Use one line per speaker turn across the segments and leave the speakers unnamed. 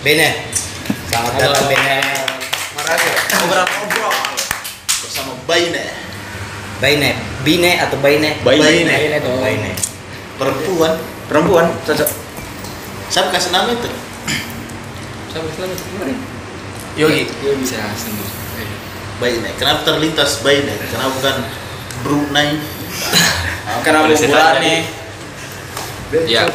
Bene. Selamat datang Bene.
Makasih. Ngobrol ngobrol bersama Baine.
Baine. Bine atau Baine?
Baine.
Baine dong.
Baine.
Perempuan.
Perempuan cocok.
Siapa kasih nama itu?
Sama Islam itu kemarin.
Yogi.
Yogi.
Bisa sendiri.
Baine. Kenapa terlintas Baine? Kenapa bukan Brunei?
Karena
Boleh saya tanya
bulannya.
Ya.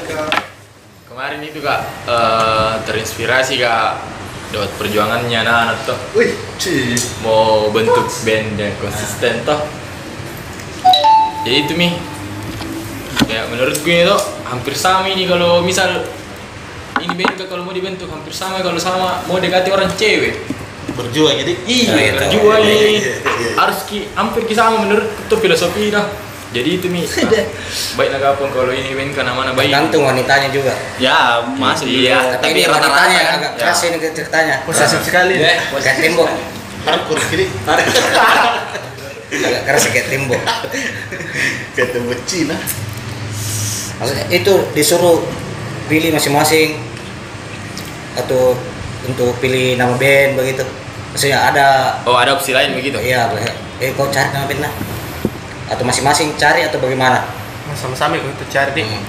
Kemarin itu kak eh, terinspirasi kak lewat perjuangannya anak-anak tuh
Wih, cih.
mau bentuk band yang konsisten
Ah.
toh. Jadi itu mi. Ya menurutku ini tuh hampir sama ini kalau misal ini band kak, kalau mau dibentuk hampir sama kalau sama mau dekati orang cewek.
Berjuang jadi
Nah,
Iya,
itu.
berjuang
Iya,
nih.
iya, iya.
Harus ki hampir ki sama menurut tuh filosofi dah. Jadi itu mi. Nah, baik lah kapung kalau ini band ke mana baik.
Tergantung wanitanya juga.
Ya, masuk
Iya.
juga.
Tapi, ini wanitanya yang agak
Ya.
keras ini ke- ceritanya.
Posesif sekali.
Ya, Kayak tembok.
hardcore jadi
Agak keras kayak tembok.
ketemu Cina.
Maksudnya itu disuruh pilih masing-masing atau untuk pilih nama band begitu. Maksudnya ada
Oh ada opsi lain begitu?
Iya, boleh. Eh, kau cari nama band lah. Atau masing-masing cari atau bagaimana?
Nah, Sama-sama ikut cari.
Hmm.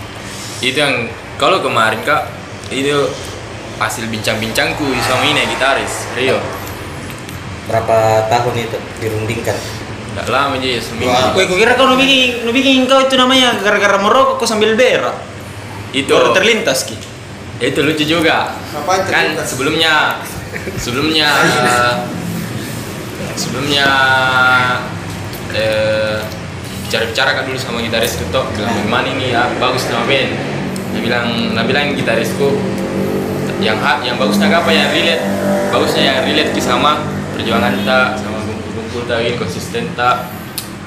Itu yang kalau kemarin kak itu hasil bincang-bincangku sama ini gitaris Rio.
Berapa tahun itu dirundingkan?
Tidak lama aja
Wah.
seminggu.
Kau kira kau nu bikin, nu bikin kau itu namanya gara-gara merokok kau sambil berak.
Itu
Baru terlintas ki.
itu lucu juga. Kan
Apaan terlintas?
sebelumnya sebelumnya eh, sebelumnya eh, bicara-bicara kak dulu sama gitaris itu tok bilang bagaimana ini ya bagus nama band. Dia bilang, dia bilang gitarisku yang hak yang bagusnya apa yang relate bagusnya yang relate ki sama perjuangan tak sama kumpul-kumpul tak ini konsisten tak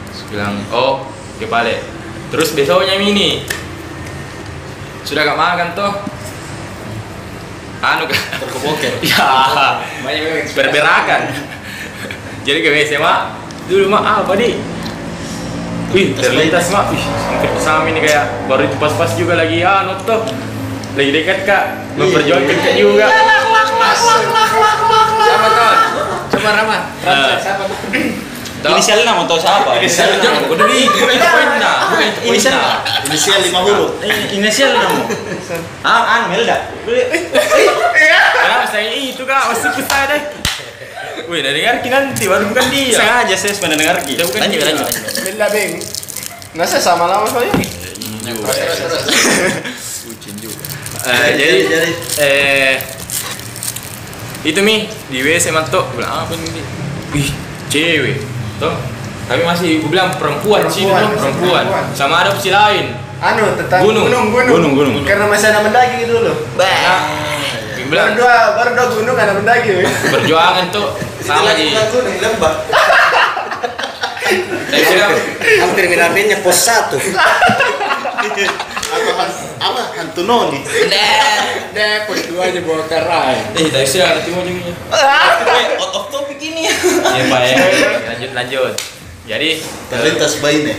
Terus bilang oh ke balik terus besoknya ini sudah gak makan toh anu kan
Terkepoket.
ya berberakan jadi ke WC mak dulu mak apa di wih terlintas mak wih hampir sama ini kayak baru itu pas-pas juga lagi ah notok lagi dekat kak memperjuangkan kak juga
Siapa tuh? Coba Rama.
Eh, toh.
Inisialnya mau tahu siapa?
Inisial jangan bodoh nih bukan itu poinnya bukan itu
Inisial.
poinnya
Inisial lima huruf.
Eh, Inisial nama. Ah, an Melda.
kenapa saya itu kak masih kita deh wih udah dengar kita nanti baru bukan dia
Sengaja saya sebenarnya dengar ki.
Dia bukan
Lanjut,
dia.
lanjut.
Bella Beng. Nasa sama lama soalnya.
Eh, jadi
jadi.
eh itu mi di WC mantok bilang apa ini wih cewek toh tapi masih gua bilang perempuan sih itu
Perempuan,
toh, perempuan
perempuan.
sama ada opsi lain
Anu tentang
Gunung.
gunung gunung.
Gunung, gunung.
Karena masih anak mendaki dulu.
Gua bilang
Baru dua baru dua gunung anak mendaki. weh.
perjuangan tuh sama di
gunung lembah.
saya bilang
Hampir minarnya pos satu.
Apa apa hantu noni?
Deh, pos dua aja bawa kerai.
eh tapi sih nanti mau jengnya
Eh, Out of topic ini.
ya pak ya lanjut lanjut jadi eh,
Terlintas Baine.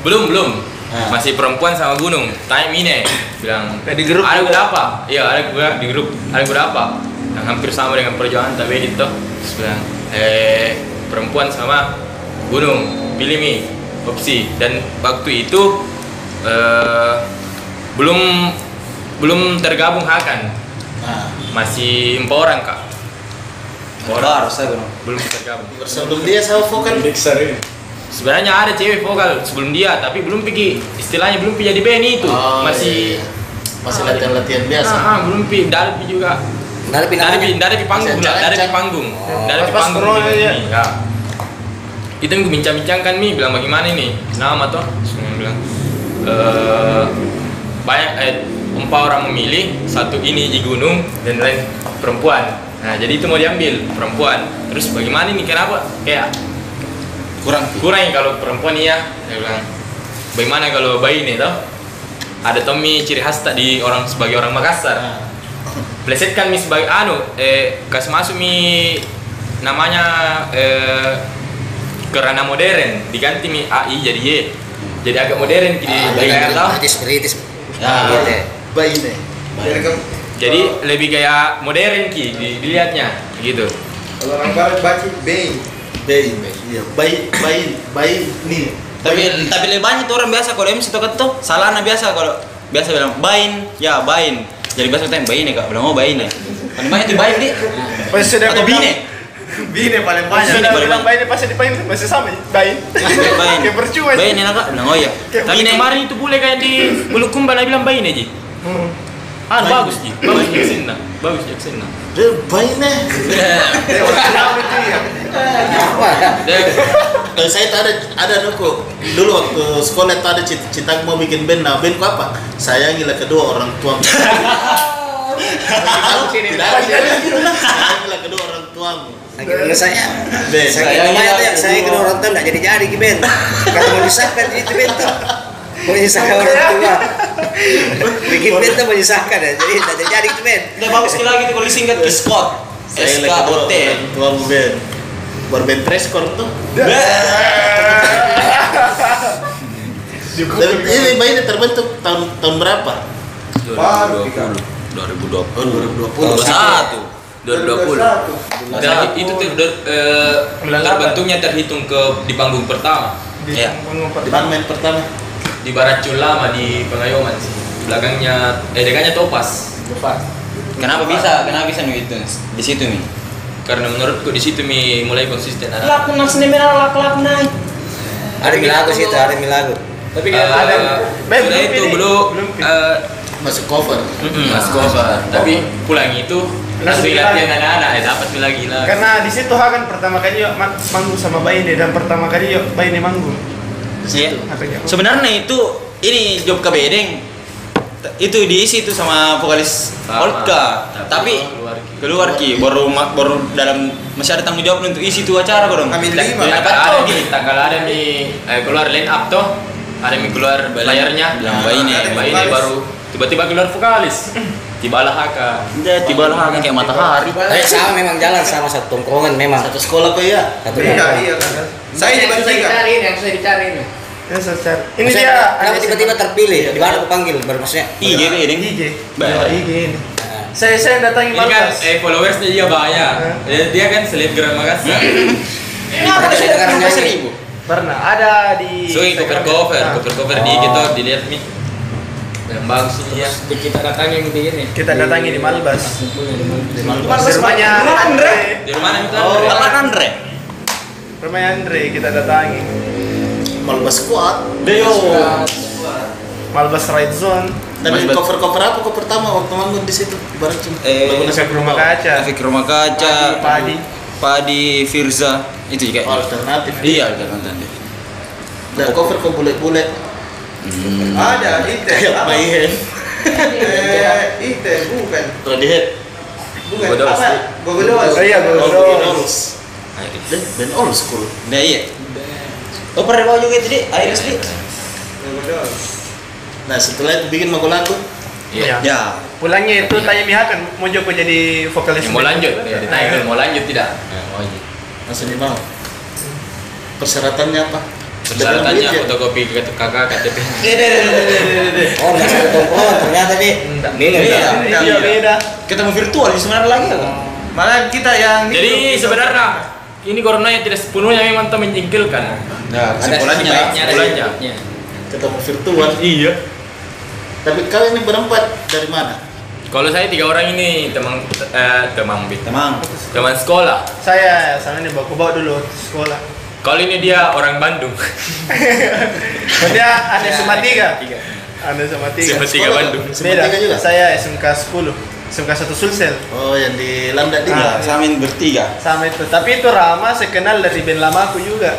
belum belum
Ah.
masih perempuan sama gunung time ini bilang
Nah, di grup
ada berapa iya ada gue di grup ada berapa yang hampir sama dengan perjuangan tapi itu Terus bilang eh perempuan sama gunung pilih mi opsi dan waktu itu eh, belum belum tergabung kan? Hakan
Nah,
masih empat orang kak Empat orang
Baru saya gunung.
belum tergabung
sebelum dia kan? saya fokan
sebenarnya ada cewek vokal sebelum dia tapi belum pergi istilahnya belum pergi jadi band itu
Oh,
masih
iya, iya. masih latihan-latihan
iya,
biasa.
ah, ah, belum pergi dari pergi juga
Dari
dari
pindah.
pergi dari pergi panggung
Masih
lah dari pergi
jalan-jalan.
panggung
Oh.
dari pergi
Pas-pas
panggung
corona
ini,
ya.
ini, ya. itu yang gue bincang-bincangkan mi bilang bagaimana ini nama toh semua bilang eh banyak eh, empat orang memilih satu ini di gunung dan lain perempuan nah jadi itu mau diambil perempuan terus bagaimana ini kenapa kayak
Kurang.
kurang ya kalau perempuan iya dia bilang bagaimana kalau bayi nih toh ada Tommy ciri khas tak di orang sebagai orang Makassar
Nah,
plesetkan mi sebagai anu eh kasih masuk mi namanya eh, kerana modern diganti mi AI jadi Y jadi agak modern jadi
Ah, banyak
kayak tahu
Ya.
Gitu Kritis kritis.
Ah.
Gitu.
Baine.
Jadi lebih kayak modern ki di- dilihatnya gitu.
Kalau orang barat baca Bey.
Bayi, bayi, iya. Bayi, bayi, bayi nih.
Tapi
Bayi nih.
tapi lebih banyak tuh orang biasa kalau MC tuh kan tuh salah nah biasa kalau biasa bilang bain, ya bain. Jadi biasa tanya bain ya kak, bilang oh bain ya. Paling banyak tuh bain di.
Pas sudah
Atau
bilang-
bine.
Bine paling banyak.
Bine
Sudah
paling
bilang
banyak.
Bine pasti dipanggil masih sama Bine.
Bain.
Kayak percuma.
Bain ya kak, bilang oh ya.
Tapi
Bine.
kemarin itu boleh kayak di Bulukumba lah bilang bayi aja. Ah
Bayi.
bagus ji, bagus Jackson nah, bagus Jackson nah.
Dia bayi nih.
Eh, orang Jawa itu ya.
Kalau Eh, saya tuh ada ada nuku. Dulu waktu sekolah tuh ada cita-cita mau bikin band. Nah, band ku apa? Sayangilah kedua orang tuamu. Tidak, tidak. Sayangilah kedua orang tuamu.
Akhirnya saya,
Ben,
saya namanya tuh ya, saya kedua orang tua nggak jadi jadi ki Ben. Kalau menyusahkan itu Ben tuh, menyusahkan orang tua. Bikin Ben tuh menyusahkan ya, jadi nggak jadi jadi ki Ben.
Udah bagus sekali lagi tuh kalau disingkat ke Scott.
Sayangilah
SK
kedua
OT.
orang tuamu band. Berben Treskor tuh. Dan ini bayi ini terbentuk tahun tahun berapa?
Baru tiga.
2020.
Tahun 2020.
2020.
21.
Dan itu tuh ter- eh, terbentuknya terhitung ke di panggung pertama
Iya.
Ya.
Di mana main pertama?
di Barat Culama di Pengayoman sih. Di belakangnya eh dekannya Topas.
Kenapa bisa? Kenapa bisa nih itu? Di situ nih.
Karena menurutku di situ mi mulai konsisten ada.
Laku nak seni merah laku laku naik.
Ada milagu sih itu, ada milagu.
Tapi
Eh,
Beb,
sudah itu
pilih.
belum
Belum pilih.
eh,
Masuk cover.
mm-mm, mas Kofa. Tapi pulang itu
Langsung
langsung
dilatih.
latihan anak-anak ya dapat mi lagi lah.
Karena di situ ha kan pertama kali yuk ma- manggung sama Baine dan pertama kali yuk Baine manggung.
Iya.
Apa ya?
Sebenarnya itu ini job kabedeng. T- Itu diisi itu sama vokalis
Sama.
Olka. Tapi
keluar ki.
keluar ki baru ma- baru dalam masih ada tanggung jawab untuk isi itu acara kau dong.
Kami
Tak-
lima.
tak-
Apa
tak ada
tuh?
mi, tak kalau ada mi eh, keluar line up toh, ada mi keluar layarnya,
Bilang
bayi
bayi ni.
ini baru tiba-tiba keluar vokalis, tibalah haka.
Dia tiba lah kan kayak
Eh,
matahari.
Tapi sama memang jalan sama satu Iya, tongkrongan memang.
Satu sekolah kok ya?
Satu tongkrongan.
kan.
Saya yang susah dicari, yang susah dicari ini.
Ya, secara. Ini
Maksudnya,
dia.
kenapa tiba-tiba terpilih? Di mana aku panggil? Baru maksudnya.
IG
IG.
kabedeng.
Ya,
Iya, Baik.
IG ini. Saya saya yang datangi
Ini kan
Malbas.
eh, followersnya dia banyak. Dia, dia kan selebgram Makassar.
Kenapa
Ada
sudah
dengar
berubah
nyanyi.
seribu?
Pernah ada di
So ini cover cover,
Nah,
cover cover di kita dilihat mi. Yang bagus ini ya.
Kita datangin di ini.
Kita datangi di Malbas.
Malbas.
rumahnya
Rumah Andre.
Di mana itu?
Oh,
Andre?
Telat Andre.
Rumahnya Andre kita datangi.
Malbas kuat.
Deo. Malbas Right Zone.
Tapi
Malbas-
cover cover apa kok pertama waktu manggung di situ? Barang cuma.
Eh,
Bangunan
Efek rumah kaca.
Efek rumah kaca.
Padi.
Padi Firza itu
Oh.
juga.
alternatif.
Iya, udah nonton deh.
Dan cover kok bulat-bulat. Hmm.
Ada Ite.
Kayak iya?
iya?
main.
Eh, Ite bukan.
Tadi head.
Bukan.
Godos.
Apa? Gogodos. Oh iya,
Oh, begini
Gogodos.
harus. Dan band old school.
Nah iya. Oh pernah bawa juga tadi Iris di.
Gogodos.
Nah setelah itu bikin magu lagu.
Iya.
Ya.
Pulangnya itu tanya Miha kan mau Joko jadi vokalis.
Yang Mau lanjut, ya,
Nah,
ditanya mau lanjut tidak? Oh iya.
Langsung di mau. Persyaratannya apa?
Persyaratannya
Dengan duit ya?
fotokopi kakak KTP.
Oh, nggak satu tongkrongan ternyata di. Beda.
Beda.
Iya, iya, beda.
Ketemu virtual di sebenarnya lagi ya.
Malah kita yang
Jadi sebenarnya ini corona yang tidak sepenuhnya memang teman kan? menjengkelkan.
Nah,
Kesimpulannya, kesimpulannya.
ketemu virtual.
Iya.
Tapi kalian ini berempat dari mana?
Kalau saya tiga orang ini teman eh, teman Bi.
Temang.
teman sekolah.
saya sama ini bawa bawa dulu ke sekolah.
Kalau ini dia orang Bandung,
Dia ada SMA 3. Ada SMA 3.
SMA tiga Bandung.
Beda.
Sepertiga juga.
Saya SMK 10. SMK 1 Sulsel.
Oh yang di Lambda
Iya.
di
Ah.
Samin bertiga.
Sama itu. Tapi itu Rama saya kenal dari band lama aku juga.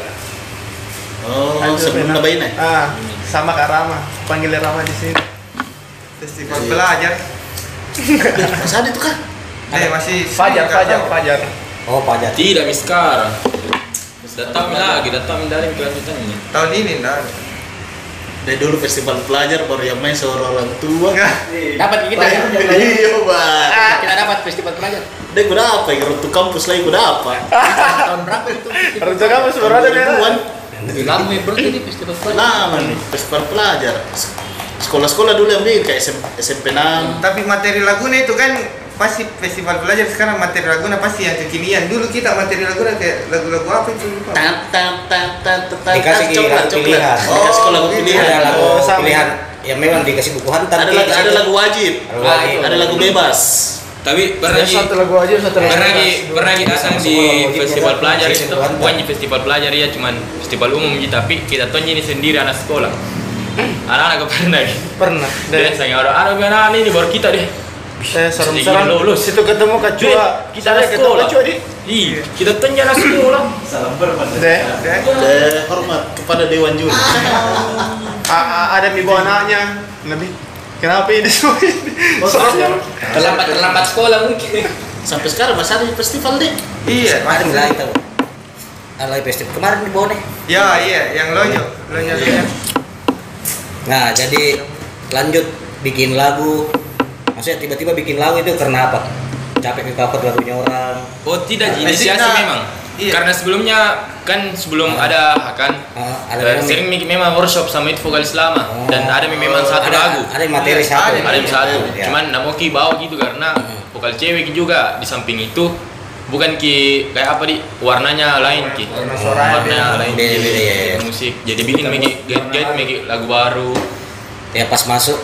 Oh
Ada
sebelum
band-
nabain ya?
Ah, sama Kak Rama. Panggilnya Rama di sini.
Festival
Iya.
belajar.
Mas Adi tuh kan?
Eh masih
Fajar, Fajar, Fajar.
Oh, pajak.
Tidak miskar. Datang lagi, datang dari kelanjutannya.
Tahun ini nah.
Dari dulu festival pelajar baru yang main seorang orang tua.
Dapat kita ya. Ah,
Iya, Pak.
Kita dapat festival pelajar.
Dia gue apa ya? Ratu kampus lagi gue
Ah,
apa?
Tahun berapa itu?
Orang tua kamu sebenarnya ada
Ribuan.
Lama ya bro jadi festival pelajar.
Lama nih, festival Nah, pelajar. sekolah-sekolah dulu yang bikin kayak SM, SMP 6
Tapi materi laguna itu kan pasti festival belajar sekarang materi laguna pasti yang kekinian. Dulu kita materi laguna kayak lagu-lagu apa itu lupa.
tan tan tan tan tan tan
Dikasih
tan, coklat
lagu
coklat
pilihan.
oh dikasih ke lagu
Oh,
pilihan
ada lagu
Oh,
sama.
pilihan yang memang dikasih buku hantam
ada lagu ada lagu wajib
Lagu wajib.
ada lagu bebas
Tapi pernah Gi,
satu lagu aja satu lagu
pernah Gi,
aja.
pernah Gi datang
Sama semua
di
wajib
festival
belajar.
pelajar
Sisi
itu
berantem.
bukan di festival pelajar ya cuman festival umum Gi tapi kita tuh ini sendiri anak sekolah. Anak-anak gak pernah Gi.
pernah dari
Biasanya orang anak anak ini baru kita deh.
eh serem-serem
Jadi lulus.
situ ketemu kacua
kita anak
ketemu
sekolah.
kacua di
Ih, kita tuh anak sekolah.
deh
Ada.
Eh, hormat kepada dewan juri
A- a- ada mi bawa anaknya nabi kenapa ini semua ini
Oh,
serem
Terlambat terlambat sekolah mungkin.
sampai sekarang masih ada di festival deh
Iya.
ada mulai tahu ada Kan lagi festival kemarin di Bone
Ya iya yang lonjok lonjok kan. lonjok.
nah jadi lanjut bikin lagu maksudnya tiba-tiba bikin lagu itu karena apa capek cover lagunya orang
Oh tidak, Ji.
Nah,
inisiasi
kita-
memang.
iya.
Karena sebelumnya kan sebelum ada Hakan
Ah, ada
eh,
memang-
sering mi- memang workshop sama itu
Oh.
vokalis lama dan ada mi- memang satu
ada,
lagu.
ada yang materi
Iya,
satu
ada yang satu Iya.
Ya.
cuman nggak mau ki bawa gitu karena vokal cewek juga di samping itu bukan ki kayak apa di warnanya lain ki
Warna suara
warnanya lain
Beda, beda, ya, ya.
jadi musik jadi bikin megi get get megi lagu baru
ya pas masuk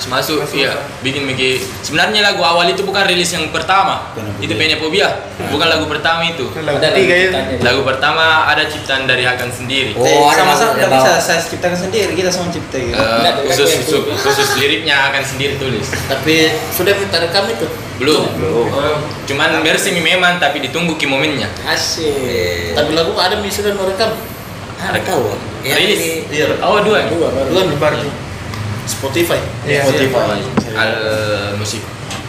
Terus masuk iya bikin megi sebenarnya lagu awal itu bukan rilis yang pertama
Penapobia.
itu Penapobia bukan lagu pertama itu
lagu tiga ya
lagu pertama ada ciptaan dari Hakan sendiri
oh ada
sama sama
lagu- ada
nggak bisa
bawa-
saya ciptakan sendiri kita sama cipta gitu.
Eh,
Nggak,
khusus
lagu yang
khusus, khusus liriknya akan sendiri tulis
tapi sudah minta rekam itu
belum cuman versi mi memang tapi ditunggu ki momennya
Asik.
Eh,
tapi lagu ada yang sudah merekam
ada tahu ya
rilis
ini
iya
awal dua ya?
Dua baru.
dua Spotify
Iya,
Spotify
al musik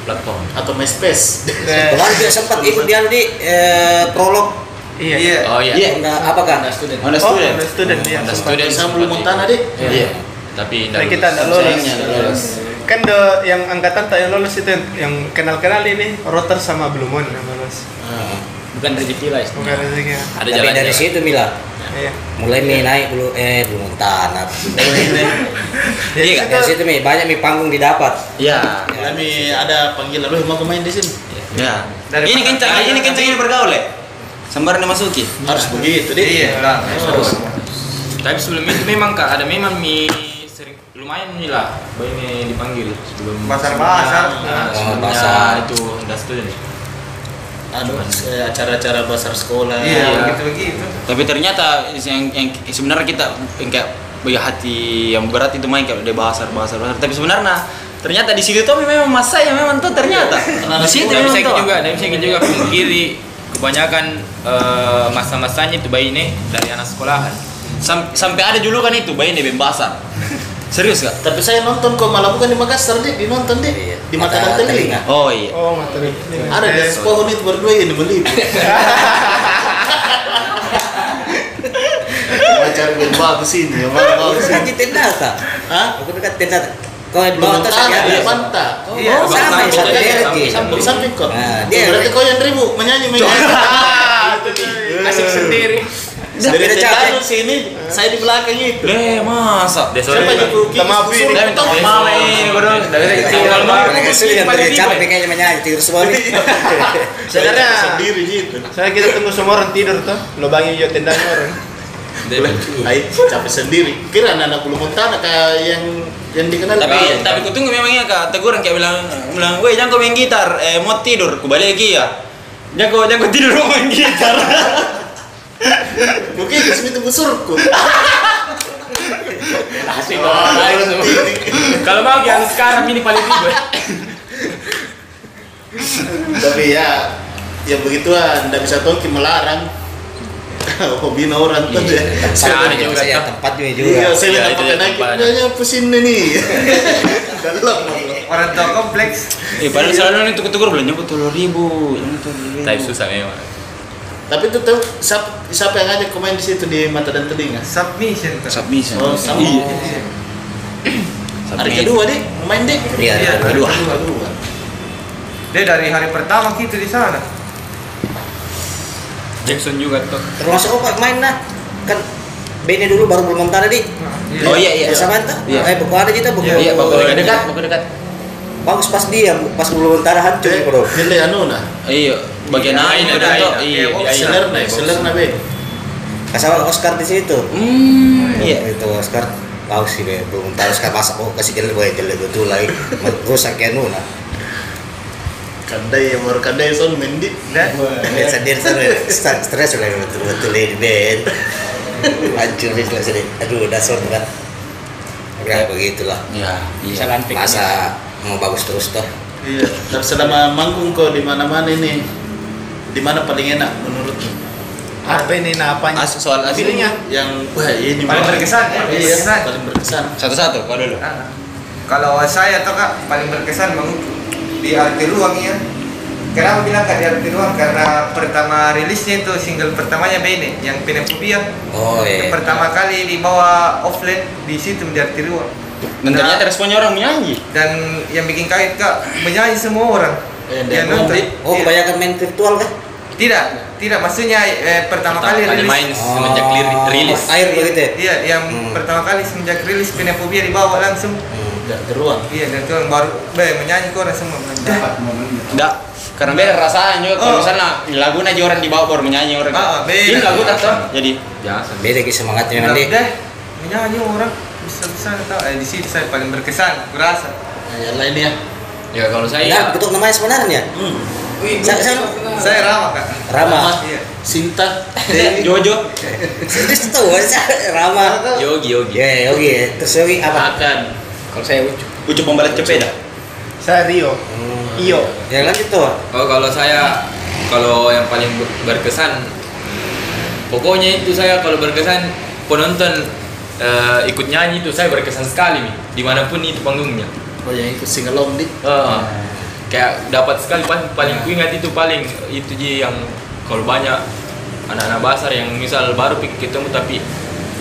platform
atau MySpace
kemarin dia sempat ikut dia di eh, prolog
iya iya
Iya.
oh iya
Iya, apa kan?
Nah, student.
Honda
oh
student.
ada student dia
ada
sempat.
student
sama
seperti
belum Montana deh
iya tapi
Nah,
tidak
kita
lulus.
ada lulus kan the yang angkatan tak yang lulus itu yang, yang kenal-kenal ini Rotter sama Blue Moon yang lulus
Bukan rezeki lah.
bukan rezekinya
ada
Tapi
jalannya
dari situ Mila
ya. iya
mulai mi naik dulu eh belum tanah.
Iya,
Iya dari situ mi banyak mi panggung didapat.
iya
kami ada panggilan lu mau main di sini
Ya.
Dari
ini
mana?
kencang, ini kencang ini bergaul ya. Sembarnya masuki.
harus
Gitu
begitu deh
Iya lah.
Harus.
tapi sebelum itu memang kak ada memang mi sering lumayan nih lah ini dipanggil sebelum
Pasar
sebelumnya-
pasar.
Nah,
Oh,
sebelumnya
pasar.
itu ada student
Aduh, eh, acara-acara pasar sekolah
Iya
Iya.
begitu begitu.
Tapi ternyata yang yang sebenarnya kita yang kayak bagi hati yang berat itu main kayak ada bahasa bahasa bahasa. Tapi sebenarnya ternyata di situ tuh memang masa yang memang tuh ternyata. Nah, Di situ
Tapi
memang
saya
tuh.
juga, tapi saya juga pungkiri kebanyakan eh, masa-masanya itu bayi ini dari anak sekolahan.
Sam- sampai ada julukan itu bayi nih bahasa. Serius gak?
tapi saya nonton kok malah bukan di Makassar deh dinonton deh
Iya.
di mata dan
Mata dan
telinga
Oh iya.
oh materi
ada di atas pohon itu berdua yang dibeli macam yang bagus ini yang malah
Aku
bagus
dekat Oh,
ini
di tenda tak?
Hah?
Aku dekat tenda. tak? Kau yang
belum
bawah atas
tanah
yang di
ya
atas.
panta
Iya.
Oh sama yang satu
Samping,
deret
samping,
Ki.
di samping kok
Nah, dia-
berarti kau yang ribu menyanyi menyanyi
Asik sendiri.
Dah,
dari
beda capek.
Tegal sini saya di belakang itu
Leh masa.
siapa yang kuki
Tamapi.
suruh
Dia minta
potong.
maaf. Maaf, bro. Dari saya kecil kalau mau
Mereka sulit yang terlihat capek kayaknya menyanyi tidur semua nih.
Sebenarnya-
sendiri gitu
saya kita tunggu semua orang tidur tuh lubangi yo tendang orang
Ay, capek sendiri. Kira anak belum Montana kayak yang yang dikenal. Iya.
tapi tapi kutunggu memangnya kak teguran kayak bilang bilang weh jangan kau main gitar eh mau tidur ku balik lagi ya jangan kau jangan kau tidur mau main gitar
mungkin di sini tunggu surku.
Asik Kalau mau yang sekarang ini paling tiba.
tapi ya ya begituan, tidak bisa toki melarang. Hobi na orang tuh ya.
Satu
Saya ada
yang
juga,
saya
Kak.
ya, tempat ini
Iya,
juga.
Iya,
saya minta
itu
pakai
dia
naik.
tempatnya.
Kayaknya pusing nih. Dalam.
Orang tua kompleks.
eh padahal selalu nih tukur tukur belanja aku tujuh ribu ini tujuh ribu
Tapi susah memang.
Tapi itu tuh siapa siapa yang ngajak komen di situ di mata dan telinga?
Submission tuh.
submission
Oh, sama.
Iya.
Iya.
Hari kedua deh, main deh.
Iya,
Iya,
kedua.
Kedua.
Dia dari hari pertama kita di sana.
Jackson juga tuh.
Termasuk opak main nah. Kan Bandnya dulu baru belum mentara dik.
Oh iya iya.
Sama itu?
Iya.
Eh buku ada kita buku.
Iya, iya, baku dekat, dekat, baku dekat.
Bagus pas dia pas belum mentara hancur
Jadi
bro.
Jadi anu nah.
Iya, bagian
Iya,
lain
iya,
udah
iya,
tuh.
iya,
Iya.
iya.
Seler nah, seler nah be.
Kasama Oscar di situ.
Hmm, iya.
Itu gitu, Oscar tahu sih deh belum mentara Oscar masak oh kasih jelek boleh jelek itu lagi rusak ya nuna.
Kadai yang baru kadai son mendit.
Dan
Dia sendiri sendiri stres sudah betul betul di band. Hancur dia sudah sedih. Aduh dasar kan. Ya begitulah.
Iya, iya.
Bisa lantik.
Masa mau bagus terus toh.
Iya. Tapi selama manggung kau di mana-mana ini, di mana paling enak menurutmu?
Apa ini nah apanya?
As soal as
Feelingnya.
Yang wah ini
Paling
banget.
berkesan, ya?
Iya,
Berkesan.
paling berkesan.
satu-satu kau dulu.
Ah. Kalau saya tuh kak paling berkesan bang di arti ruang ya. Kenapa bilang kak di arti ruang? Karena pertama rilisnya itu single pertamanya Bene yang Penefobia.
Oh iya.
Yang pertama kali dibawa offline di situ di arti ruang.
Dan ternyata responnya orang menyanyi.
Dan yang bikin kaget kak menyanyi semua orang.
Eh,
yang
dan
nonton.
Oh
Iya.
kebanyakan main virtual kan?
Tidak, tidak. Maksudnya eh, pertama kali
kali
rilis.
main
Iya,
semenjak lir- rilis.
Oh, Air begitu ya?
Iya, yang
Hmm.
pertama kali semenjak rilis Penefobia dibawa langsung.
Gak teruang.
Iya, dan itu yang baru be, menyanyi kok orang semua.
Enggak. Karena beda rasanya juga kalau
Oh.
misalnya lagu aja orang dibawa baru menyanyi orang.
Ah, beda.
Ini lagu tak tahu. Jadi
Biasa.
Beda lagi semangatnya
Nah,
nanti.
udah, menyanyi orang bisa-bisa tau. Eh, di sini saya paling berkesan, kurasa.
Nah, yang lain ya.
Ya kalau
Iya.
Nah,
saya
betul namanya sebenarnya.
Hmm.
Saya, saya
Saya Rama kak.
Rama.
Iya.
Sinta.
Jojo.
Terus itu saya Rama.
Yogi Yogi.
Ya, Yogi ya. Terus Yogi apa?
Akan.
Kalau saya ucu.
Ucup pembalas cepeda.
Saya Rio.
Hmm.
Iyo.
Ya lanjut tuh.
Oh kalau saya kalau yang paling ber- berkesan pokoknya itu saya kalau berkesan penonton eh, ikut nyanyi itu saya berkesan sekali nih dimanapun itu panggungnya.
Oh yang ikut singalong Ah. di.
Eh, kayak dapat sekali paling paling ku ingat itu paling itu ji yang kalau banyak anak-anak basar yang misal baru pik- ketemu tapi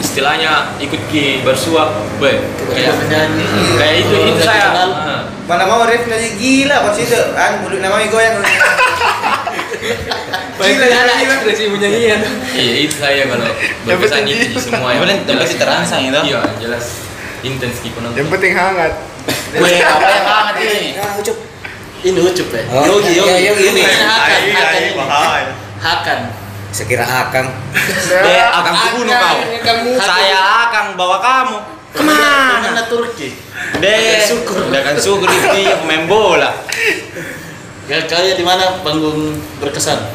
istilahnya ikut ki bersua, weh
Tiba-tiba
kayak
menyanyi.
kayak itu
Kalau
itu
udah
saya.
dikenal,
eh.
Mana mau Rif lagi gila pas itu. An, mulut namanya goyang.
Gila anak ekspresi penyanyian.
Iya itu saya kalau berkesan
penting
itu semua
Yang penting-
jelas-
yang penting terangsang itu.
Iya jelas intens ki penonton.
Yang penting hangat.
Weh, apa yang banget ini?
Ah, ucup.
Ini ucup ya.
Oh,
Yogi,
iya,
Yogi.
Yogi, ini.
Hakan,
Ai,
Hakan
ai,
ini.
bahaya.
Hakan.
Sekira Akang.
Ya,
Be, akan kubunuh kau.
Kamu
Saya akan bawa kamu. Kemana?
Kemana Turki?
Deh,
Udah syukur.
udah kan syukur itu dia pemain bola.
Gak Ya, kaya di mana panggung berkesan?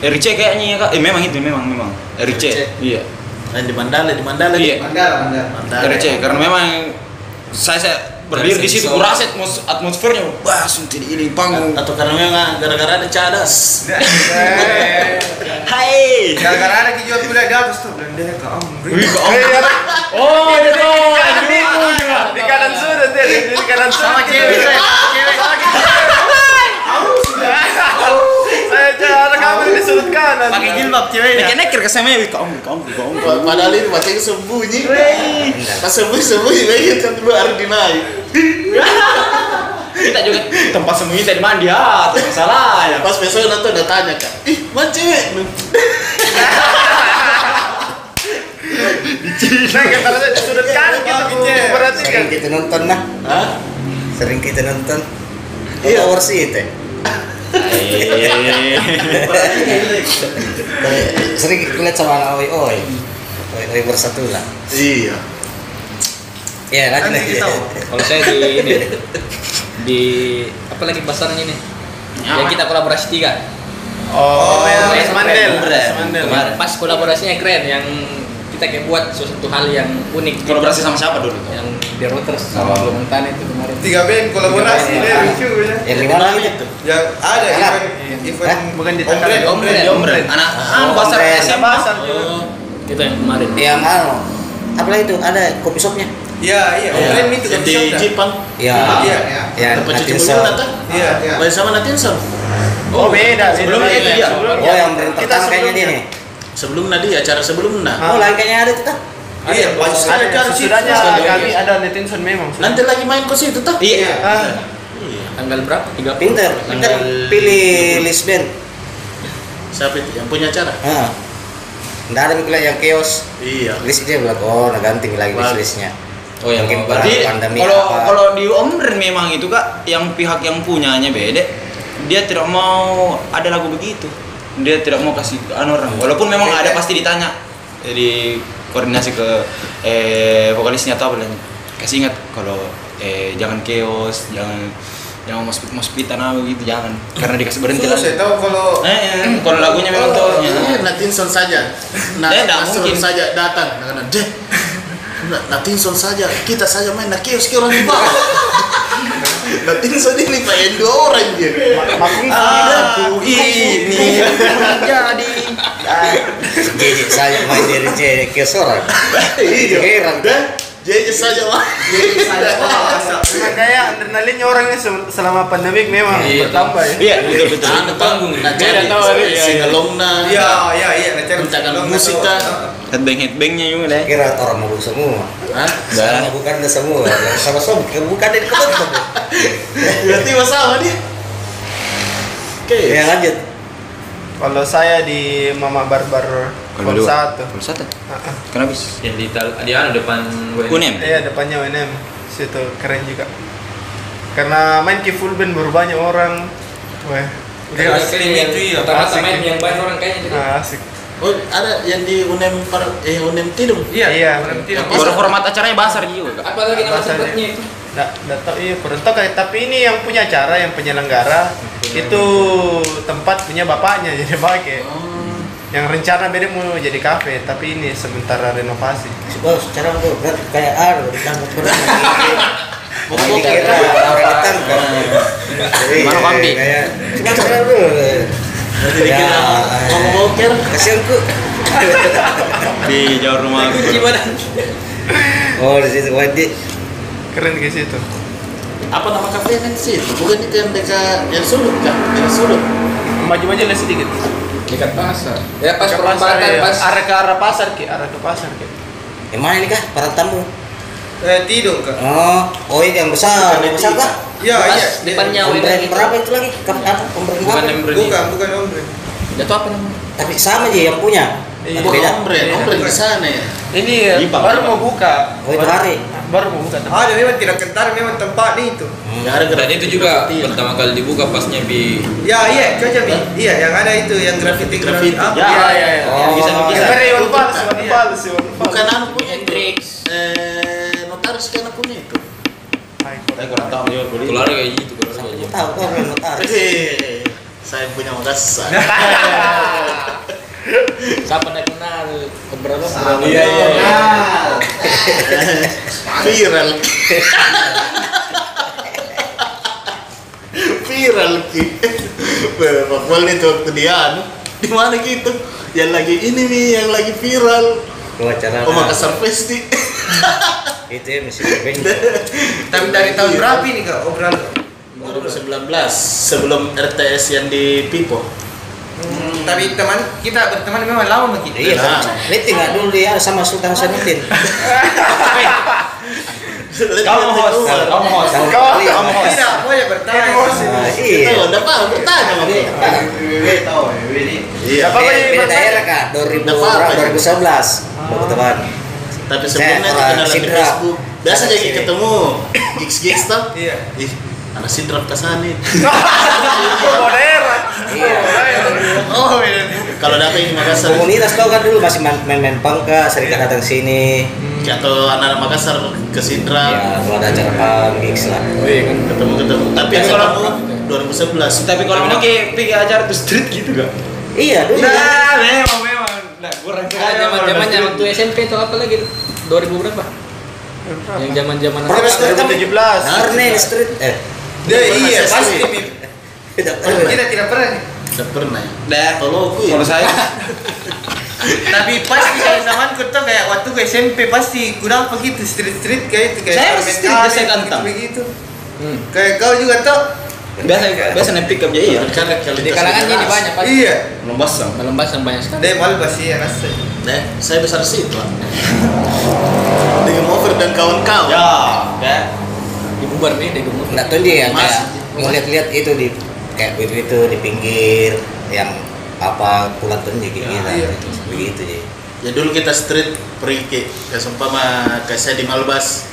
RC kayaknya ya kak. Eh memang itu memang memang. RC.
RC.
Iya.
Nah, di Mandala, di Mandala.
Iya.
Mandala, mandala.
Mandala.
ya.
RC karena memang saya saya berdiri di situ kurasa atmos- atmosfernya wah suntik ini
Iya,
panggung.
Atau karena memang gara-gara ada cadas.
Nah, eh.
Hai.
Gara-gara ada dijual gula di atas tuh. Dan dia ke
iya.
Amri.
Oh, itu
Di kanan sudut dia, di di kanan Gitu. sudut. Sama cewek, cewek. Saya cara kamu di sudut kanan.
Pakai jilbab ceweknya. Nek nekir ke sama ya kamu kamu kamu.
Padahal itu macam sembunyi. Pas sembunyi-sembunyi, begitu kan dulu Ardinai.
Kita juga tempat sembunyi tadi mandi ah, tak salah ya.
Pas besok nonton udah tanya kan, ih mana cewek?
Nah, kita taruh di sudut kanan gitu, kita berarti kan.
Sering kita nonton nah.
Hah?
Sering kita nonton.
Iya.
Iya, sih itu. Sering kita lihat sama anak Oi Oi. Oi Oi bersatu lah.
Iya.
Ya, lanjut
Nanti kita
lagi.
Kalau saya di ini di apa lagi pasarannya nih? Ya kita kolaborasi tiga.
Oh, yang
yang
Mandel.
keren.
Mandel.
Kemarin pas kolaborasinya keren yang kita kayak buat sesuatu hal yang unik.
Kolaborasi sama siapa dulu? tuh?
yang di routers sama Blomentan itu kemarin.
Tiga band kolaborasi dia lucu ya.
Yang di mana itu?
Ya ada
Anak.
event
Hah?
event
Bukan di
ombre
tangan.
ombre.
Iya,
Ombre.
Ombre, anak anu pasar
Ombre.
SMA.
Itu yang kemarin.
Yang anu. Apa lagi itu? Ada kopi shopnya.
Iya iya ombre itu kan
Yang di
bisa.
Jepang.
Ya.
Iya,
Ya,
Tempat cuci
Natin
mobil
Shop.
nanti.
Iya iya.
Baik sama Natin Shop.
Oh, beda.
Sebelumnya
beda.
itu dia.
Sebelumnya.
Oh, yang brand
Kita
pertama kayaknya dia
sebelumnya.
nih.
Sebelum Nadi, acara sebelum Nah.
Oh, lain kayaknya ada itu tuh.
Iya, bagus.
Ada kan sudahnya
Sebelumnya.
kami ada Netinson memang.
Nanti lagi main ke situ tuh.
Iya.
Ah,
Tanggal berapa? 30.
Pinter, pinter
Tanggal
pilih list band.
Siapa itu yang punya acara?
Ah. Nggak ada mikirnya yang chaos.
Iya.
Listnya bilang, oh, nah ganti lagi
Bagus.
listnya.
Oh ya,
Mungkin
berarti
perang pandemi
kalau
apa.
kalau di Omren memang itu kak, yang pihak yang punyanya beda, dia tidak mau ada lagu begitu, dia tidak mau kasih ke orang. Walaupun memang
Beda.
ada pasti ditanya, jadi koordinasi ke eh, vokalisnya atau apa dan kasih ingat kalau eh, jangan chaos, jangan jangan mau speed mau speed gitu jangan karena dikasih berhenti
Susah,
lah.
saya tahu kalau
Eh, eh, kalau lagunya memang tuh.
Oh,
ya.
Eh, Natinson saja. Nah,
Eh, nggak
Natinson
mungkin.
saja datang. Nah, nah, deh. Nah, Natinson saja. Kita saja main. Nah, kios kios orang di bawah. Natinson ini main dua orang dia.
Makung
Aku ini menjadi
Jadi saya main dari jadi chaos orang.
Iya.
Heran.
Dan JJ saja Nah, wah. JJ saja
kayak adrenalinnya orangnya se- selama pandemik memang
Iya,
bertambah ya.
Iya betul betul.
Nah, panggung. Nah,
Dia
jadi
nggak tahu, iya, iya.
singalongna.
iya iya iya nanti harus
Pencakar
tolong,
musik
atau-
kah?
Headbang headbangnya juga deh.
Kira orang mau semua.
Hah?
Sama bukan ada semua. Yang sama sama bukan dari kebetulan.
Berarti masalah dia. Oke.
Ya lanjut.
Kalau saya di Mama Barbar Pol
dua.
satu.
Kalau satu.
Heeh.
Kenapa bis?
yang di tal di anu depan UNM.
Unem.
Iya depannya UNM situ keren juga. Karena main ke full band baru banyak orang. Wah.
Kayak
asik.
asli itu iya.
Pertama-tama
Asik.
main yang banyak orang kayaknya gitu. jadi.
Ah, asik.
Oh, ada yang di UNEM par eh UNEM Tidung.
Iya,
Iya.
orang tidak
Baru format acaranya basar juga. Kak.
Apa lagi nama
Rasanya.
tempatnya itu?
Nggak, nggak tahu iya kurang tahu kayak tapi ini yang punya acara yang penyelenggara itu tempat punya bapaknya jadi pakai.
Oh.
Yang rencana beda mau jadi kafe tapi ini sementara renovasi.
Coba secara gue berat kayak ar, ditangkap berat.
Pokoknya
Dikira orang ditangkap. Jadi,
Gimana, Kambi?
Iya, kayak, Ya, Coba secara dulu.
Berarti dikira mau boker.
Kasihan ku.
Di jauh rumah.
Gimana?
Oh di situ wadi.
Keren ke situ.
Apa nama kafe yang sih? Bukan itu yang dekat yang sudut kan? Yang sudut.
Maju-maju lah sedikit.
Dekat pasar. Ya pas
Ke pasar,
kan
perempatan
iya.
pas
arah ke arah pasar ki, arah ke pasar ki.
Emang ini kah para tamu?
Eh, tidur kak
Oh, oh ini yang besar, yang besar kah?
iya
pas
iya
depannya UNM
Pemberian
itu.
berapa itu lagi? Kapan apa? Pemberian
Bukan
berapa?
yang berani.
bukan bukan om Bre.
Jatuh apa namanya?
Tapi sama aja yang punya. Beda.
Iya.
Bukan Ombre, Ombre di sana ya.
Ini ya,
Ipa,
baru
Ipa.
mau buka.
Oh itu hari.
Baru mau buka. tempat.
ada memang tidak kental memang tempat ni itu
Nggak ada
Dan
gerak
itu juga
Iya.
pertama kali dibuka pasnya di
ya iya cuaca bi iya yang ada itu yang graffiti
Graffiti.
apa?
Ya,
Iya iya iya.
Oh,
Yang
bisa.
tadi Iwan Fals, Iwan Fals, Iwan Fals.
Bukan aku punya itu.
Hendrix.
Eh, notaris kan aku punya itu.
Hai,
Saya kurang tahu juga boleh.
keluar kayak gitu keluar kayak gitu.
Hmm. Tahu kau belum tahu.
Hehehe. Saya punya Nah. ungkasan.
Siapa nak kenal? Keberapa?
Iya, iya, iya.
Ah.
Viral. Viral ki. Bapak itu waktu dia anu, di mana gitu? Yang lagi ini nih, yang lagi viral.
Gua acara.
Oh, Makassar Festi.
Itu ya mesti berbeda.
tapi
Iya.
Iya.
dari tahun berapa ini kak obral
2019 sebelum RTS yang di Pipo.
tapi teman kita berteman memang lama begitu
Iya,
Nah.
ini tinggal dulu dia sama Sultan Sanutin.
Kamu host, kamu host.
Sama
Kau-
Bali, sama Bali.
tidak boleh bertanya
Ah,
Iya,
Iya.
udah paham, bertanya sama
Iya.
aku.
tahu ini
Iya.
Apa lagi,
Beda- Beda
Mas?
daerah kak, 2000
Udah paham,
orang,
Mas.
2011 Bapak teman
Tapi sebelumnya
Saya
itu kenalan di
Sidra.
Facebook. Biasa
Saya
jadi
sini.
ketemu gigs gigs tuh.
iya
Ih, anak sindrom kesana.
Bawa daerah.
Iya.
Oh, iya. Kalau datang di Makassar,
Komunitas tau kan dulu masih main- main-main pangka, sering datang sini
atau anak Makassar ke Sindra,
Ya, kalau ada acara pang, gigs lah
Iya, kan?
ketemu ketemu. Tapi
Tapi
kalau
kalau-
aku 2011,
Tapi kalau mau kayak pergi acara tuh street gitu gak?
Iya, dulu kan.
Ah,
memang memang. Nah, kurang
Kan zaman-zamannya waktu SMP atau apa lagi? 2000 berapa? Yang zaman-zaman
Pernah
apa?
street kan?
2017.
Nah,
Pernah street Eh,
Dia iya
Pernah
pasti
sesi.
Mim.
tidak pernah
kita tidak pernah nih
udah pernah. ya?
Dah.
Kalau aku ya,
Kalau saya
tapi pasti kalau zaman ku tuh kayak waktu ku SMP pasti kurang begitu street street kayak itu kayak
Saya masih
permen
street,
karet,
saya kantang.
begitu
Hmm.
kayak kau juga tuh
biasa biasa naik pick up ya iya.
kan
Di kalangannya ini banyak pasti.
iya
Belum basah.
Melembas yang banyak sekali.
deh malu pasti ya rasa
Nah, saya besar sih itu. Dengan Mover dan kawan-kawan.
Ya, ya.
Dibubar nih di gemuk.
Nggak tahu dia yang
Mas.
kayak ngeliat-liat itu di kayak begitu di pinggir yang apa kulaknya kayak gila
Iya.
gitu. begitu jadi
Ya dulu kita street perikik ya seumpama kayak saya di Malbas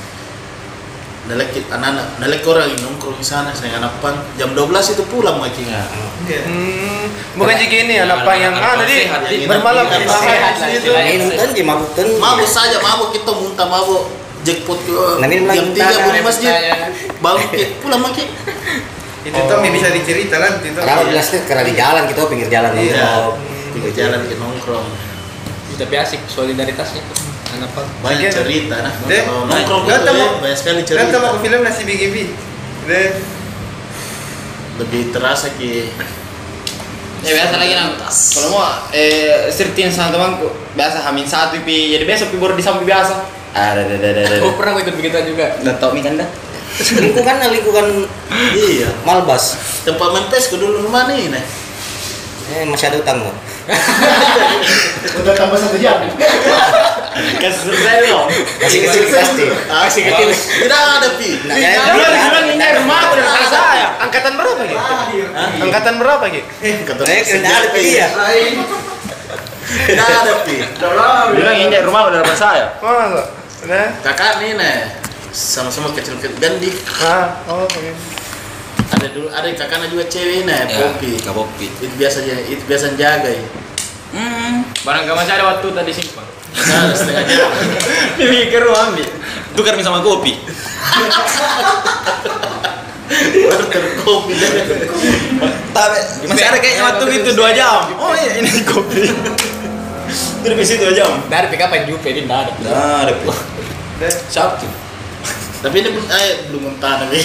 Nelek kita- anak-anak, nelek orang yang nongkrong di sana, saya anak pang jam 12 itu pulang makinnya.
Ya.
Hmm, bukan jadi gini anak pang yang
Anak-anak
ah tadi
sehat,
yang
bermalam
enak-enak
bermalam
sehat lah
itu.
istilahnya.
minum kan di mabuk kan
Mabuk saja, mabuk kita muntah mabuk jackpot ke
Nah, ini
jam
lagi
3
tangan,
bunyi masjid
Iya.
saya.
bangkit pulang makin
itu tuh yang bisa dicerita lah itu tuh.
kenapa bilang street karena di jalan kita pinggir jalan
Iya.
nongkrong.
kita jalan gitu. ke nongkrong
Tapi asik solidaritasnya tuh. Anak pang.
banyak
Iya.
cerita nah
Deh,
kalau nongkrong gitu
datang
ya,
mau-
banyak sekali
Kan
cerita
sama film nasi bigibi. Deh,
lebih terasa ki
Ya biasa lagi nang. Kalau mau eh sirtin sama temanku biasa hamin satu pi. Jadi biasa pi baru disambi biasa.
Ah,
Ada ada ada ada.
Oh,
Gue pernah gua ikut begitu juga.
Enggak tahu mi kan dah.
lingkungan nah, lingkungan
iya
Malbas
tempat main E pes ke dulu rumah nih nah
eh, masih ada utang loh
udah tambah satu jam
Kasih saya dong.
masih
Iya.
kecil pasti
Asik Ah, kecil. Tidak ada pi.
Nah, ya,
Eh, rumah aku dari anak saya. Angkatan berapa gitu? Angkatan berapa gitu?
Kata
Eh,
Presiden,
tidak ada pi
Iya.
ya.
Tidak ada pi.
Bilang ini dari rumah udah ya? dapat saya.
Masa? Nah,
Kakak nih nih sama-sama kecil kecil Gandhi
ah, oh, oke.
ada dulu ada kakaknya juga cewek nih
Iya.
Ya,
Popi
Kapopi.
itu biasa aja itu biasa jaga ya
Hmm.
Barang gak masih ada waktu tadi simpan.
Nah, setengah jam
Ini ke rumah ambil. Tukar mi sama kopi.
baru terkopi
Tapi masih ada kayaknya waktu itu 2 jam. Oh iya ini kopi. Terus di situ 2 jam.
Dari PK apa Juve ini enggak ada.
Nah, ada pula.
deh.
Sabtu.
tapi ini belum eh belum mentah nih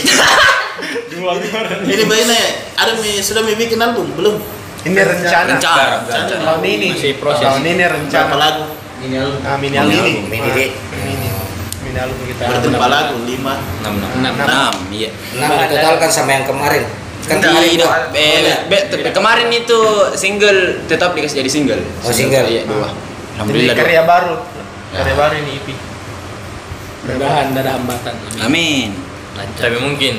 Dua kemarin.
ini bayi nih ada mi sudah mi bikin album belum
Ini rencana.
Rencana.
Tahun ini.
Masih proses.
Tahun ini
berapa
rencana.
lagu
Ini lu.
Ah, mini
Mini,
album.
mini di
Mini. Mini album kita.
berarti berapa lagu lima
Enam enam
Enam.
enam. Iya.
nah total kan sama yang kemarin kan
Iya.
kemarin
Tidak,
dua.
eh, be- te- kemarin itu single tetap dikasih jadi single.
Oh, single.
Iya, dua.
Jadi
Alhamdulillah. Dua.
karya baru. Karya baru ini EP.
Mudahan nggak ada hambatan.
Amin.
Tapi mungkin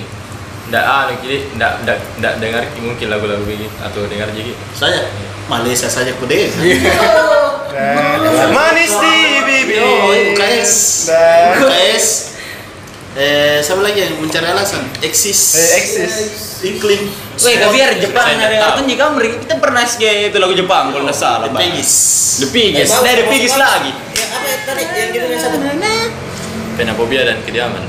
ndak ah jadi ndak ndak ndak dengar mungkin lagu-lagu begini atau dengar jadi
saya Malaysia saja kude
Iya.
Dan Manis di bibir.
Oh, bukan es.
Dan-
KS eh siapa lagi yang mencari alasan eksis
Eh, Exis.
inkling
Weh, gak biar Jepang
Saya
ada
nggak
kartun jika mereka kita pernah SG itu lagu Jepang kalau nggak salah.
The
Bang.
Peggy's.
The Piggies. Nah, The Piggies lagi.
ya apa ya tadi yang judulnya satu
penafobia dan kediaman.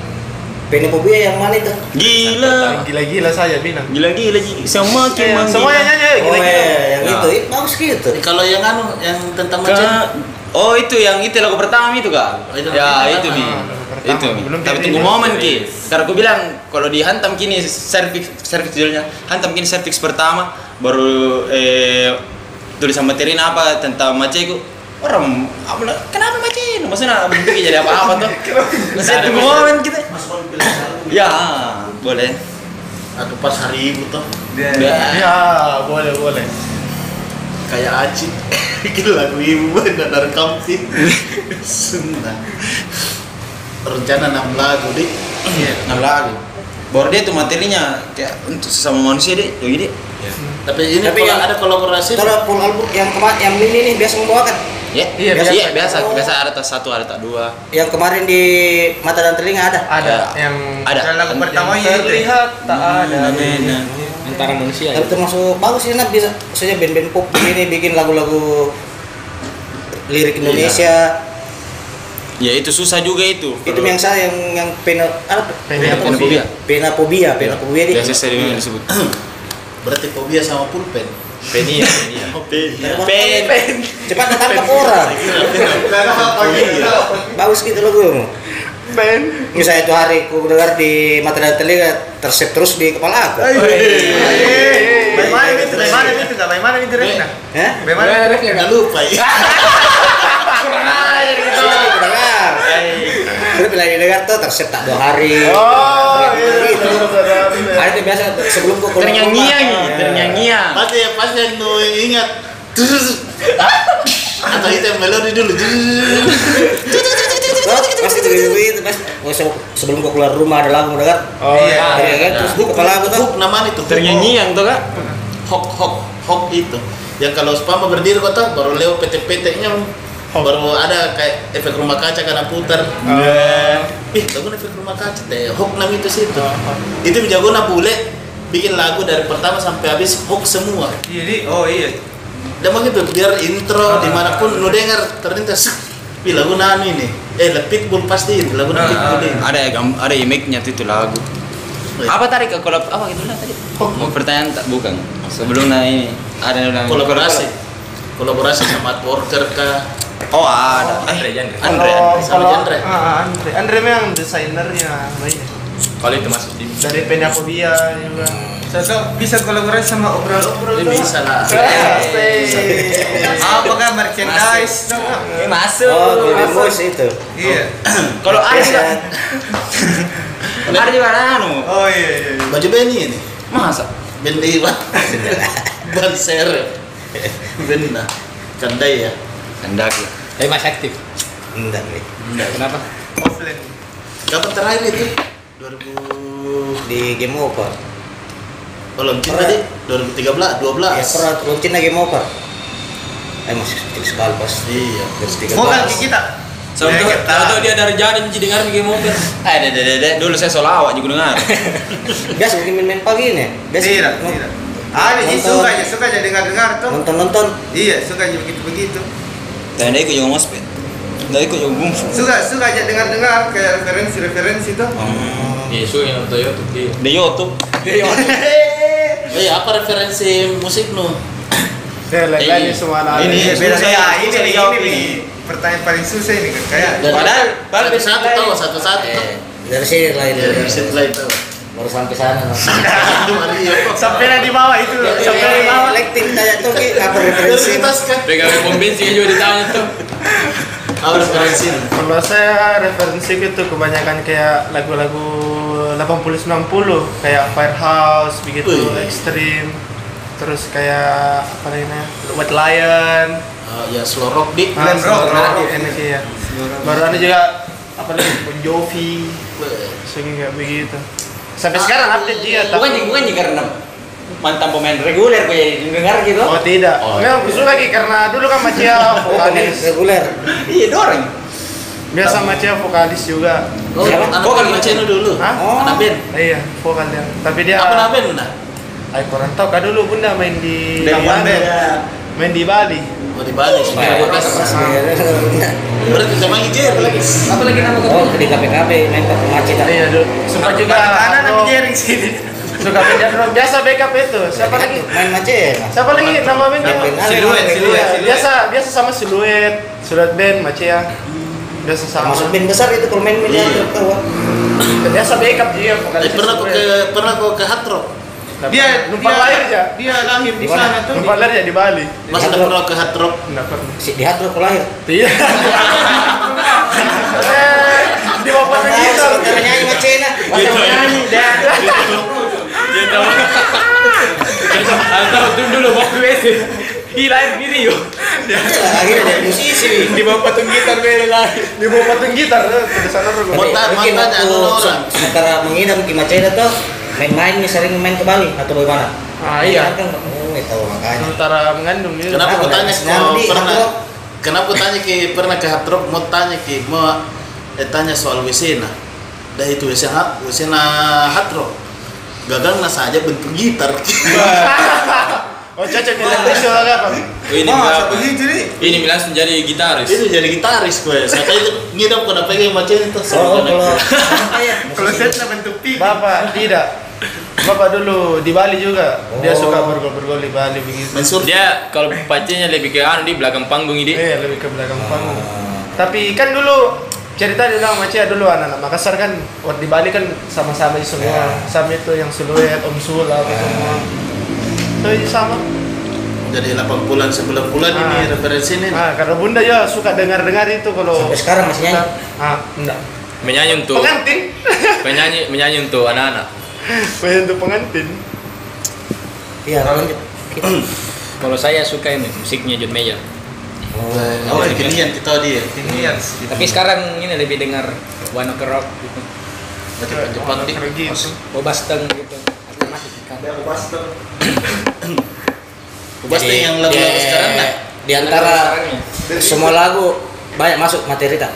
Penopobia yang mana itu
Gila.
Gila-gila saya bilang.
Gila gila gila. Semakin
Eh,
menggila.
Semuanya nyanyi
Iya,
ayo,
oh
gila-gila.
ya yang
Nah.
itu Ih, bagus gitu
Eh, kalau yang anu yang tentang macam
Ka- Oh itu yang itu lagu pertama itu kak?
Oh, itu
ya
lagu pertama.
itu di
Lagu pertama.
itu.
Belum
Tapi
jadi
tunggu
ini.
momen ki. Karena aku bilang kalau dihantam kini serviks serviks judulnya hantam kini serviks pertama baru eh tulisan materi apa tentang maceku orang apa lah, kenapa mace lu maksudnya belum pikir jadi apa-apa tuh saya tunggu momen kita ya boleh
atau pas hari ibu tuh
Ya.
Ya, boleh boleh.
kayak acit bikin lagu ibu dan dari kampung sunnah rencana enam lagu deh
enam Nah, lagu baru dia tuh materinya kayak untuk sesama manusia "Oh, deh jadi deh
tapi ini
Tapi
kalau
yang-
ada kolaborasi
kalau full album yang kemarin yang mini nih biasa membawakan
ya
Iya,
biasa,
biasa.
iya, biasa biasa ada tak satu ada tak dua
yang kemarin di mata dan telinga ada
Ah,
Ada yang
ada
Dan lagu pertamanya
yang
itu. ya.
terlihat tak ada.
Antara manusia.
iya,
ya.
tapi termasuk bagus sih Nat bisa saja band-band pop ini bikin lagu-lagu lirik Indonesia
ya itu susah juga itu
itu yang saya yang yang pena apa
Penopobia.
penapobia penapobia dia
biasa sering disebut
berarti fobia sama pulpen Iya.
Penia, penia.
Eh.
pen
cepat ketangkap orang bagus gitu lagu
Ben.
ini saya itu hari ku dengar di mata dan telinga tersep terus di kepala aku
Bagaimana
Baik,
itu?
baik,
Bagaimana
baik.
itu? Kak? Bagaimana itu Rekna?
Hah?
Bagaimana?
nggak lupa ya
Sudah aku dengar Terus bila didengar tuh tersep tak dua hari
Oh, iya,
Gitu.
betul, betul, betul.
Ada tuh biasa sebelum ku keluar
ternyanyiang
rumah. Nah,
ternyanyiang
pasti yang pasti yang nu ingat atau itu yang melodi dulu
Terus gitu, pasti begitu-begitu, pas oh, se- sebelum ku keluar rumah ada lagu dengar
Oh,
Ah,
iya.
Iya kan? Terus di kepala aku tuh
hook nama itu
ternyanyiang tuh kak
hook hook hook itu yang kalau spama berdiri kota baru lewat petek-peteknya Bang. baru ada kayak efek rumah kaca karena putar ih lagu efek rumah kaca deh hook nam itu situ itu jago na bule bikin lagu dari pertama sampai habis hook semua
Jadi oh iya. Ah.
dan begitu biar intro dimanapun lu dengar ternyata ih lagu nan ini eh lah pitbull pasti ini lagu nan
Ah,
pitbull ini
ada ya gam- ada image-nya tuh itu lagu apa tarik ke kolab apa gitu lah tadi mau pertanyaan tak bukan sebelum nah ini ada yang
ah.
bilang-
kolaborasi kolaborasi sama worker kah
oh ada eh
Andre, Andre.
Andre
Kalau
sama
kalau
genre.
ah, Andre, Andre memang desainernya banyak.
Kalau itu masuk di
Dari ya Penakobia juga.
Cocok bisa kolaborasi sama obrol-obrol.
Ini bisa lah
Apa kan merchandise? dong, ah.
masuk.
oh Golden Voice itu
Iya.
kalau ada juga
Biasa.
ada juga anu
Oh iya iya. iya.
baju Benny ini
masa
Ben Dewa Ben Ser Ben nah Kandai ya
hendak ya
Tapi masih aktif.
Bentar nih
Kenapa?
Offline.
kapan terakhir itu 2000
di game over
oh, launching tadi 2013
ya pernah
12
rutin lagi game over eh masih kecil sekali pas
iya
Terus
Mau kan kita?
Sama
Ya,
tuh,
kita-
tahu tuh dia dari jalan jadi dengar bikin mobil.
eh deh deh deh, deh dulu saya solawat juga dengar
biasa bikin main-main pagi nih biasa
Tidak,
nont-
tidak. Ada sih
nonton-
suka aja, suka aja dengar-dengar tuh.
nonton-nonton
Iya, suka aja begitu-begitu.
dan dia ikut juga mospit dia ikut juga bungfu
Suka suka aja dengar-dengar kayak referensi-referensi tuh.
di isu yang nonton YouTube di
di YouTube
oh, iya apa referensi musik nu
Ya, lain-lain semua anak.
Ini
Iya,
susah
beda. Ya,
ya,
ini
susah
ini
dijawab
ini.
ini.
Pertanyaan paling susah ini kan kayak
Dari-
Padahal- padahal
satu satu
bisa-
tahu satu satu tahu
Eh.
dari sini lain
Iya, dari situ lain tahu
baru sampai sana
Sampai lah di bawah itu,
Iya,
sampai di bawah.
Lekting tanya tuh Ki, apa referensi
Prioritas kan Ah,
pegang pom bensin juga ditanya tuh
harus referensi
Kalau saya referensi itu kebanyakan kayak lagu-lagu 80-90 kayak Firehouse begitu,
Wih.
Extreme. Terus kayak apa namanya? Wet Lion.
Oh, ya slow rock dik
Ah,
Glam rock,
Sonora,
rock.
iya, enak, iya. Baru ada juga apa lagi Bon Jovi, sehingga begitu. Sampai sekarang update dia
bukan juga bukan juga karena mantan pemain reguler gue jadi dengar gitu
Oh tidak.
Oh,
Memang khusus lagi karena dulu kan Macia vokalis.
Oh, reguler
iya dorong
Biasa Macia vokalis juga.
oh
Siapa?
anak
Vokal
band
gitu.
Cino dulu
Hah?
anak band
Iya, vokal dia. Tapi dia
apa nama band nah
Ay, kurang tahu kan dulu Bunda main di
Dari
Bali.
Banda.
Main di Bali.
Oh di Bali
Iya,
sih. Berarti kita panggil Jer lagi.
Apalagi nama
oh di KPKB main ke macet
Iya, dulu. Suka juga
Anak
oh,
nama jaring sini.
Suka pindah drum. biasa backup itu. Siapa lagi?
main macet
Siapa lagi nama bandnya?
Siluet, siluet,
Iya,
siluet.
Biasa biasa sama siluet, siluet band Macia. Biasa sama.
masuk band besar itu kalau main media
Iya.
keluar
Biasa backup dia vokalis.
Eh, pernah kok ke pernah kok ke Hard Rock?
Dia
numpang
dia-
lahir ya.
Dia lahir
Di
di
mana?
sana tuh.
Numpang lahir ya di Bali.
Mas udah pernah ke Iya, Hard Rock?
Enggak pernah.
si di hati kalau lahir
Iya. Eh, Di bapak
Nah,
begitu.
Sebentar nyanyi macet nah masa mau nyanyi dah
atau tuh dulu mau ke WC gila sendiri yuk
akhirnya dari musisi
Di bapak patung gitar beda lagi. Di bapak patung gitar eh, tulisannya rugi.
Mau tak-
Mungkin
mau tanya
waktu
dulu orang.
sementara mengidam di Macedo tuh main-main nih sering main ke Bali atau bagaimana?
Ah, iya.
Kan oh, itu makanya.
Sementara mengandung gitu.
Kenapa
Kenapa
kau tanya
nangis?
kau
Nyambi,
pernah?
Hard Rock.
Kenapa kau tanya ki pernah ke Hard Rock? Mau tanya ki mau eh, tanya soal WC nah. Dah itu WC Hard WC nah Hard Rock. Gagal nah saja bentuk gitar.
Oh cocok bilang itu apa?
ini bilang
Wah, begitu nih.
ini bilang menjadi gitaris
itu jadi gitaris gue. Saya itu ngidam kau dapat yang macam itu.
Oh, kalau saya
Kalau set lah bentuk pik.
Bapak tidak. Bapak dulu di Bali juga. Dia
Oh.
suka bergol-bergol di Bali begitu.
mensur
dia kalau pacinya lebih ke anu di belakang panggung ini
Iya, lebih ke belakang
Ah.
panggung. Tapi kan dulu cerita di dalam Aceh dulu anak-anak Makassar kan waktu di Bali kan sama-sama itu semua. Sama itu yang siluet, Om Sul apa semua. So itu sama.
jadi 8 bulan 9 bulan ini
Ah.
referensi ini.
Ah, karena Bunda ya suka dengar-dengar itu kalau
sampai sekarang masih nyanyi.
Ah, enggak.
menyanyi untuk
Pengantin.
penyanyi menyanyi untuk anak-anak
Pengen tuh pengantin.
Iya, lanjut.
Kalau saya suka ini musiknya John Mayer.
Oh, kekinian kita dia.
Ini yang
Tapi sekarang ini lebih dengar One Ok Rock gitu.
Berarti ke Jepang dik.
Pergi itu.
Boba Steng gitu. Alternatif kan.
Yang pastel.
Bebas deh yang lagu-lagu
di-
sekarang lah.
Di antara semua lagu banyak masuk materi tak?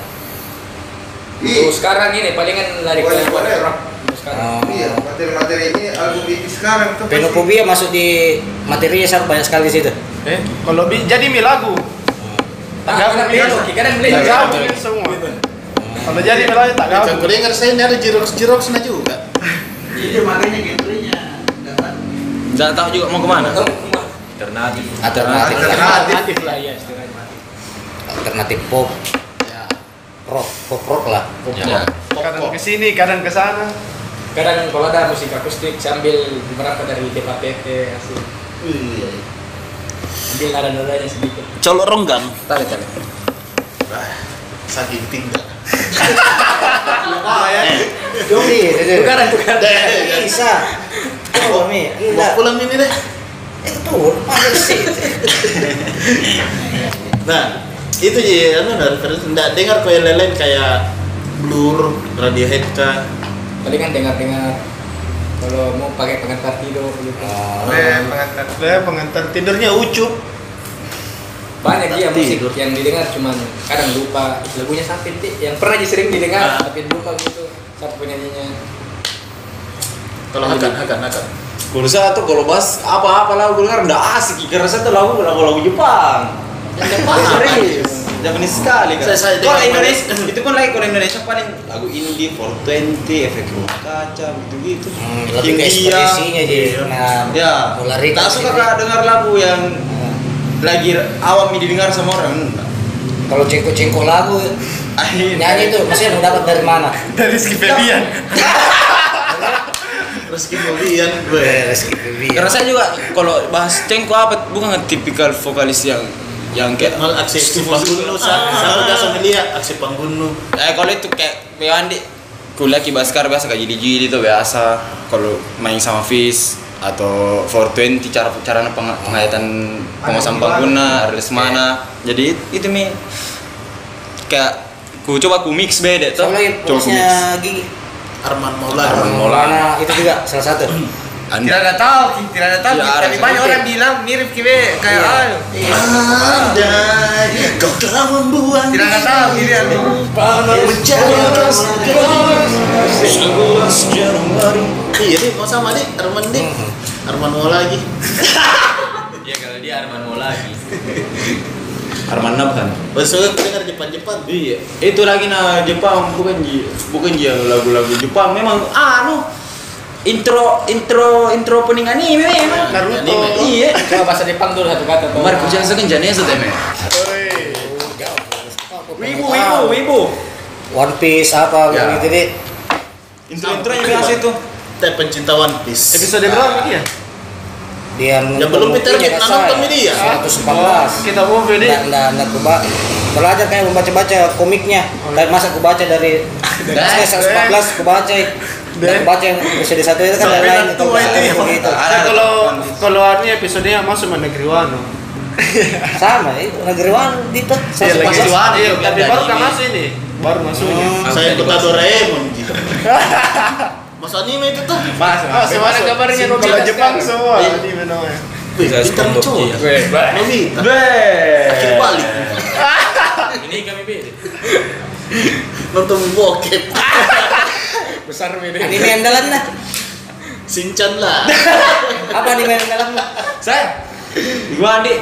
Ih,
sekarang ini palingan lari
Boleh,
ke-
boleh.
Untuk
Oh.
sekarang.
iya materi-materi ini album itu sekarang tuh pasti-
Penofobia masuk di materinya sangat banyak sekali di situ.
Eh, kalau bi- jadi mi lagu.
Tak
Gabung
kadang beli
dia.
Loki, kadang beli
Tak
juga.
gabungin semua. Kalau jadi mi lagu tak
Kalau
gabung.
dengar saya ini ada jirox-jiroxnya juga.
Jangan tahu juga mau kemana.
Alternatif.
Alternatif,
alternatif
lah
Iya, istilahnya.
alternatif pop,
Ya.
rock, pop rock lah.
Ya.
Kadang ke sini, kadang ke sana.
Kadang kalau ada musik akustik, saya ambil beberapa dari DPPT, asli.
Iya,
Ambil nada-nadanya sedikit.
Colok ronggang.
Tarik tarik.
Saking tinggal.
Doi,
Tukaran, tukaran.
iya, bisa. Coba mi,
Mau
enggak.
Eh, pulang ini deh.
Itu tuh, panjang sih.
Nah, itu ya anu nah, referensi enggak dengar kue lelen kayak Blur, Radiohead kah?
Palingan kan dengar-dengar. Kalau mau pakai pengantar tidur gitu.
Ah,
Boleh, pengantar
Saya pengantar tidurnya ucup.
Banyak dia musik
Tidur.
yang didengar cuman kadang lupa lagunya sampai titik yang pernah aja sering didengar
Ah.
tapi lupa gitu siapa penyanyinya.
Kalau hakan, hakan, hakan.
Kursa tuh kalau bas apa-apa lagu dengar nggak asik. Kursa tuh lagu lagu lagu Jepang.
Iya,
Serius, Japanese sekali kan.
Saya- saya
kalau
dengar-
Indonesia itu pun lagi kalau Indonesia paling lagu indie, 420, efek rumah kaca gitu-gitu.
Hmm, lebih
Iya.
ke
India.
ekspresinya sih. Nah,
Ya,
Mulai
tak suka kak dengar lagu yang lagi awam didengar sama orang.
Kalau cengkok-cengkok lagu nyanyi itu maksudnya mau dapat dari mana?
Dari Rizky Febian.
Rezeki Febian gue.
Rezeki
Karena
Febian.
saya juga kalau bahas cengko apa bukan tipikal vokalis yang yang kayak
Mal aksi aksi panggunnu, sahur dah sama dia aksi panggunnu.
eh kalau itu kayak Andi kuliah di Baskar biasa kayak jili-jili itu biasa kalau main sama Fis atau 420 cara cara peng, penghayatan penguasaan pengguna harus mana jadi it- itu mi kayak ku coba ku mix beda tuh
Sama lagi
coba ku
fokusnya
mix
gigi.
Arman
Arman
Maulana.
Maulana itu juga salah satu.
tidak
Anda
ada tahu Ki. tidak ada tahu
Iya,
Ki. tapi
ada.
banyak orang bilang mirip kibe kayak
Iya.
ah,
Andai kau telah membuang
tidak ada tahu ini album
Mencari Iya deh, mau sama deh, Arman deh Arman mau lagi
Iya kalau dia Arman mau lagi.
Armanda bukan
Besok aku dengar Jepang-Jepang
Iya, itu lagi na Jepang bukan ji, bukan ji yang lagu-lagu Jepang memang ah anu intro intro intro opening anime memang.
Naruto.
Iya.
Coba bahasa Jepang dulu satu kata. Bang.
Marco Jackson kan jane itu teme. Wibu wibu wibu.
One Piece apa
Ya.
gitu deh.
Intro intronya biasa itu.
Teh pencinta One Piece
Episode berapa ini ya?
Dia
Ya belum Peter Git, nonton ini ya?
114.
Kita mau
Nggak,
ini.
nggak, nggak kuba. Belajar kayak membaca-baca komiknya. Dan masa kubaca dari Maksudnya 114 kubaca. Dan kubaca yang episode satu itu gitu. kan
Sampai
lain-lain
nak tua itu ya.
Begitu.
Nah, kalau kalau ini episodenya masuk negeri Wano.
Sama eh, itu negeriwan itu
Iya, lagi
114.
Wano. Iya, tapi baru kan masuk ini. Oh, Baru masuknya.
Saya kota Doraemon Ji. Mas anime itu tuh
Mas,
Ah, semua kabarnya Iya. Nobita Jepang semua. Ini namanya.
Wih, Peter cowok Nobita Akhir balik
Ini kami beda.
Nonton bokep
besar beda.
Anime andalan lah.
Sinchan lah
Apa anime andalan lah?
Saya gua Andi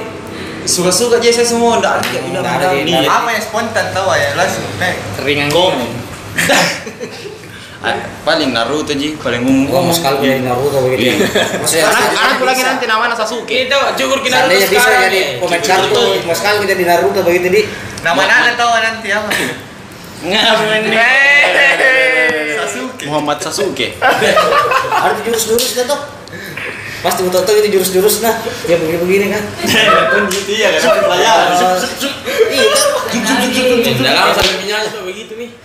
suka-suka aja saya semua ndak ada
Nggak ada,
ndak
nggak
ada.
ada.
apa yang spontan tahu ya langsung nek
Ringan.
Komen
Paling Naruto ji, paling umum.
Gua mau sekali dari Naruto begitu.
Iya.
Maksudnya
Anakku lagi nanti namanya Sasuke.
Itu cukur kita
Seandainya bisa jadi pemain kartu,
Betul.
mau sekali jadi Naruto begitu di.
nama nana tahu nanti apa
Muhammad Sasuke.
Ada tuh jurus-jurus dah tuh. Pasti betul betul itu jurus-jurus nah. Ya begini-begini kan.
Pun gitu ya kan pelajaran.
Tidak lama sampai minyak cuma begitu nih.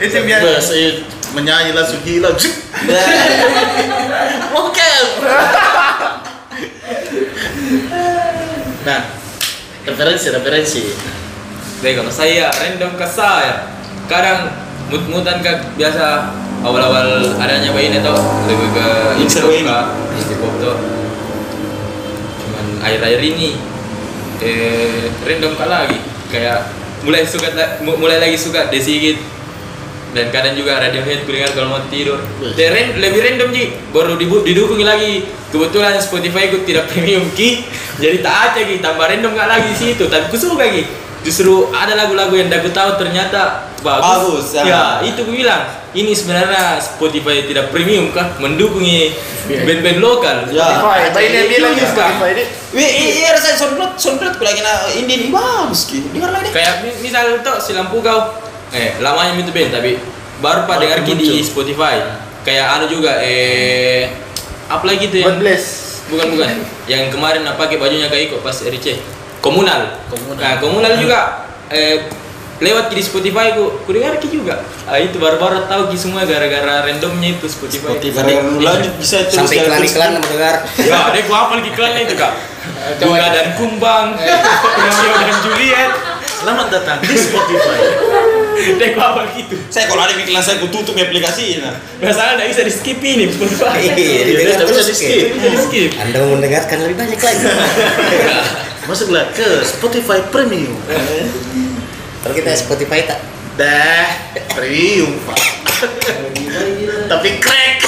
itu biar
Wah, saya menyanyi langsung gila Bokep Nah, referensi, referensi
Jadi kalau saya random ke saya, kadang mut-mutan ke biasa awal-awal adanya bayi ini tau lebih ke
Mixer
hip-hop
ini.
kah, hip hop tuh. Cuman akhir-akhir ini eh, random kali lagi kayak mulai suka la- mu- mulai lagi suka desigit dan kadang juga Radiohead kudengar kalau mau tidur dan ren- lebih random Ji baru dibu- didukung lagi kebetulan Spotify ku tidak premium Ki jadi tak aja Ki tambah random gak lagi sih itu tapi ku suka Ki justru ada lagu-lagu yang aku tahu ternyata
Bagus,
bagus,
ya.
ya itu ku bilang ini sebenarnya Spotify tidak premium kah mendukung band-band lokal
Ya.
Spotify, apa ini yang bilang
Iya.
Spotify ini
Wih, ini harusnya soundcloud, soundcloud ku lagi na ini nih bagus ki. Dengar lagi deh.
kayak mi- misal tuh si lampu kau eh lamanya itu band tapi baru pak dengar ki di Spotify kayak anu juga eh apa lagi tuh
God
yang
bless.
bukan bukan yang kemarin apa pakai bajunya kayak ikut pas RC komunal komunal nah komunal
Hmm.
juga eh lewat ki di Spotify ku ku dengar ki juga ah itu baru-baru tahu ki semua gara-gara randomnya itu Spotify,
Spotify lanjut bisa terus
sampai
jalan terus.
iklan-iklan mendengar
ya deh gua apal ki klan itu kak Bunga dan Kumbang Romeo dan Juliet
Selamat datang di Spotify.
deh gua apal gitu
Saya kalau ada iklan saya ku tutup aplikasi nah.
Masalah nggak bisa di skip ini, Spotify.
Iya, didengar
tapi
terus,
bisa
Ki.
di-skip.
Bisa di skip.
anda mau mendengarkan lebih banyak lagi
Masuklah ke Spotify Premium.
kalau kita Spotify tak
Dah, premium pak. Tapi crack.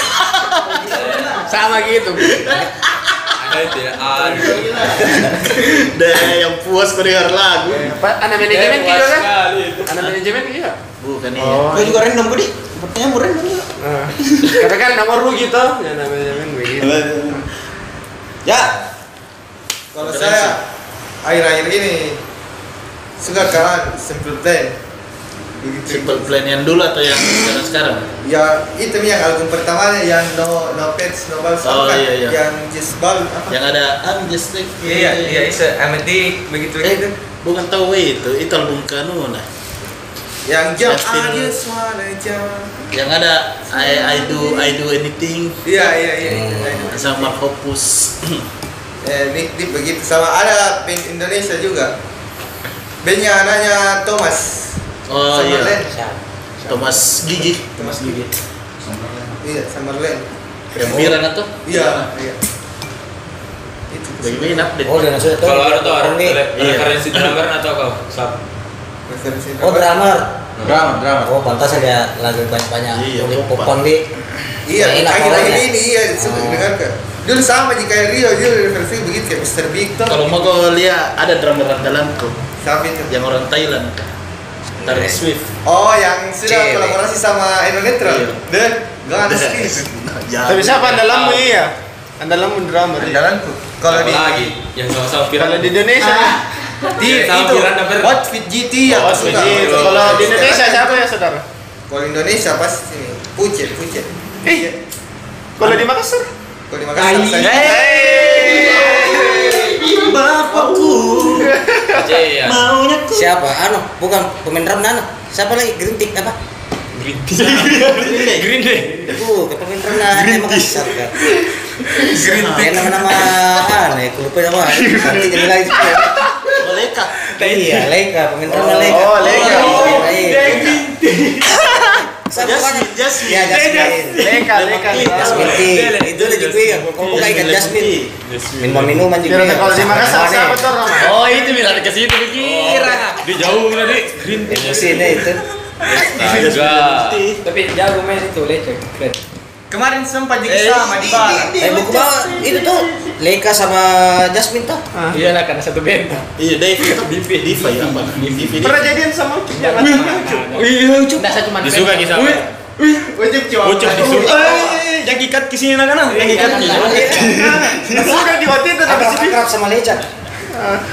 Sama gitu.
Aduh, tidak aduh.
Dah, yang puas mendengar lagu.
Apa anak manajemen
Puas
gitu kan?
sekali itu.
Anak manajemen gitu.
Bukan iya.
Oh.
Kau juga random ku di. Sepertinya mau random juga.
eh. Karena kan nomor lu gitu. Ya anak manajemen begitu.
Ya.
Kalau saya akhir-akhir ini suka kawan simple plan. Begitu.
Simple plan yang dulu atau yang sekarang sekarang?
Ya itu yang album pertama yang no no pets no balls
Oh,
apa?
iya, Ya. iya.
yang just ball apa?
Yang ada I'm just like
Iya iya iya itu Amity begitu begitu.
Eh, bukan tahu weh itu, itu album Kanuna.
Yang jump
Justin.
I just wanna jump.
Yang ada I I do I do anything
Iya iya iya. itu,
Hmm.
itu.
sama Hopus.
Eh, Nick Deep begitu sama ada band Indonesia juga. Bandnya anaknya Thomas.
Oh
Summerland.
iya, Thomas Gigi.
Thomas Gigi. Iya, Summerland.
Yang Miran atau?
Iya, iya. Itu.
Bagaimana update?
oh dan sudah
Kalau ada tuh orang
nih
nih,
Iya.
referensi drummer atau kau? Sab.
Referensi
oh
drama.
drummer
Drama, drama.
oh pantas ada lagu banyak-banyak
Iya,
Unik
lupa.
popon di
Iya,
Nah, enak
akhir-akhir
orangnya.
ini iya suka
Oh.
didengarkan. Dulu sama jika Rio, dulu referensi begitu kayak Mr. Big tuh.
Kalau mau kau lihat ada drummer andalanku
Sama itu.
yang orang Thailand. Tarik Swift.
Oh, yang sudah
Cewek.
kolaborasi sama Indonetra.
Iya.
Dan gak ada sih.
Tapi
Tapi siapa andalanmu iya? Andalanmu drama. Ri.
Jalanku. Kalau
Apa
di
lagi yang sama-sama viral.
Kalau di Indonesia
Ah,
nih.
di
Sama
itu
Miranda Berger.
What with
iya,
GT yang
Oh,
suka. kan
begitu. Kalau di Indonesia siapa ya saudara?
Kalau Indonesia pasti ini. Pucet, Pucet.
Eh, kalau di Makassar?
Kalau di Makassar saya-
Iya.
siapa anu bukan pemain drum nana siapa lagi green tick apa
Green Tea. Green Day.
bukan Uh, pemain drum nana emang kasar kan
Green
Ah,
Ya, nama-nama aneh, aku lupa nama. Nanti jadi lagi.
Bolehkah?
Iya, Leka, pemain drama Leka.
Oh, Leka.
Oh, Leka. Sama kan?
Jasmine, Jasmine.
Ya, Jasmine.
Leka, leka.
Jasmine tea. Itu lagi gue yang kok kok kayak Jasmine. Minuman minuman juga.
Kira-kira kalau di Makassar siapa tuh orang?
Oh itu bilang ke situ pikiran. Oh, Di jauh tadi. Green Tea.
Di sini Iya, itu.
Astaga.
Tapi jago main itu lecek. Keren.
Kemarin sempat juga sama di bar.
Eh, buku bawa itu tuh Leka sama Jasmine tuh.
Iya lah karena satu band.
Iya, Dave itu Divi, Divi ya, apa? Divi, Divi.
Pernah jadian sama Kian?
Nggak saya cuma
Disuka kisah.
Wajib jiwa.
Bocor disuka.
Eh, yang ikat ke sini nah kan? Yang ikat ke sini.
kan? Sudah di waktu itu tapi
Akrab
sini.
Iya. akrab sama Leca.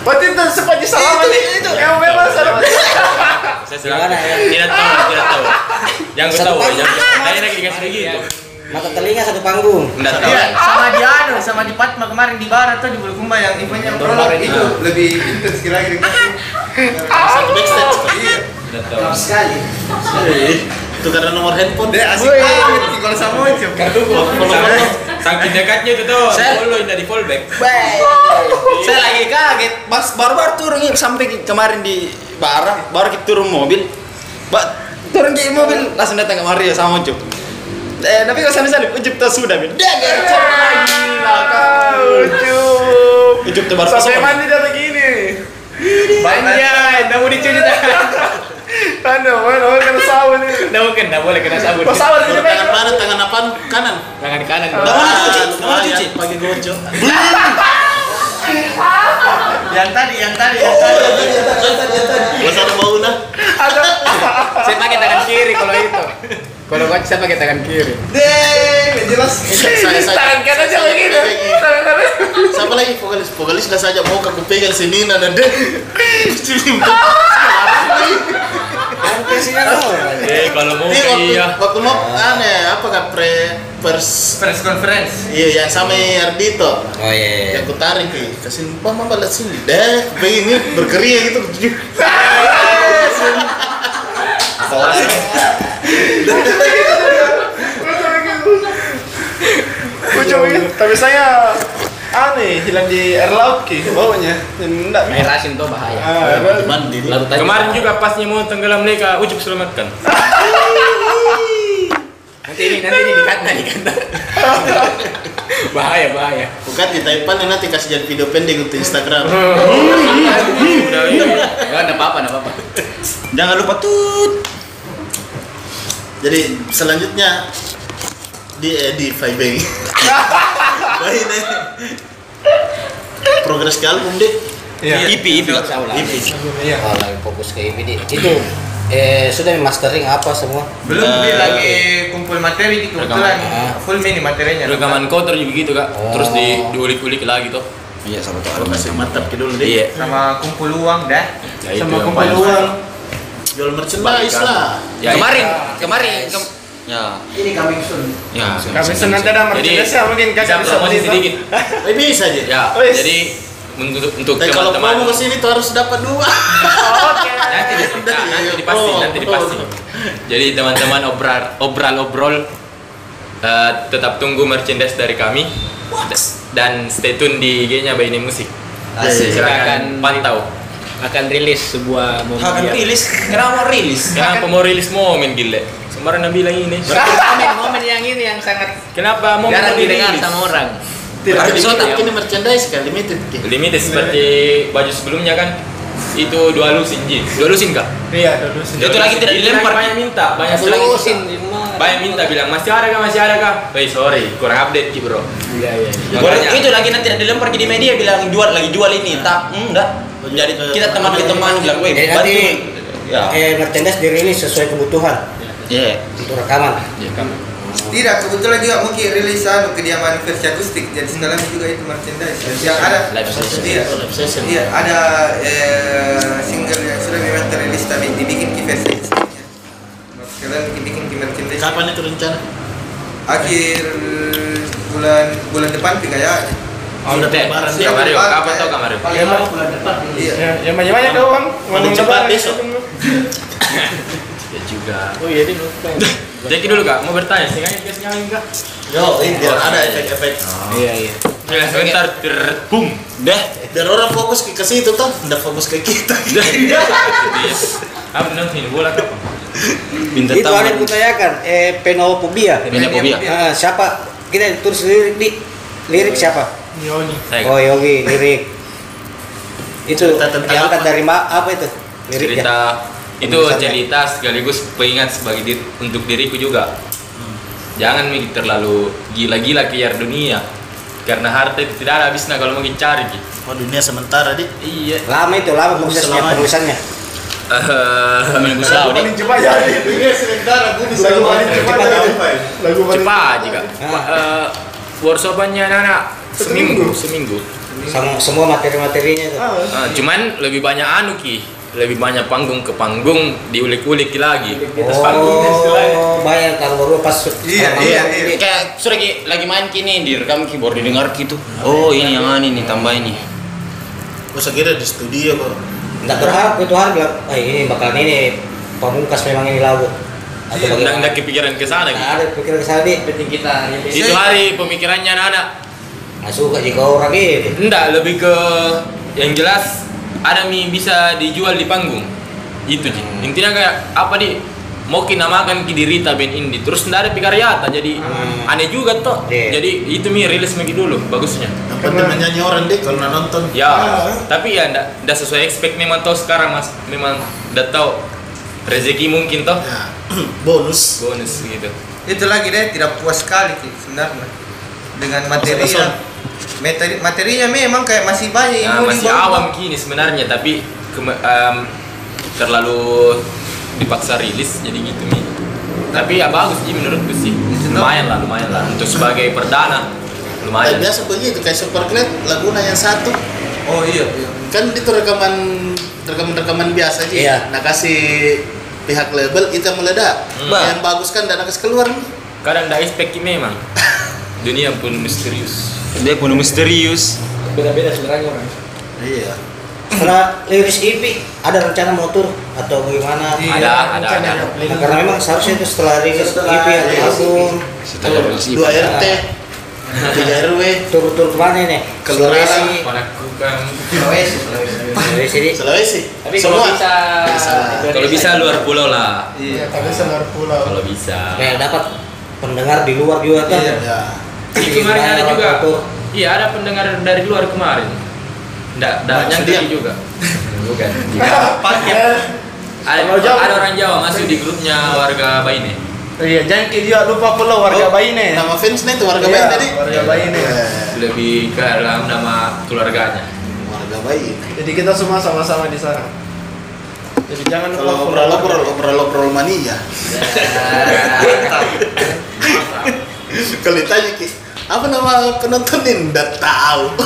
Waktu itu sempat disalaman nih. Yang memang sama.
Saya
Gimana, ya?
Tidak tahu, tidak tahu. Yang gue
Satu
tahu,
panggung.
yang tanya lagi dikasih gitu.
Mata telinga satu panggung.
Tidak
Iya.
tahu.
Iya.
sama di Anu, sama di Patma kemarin di bar atau di Bulukumba yang eventnya prolog itu
ah.
lebih intens kira kira.
Satu backstage.
Tidak tahu.
Sekali.
Eh, Itu karena nomor handphone.
Dia asik banget sih kalau sama itu.
Kartu gua follow-follow. Saking dekatnya itu tuh. Follow tidak di follow back.
Saya lagi kaget. Pas baru-baru turun ya, sampai ke- kemarin di barang, baru kita turun mobil. Ba turun ke mobil langsung datang kemari ya sama Ucup. Eh, tapi kalau sana sana Ucup tak sudah, Ben. Dah, gercep lagi lah kau.
Lucu.
Ucup tebar pesona.
Sampai mandi dah begini.
Banyak, nggak mau dicuci tangan.
Aduh, mana mana kena sawan ini.
Nggak mungkin, nggak boleh kena sabun.
Kau sawan
Kalau
ini
tangan
baik.
mana? Tangan apaan? Kanan.
Tangan kanan.
Tangan
mana cuci? Tangan mana cuci?
Pakai gojo.
yang tadi yang tadi
Oh,
yang
iya,
tadi
Gak ada bau nah.
Saya pakai tangan kiri kalau itu. Kalau gua saya pakai tangan kiri.
deh jelas
Saya saya.
Tangan kanan aja begini. Tangan kanan.
Siapa lagi vokalis? Vokalis nggak saja mau aku pegang sini nah deh. Sini.
Hampir sih kan orang.
Eh kalau mau
Ini waktu
iya.
waktu mau aneh apa gak pre pers
press conference
Iya, yang sama Ardito.
Oh iya, iya.
yang ku tarik nih kasih bang mama lihat sini deh begini berkeria gitu
Ujung ini. Tapi saya aneh hilang di air laut ki baunya. Enggak.
Air asin tuh bahaya.
Ah.
mandiri
Lalu tadi
Kemarin juga pasnya mau tenggelam mereka ujuk selamatkan.
nanti ini nanti ini dikat nanti kata. bahaya bahaya.
bukan di Taipan yang nanti kasih jadi video pendek untuk Instagram
Udah iya.
Enggak ada apa-apa, enggak apa-apa.
Jangan lupa tut.
jadi selanjutnya di eh, di Fibeng baik deh progres ke album deh
Iya.
Ipi, ipi.
Tahu lah.
Ipi
Iya.
Oh, lagi fokus ke IBD. Itu eh sudah mastering apa semua?
belum
Nah.
dia lagi kumpul materi gitu kebetulan full mini materinya
Rekaman kotor juga begitu kak. Terus di diulik-ulik lagi tuh.
Iya sama tuh.
kalau kasih mantap ke dulu deh
Iya.
sama kumpul uang dah
Ya, itu
Sama
yang
kumpul
paling-
uang.
jual merchandise lah
Ya, itu.
Kemarin, kemarin kem-
Ya.
Ini coming soon.
Ya.
Kami senang ada
Jadi,
merchandise ya mungkin
Kita
kakak bisa
promosi
beli.
sedikit.
eh, bisa aja
Ya.
Wes.
Jadi untuk untuk
tapi Eh, kalau
teman-teman.
mau kesini tuh harus dapat dua
nanti di- nah, nanti dipasti nanti dipasti jadi teman-teman obral obral obrol eh, tetap tunggu merchandise dari kami dan stay tune di IG-nya Baini Musik
Asik.
silakan pantau
akan rilis sebuah mobil.
Akan rilis. Kenapa mau rilis?
kenapa mau rilis momen gile sembarang nabi bilang ini
Momen-momen yang ini yang sangat
kenapa mau
jarang
mau
didengar
dirilis?
sama orang.
tidak
Berarti
bisa
kita-
ini merchandise kan limited Ki.
limited seperti baju sebelumnya kan itu dua lusin Ji dua lusin kak
Iya, dulu sih.
Itu lagi tidak dilempar.
banyak minta banyak lagi minta.
Terusin di rumah.
banyak minta bilang masih ada kah masih ada kah eh sorry kurang update Ki bro
Iya, iya.
Baru
Makanya-
itu lagi nanti tidak dilempar di media bilang jual lagi jual ini. Tak, hmm, enggak. Jadi kita teman ke teman bilang, "Weh,
Jadi nanti
bantu." Ya.
eh merchandise dirilis sesuai kebutuhan
Iya.
untuk rekaman.
tidak kebetulan juga mungkin rilis anu kediaman versi akustik jadi sekalian juga itu merchandise yang ada
Live session.
iya
Live session.
iya ada eh, single yang sudah memang terilis tapi dibikin di versi akustiknya sekalian bikin bikin di merchandise
Kapan itu rencana?
akhir bulan bulan depan tiga ya
Sudah lebaran
Sudah
ya.
Kamario,
lebaran,
kapan
eh.
tau Kamario?
Paling lama bulan depan iya
Ya, yang banyak-banyak kau bang. Ngomong
cepat
depan.
besok.
Ya juga.
Oh iya, dia lupa.
Jadi dulu kak, mau bertanya, sih kan guys nyalain kak?
Yo, ini biar ada efek-efek.
Iya, iya.
Ya, sebentar, ter- boom.
Dah.
Biar orang fokus ke ke situ toh, nggak fokus ke kita.
Iya. Apa nonton ini bola kak?
Minta
Itu ada yang
tahu.
kutayakan eh penopobia.
Banyak fobia.
Iya.
Ah, siapa? Kita tulis lirik di lirik siapa?
Yoni.
Saya
Oh Yogi lirik. Itu
Cerita tentang
diangkat
apa?
dari ma apa itu?
cerita
Liriknya.
itu
Penulisannya.
cerita sekaligus pengingat sebagai diri- untuk diriku juga. Jangan mikir terlalu gila-gila kejar dunia karena harta itu tidak ada habisnya kalau mau cari Ki.
Oh, dunia sementara dik.
Iya.
Lama itu lama prosesnya
Selama-
penulisannya.
Iya.
Minggu selalu deh.
Paling cepat jadi.
Dunia sementara, gue bisa
Lagu paling cepat jadi. Lagu paling
Cepat aja kak.
Ah.
Eh, Workshopannya anak-anak seminggu, seminggu.
Sama semua materi-materinya itu.
Ah,
Eh, cuman lebih banyak anu ki, lebih banyak panggung ke panggung diulik-ulik Ki lagi.
Oh, banyak kan baru pas
iya iya iya
Kayak sudah Ki, lagi main kini direkam keyboard didengar gitu. Oh, ini yang aneh nih tambah ini.
Gue kira di studio kok.
Enggak berharap itu harap bilang, "Ah, ini bakal ini pamungkas memang ini lagu."
Iya,
Atau
Nggak
bagaimana?
nggak kepikiran ke sana
Nah,
ki.
ada pikiran kesana di
Penting kita rilis.
Itu hari pemikirannya anak-anak.
nggak suka jika orang ini.
Enggak, lebih ke yang Hmm. jelas ada mie bisa dijual di panggung. Itu Ji. Intinya kayak apa di mau kinamakan kidirita band indie terus ndak ada pikaryata jadi aneh juga toh
Iya.
jadi itu mi rilis lagi dulu bagusnya
Yang penting menyanyi orang deh kalau nggak nonton.
ya
Ah.
tapi ya ndak ndak sesuai expect memang toh sekarang mas memang ndak tahu rezeki mungkin toh
Ya. Bonus.
bonus gitu
itu lagi deh tidak puas sekali Ki, sebenarnya dengan materi
Masuk-masuk.
yang- materi materinya memang kayak masih banyak
Nah,
yang mau
masih
dibawa.
awam kini sebenarnya tapi kema- em, terlalu dipaksa rilis jadi gitu nih tapi ya bagus sih menurutku sih lumayan lah lumayan lah untuk sebagai perdana
Kayak
lumayan
biasa begitu kayak Superglad Laguna yang satu
oh iya, iya.
kan itu rekaman rekaman rekaman biasa aja.
Iya.
Nah kasih pihak label itu yang meledak.
Bah.
Yang bagus kan dan kasih keluar nih.
kadang tidak expect ini memang dunia pun misterius
Dia penuh misterius.
Beda-beda sebenarnya orang.
Iya.
Setelah liris IP ada rencana motor atau bagaimana?
Iya.
ada ada ada
Nah, karena memang seharusnya itu setelah rilis
Setelah
EP atau
rilis
album
Setelah rilis IP.
Dua RT, tiga RW,
tur-tur kemana nih?
Kelurahan.
Sulawesi,
padaku kan
Sulawesi, Sulawesi.
Sulawesi ini.
Sulawesi.
Tapi kalau bisa
kalau bisa luar pulau lah
Iya.
tapi seluruh pulau.
kalau bisa
Kayak dapat pendengar di luar juga kan?
Iya.
Ya.
Jadi
Bikin
kemarin ada
orang
juga
motor.
iya ada pendengar dari luar kemarin nggak nggak
Maksudnya?
nyangka juga bukan ada,
Kalau Jawa.
ada orang Jawa masuk di grupnya warga Baine
Iya, jangan ke dia lupa pula warga
Oh,
Baine.
Nama fansnya itu warga
Iya,
Bayi tadi.
Warga iya. Baine.
Eh,
lebih ke dalam nama keluarganya
Warga Bayi.
Jadi kita semua sama-sama di sana. Jadi jangan lupa
Kalau obrol
follow
obrol obrol obrol mania. Kalau ditanya ki, apa nama penontonin? Nggak tahu.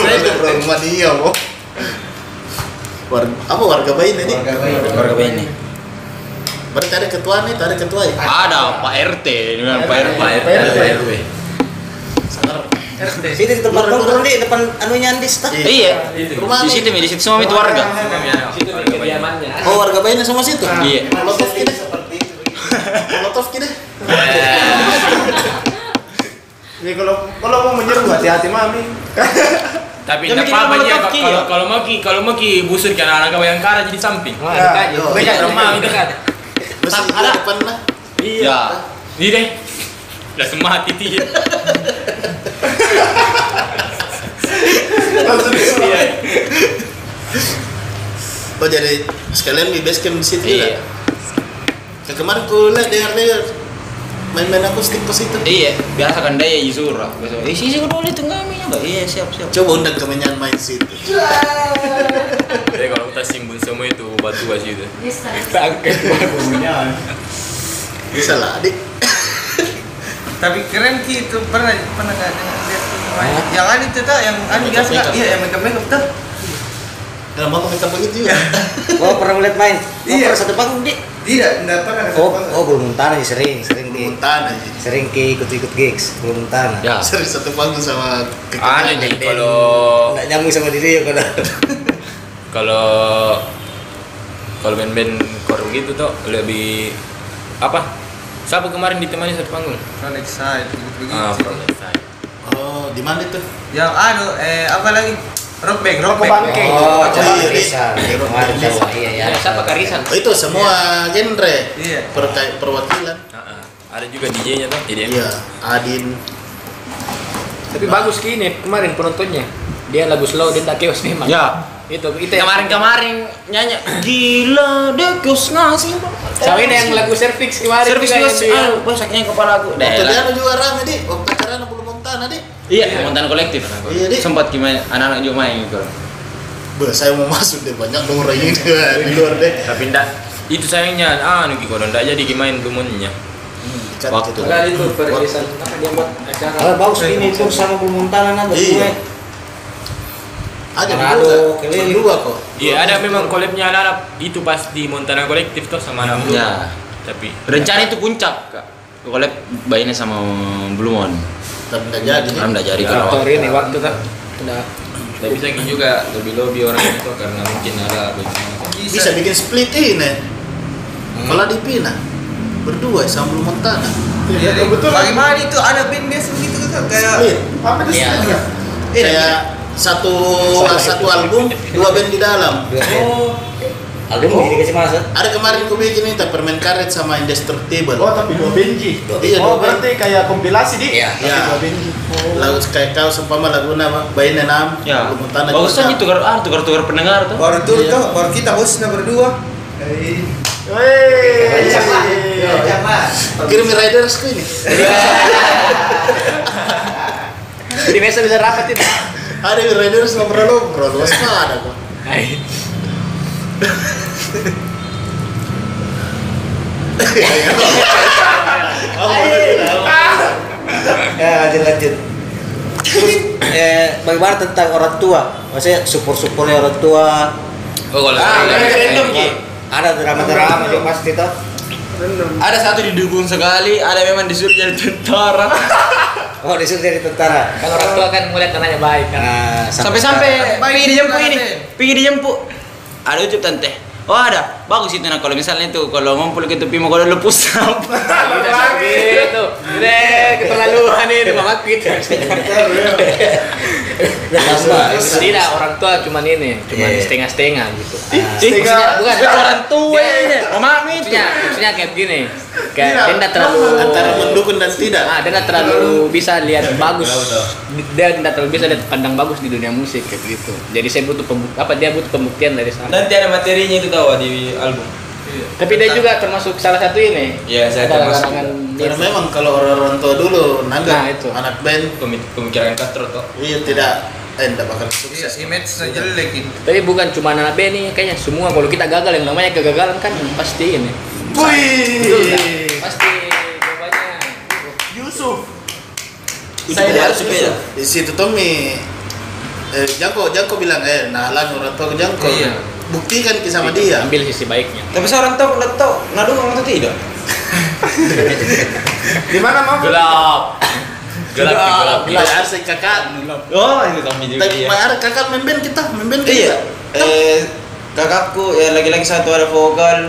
Obrol obrol mania mau. Warga, apa warga Bayi ini?
Warga Bayi.
Keluarga ini.
Berarti ada ketua nih, ada ketua ya.
Ada Pak RT, ini kan Pak RT.
Pak RT
RT.
Pak RW
Itu di tempat nongkrong di depan anunya Andis tak?
Iya.
Rumah
Di
nih.
situ, Mi, di situ semua itu warga.
situ di kediamannya.
Oh warga Bayi sama situ.
Iya.
Molotov kita,
seperti itu.
molotov kita.
Iya.
Jadi kalau kalau mau menyerbu hati-hati mami.
tapi
Ya,
nggak
bikin
apa-apa ya
nama lengkap, Ki,
kalau
ya?
kalau mau ki kalau mau ki busur ke anak-anak bayangkara jadi samping
Wah,
Ya,
dekat
yo.
ya. Dekat rumah, dekat.
Masih di depan lah.
Iya.
ini deh udah semua titik
Langsung disuruh.
Oh jadi sekalian di basecamp di situ ya.
Iya.
Nah, kemarin ku lihat dengar-dengar main-main akustik pas itu.
Iya, biasa kan dia Yuzura. Biasa, eh sih sih kalau itu kami nyoba. Iya, siap siap.
Coba undang kami yang main situ.
jadi kalau kita simbun semua itu batu batu itu
Bisa lah, adik.
Tapi keren Ki itu pernah pernah nggak dengar lihat itu?
Oh.
Yang ada itu tuh yang ada
Makeup,
biasa nggak?
makeup.
Iya, yang makeup makeup tuh.
Dalam mau kita begitu juga.
Iya.
Oh pernah melihat main? Oh,
Iya.
pernah satu panggung di?
Tidak, tidak pernah. ada
Oh,
kesempatan.
oh belum tanah sering, sering di,
Muntahan aja.
sering ke ikut-ikut gigs belum tanah.
Ya.
Sering satu panggung sama
Ah,
ada
iya,
kekenalan.
nih kalau
Nggak nyambung sama diri ya kalau.
kalau kalau band-band koru gitu tuh lebih apa siapa kemarin ditemani satu panggung
oh.
Product side, gitu, begitu
ah
begitu.
Project Side.
Oh, di mana tuh?
Yang ada eh apa lagi? Rock band, rock band.
Kebangke.
Oh, coba
iya,
Risa,
iya.
kemarin coba iya ya.
Siapa Karisan?
Oh, itu semua genre.
Iya.
Perkai- perwakilan.
Ah, ah. ada juga DJ-nya tuh jadi
Iya, Adin.
Tapi bagus kini kemarin penontonnya. Dia lagu slow, dia tak chaos memang.
Iya.
Ya.
Itu itu yang-
Kemarin-kemarin nyanyi gila deh kus ngasih.
Sama ini yang lagu servix kemarin.
servis
juga
juga
yang dia-
ah, bosaknya kepala aku.
Waktu di
Dah.
Anu juga rame, Dik. Waktu acara belum Montana, Dik.
Iya, montan kolektif.
Iya, Dik.
Sempat gimana anak-anak juga main gitu.
Bah, saya mau masuk deh banyak dong orang ini di luar deh.
tapi ndak itu sayangnya ah nugi kono ndak jadi main bumunnya
Ikat
Waktu.
gitu.
Enggak itu Ferguson. Apa dia buat acara?
Kalau bagus ini pun sama belum tanah nah
Iya.
berdua.
Ada
Manado,
dua,
keliling.
dua kok.
iya ada memang collabnya anak itu pas di Montana Kolektif tuh sama anak Blue.
Ya.
tapi
Rencana itu puncak, Kak. Kolab bayinya sama Blue Moon.
Tapi nggak jadi.
Karena enggak jadi
Ya.
kalau.
Faktor ini waktu
Oh.
tak. Nah,
ndak bisa gini juga lebih lobby orang itu karena mungkin ada bagaimana.
Bisa bikin split ini.
Hmm.
Kalau di Pina berdua sama belum Montana.
Iya,
Jadi,
kebetulan.
Bagaimana itu ada band biasa begitu tuh kayak
Split.
Apa itu
Iya.
sebenarnya?
Kayak satu satu album dua band di dalam.
Dua band.
album
Oh.
jadi dikasih masuk
Ada kemarin ku bikin itu permen karet sama indestructible.
Oh tapi dua benci.
Dua- iya,
oh
dua
berarti kayak kompilasi di.
Iya.
Tapi
Iya.
dua benci. Oh.
Lagu kayak kau seumpama lagu nama Bayi Nenam.
Ya.
Lagu Montana
Bagus
juga.
aja tukar ah tukar tukar pendengar tuh.
Baru tuh tuh, baru kita hostnya berdua. Eh,
Wey.
Iya. Kirim riders ku ini.
Jadi biasa bisa rapat itu.
Ada riders ngobrol-ngobrol. Waspada kok.
Ya, lanjut lanjut. Terus, eh, bagaimana tentang orang tua? Maksudnya support-supportnya orang tua.
Oh, kalau
Ah,
saya-
ada random, Ki.
Iya.
Ada drama-drama gitu. juga pasti toh.
Ada satu didukung sekali, ada memang disuruh jadi tentara.
Oh, disuruh jadi tentara.
Kalau orang tua kan melihat anaknya baik kan.
Nah, sekarang.
Sampai sampai pergi dijemput ini, pergi dijemput. Ada ucup tante. Oh ada, bagus itu nah kalau misalnya itu kalau ngumpul ke tepi mau kalau lepus
Gitu. Deh, keterlaluan ini mama kita.
ya.
Udah lama.
Tidak, orang tua cuman ini, cuman
Iya.
setengah-setengah gitu.
Sehingga
Maksudnya, bukan orang tua
Iya,
ini.
Mama itu.
Maksudnya, maksudnya kayak begini. Kayak dia tidak Iya. terlalu
Iya.
Iya,
Antara mendukung dan tidak.
Ah, dia tidak terlalu bisa lihat bagus. Dia tidak terlalu bisa lihat pandang bagus di dunia musik kayak gitu. Jadi saya butuh pembuk apa dia butuh pembuktian dari sana.
Nanti ada materinya itu tahu di album.
Tapi dia juga termasuk salah satu ini.
Iya, saya termasuk.
Kalangan
Karena memang kalau orang-orang tua dulu nanggap
Nah, itu.
anak band
Pemik- Pemikiran katro tuh.
iya tidak eh tidak bakal
Iya,
sukses.
image-nya jelek gitu. ini.
Tapi bukan cuma anak Benny, kayaknya semua kalau kita gagal yang namanya kegagalan kan
Hmm.
pasti ini. Betul tak? Pasti jawabannya.
Yusuf.
Saya lihat di situ Tommy eh, Jangko Jangko bilang eh nalang orang tua ke Jangko.
Iya.
Buktikan ki sama
Iya.
dia.
Ambil sisi baiknya.
Tapi seorang tahu nggak tahu, nadu orang tuh tidak.
Di mana mam?
gelap. Gelap,
Iya.
gelap.
Bila Iya, arsik kakak.
Oh itu kami juga.
Tapi
iya.
bayar kakak memben kita memben
Iya.
kita.
Eh, kakakku ya lagi-lagi satu ada vokal.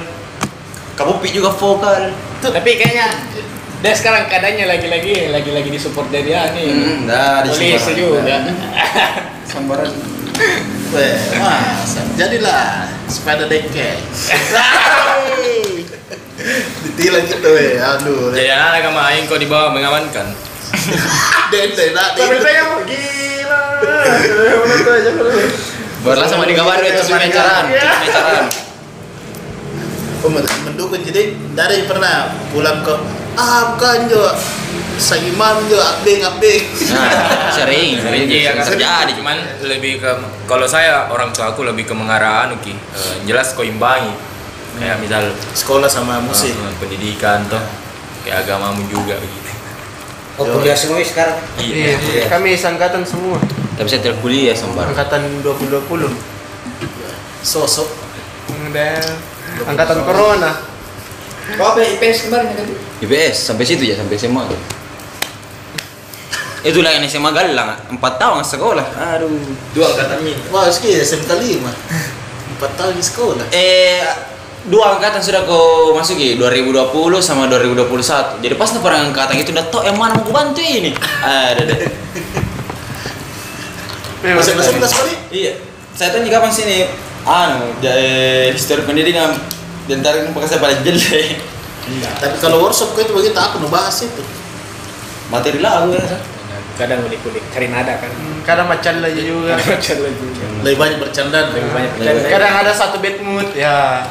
Kabupi juga vokal.
Tapi kayaknya dia sekarang keadaannya lagi-lagi lagi-lagi disupport dari dia
Iya.
nih.
Hmm, dah di
Polisi juga.
Sambaran.
Weh, Mas, jadilah sepeda deke. Ditilang kita weh, aduh.
Jadi anak sama Aing kau di bawah mengamankan.
Den den nak.
Tapi pegang gila.
Barulah sama di kawan itu sih pacaran.
Pacaran.
Pemerintah mendukung jadi dari pernah pulang ke ah bukan jo saya imam jo abeng abeng
Nah, sering, sering
Iya, kan
terjadi.
terjadi cuman lebih ke kalau saya orang tua aku lebih ke mengarah anu ki. eh, jelas kau imbangi. Kayak misal
sekolah sama musik
eh, pendidikan toh kayak agamamu juga begitu.
Oh, kuliah semua sekarang.
Iya.
Kami sangkatan semua.
Tapi saya tidak kuliah sambar.
Angkatan 2020.
sosok
Udah. Angkatan corona.
IPS sampai situ ya sampai SMA. Itu lah yang SMA galang, empat tahun sekolah. Aduh.
Dua angkatannya.
wah ski SMK lima empat tahun di sekolah
Eh, dua angkatan sudah kau masuki 2020 sama 2021 jadi pas tuh perang angkatan itu udah tau emang mau ku bantu ini Ah, ada deh
masih masih kita sekali
iya saya tanya kapan sini anu jadi histori pendidikan dan tarik pakai saya paling jelek
tapi kalau workshop kau itu begitu aku nu bahas itu
materi lah aku ya
Kadang ulik-ulik cari nada kan.
Kadang macan lagi juga.
Macam lagi.
lebih banyak bercanda
Lebih banyak
Lebih
bercanda.
Kadang ada satu bad mood ya.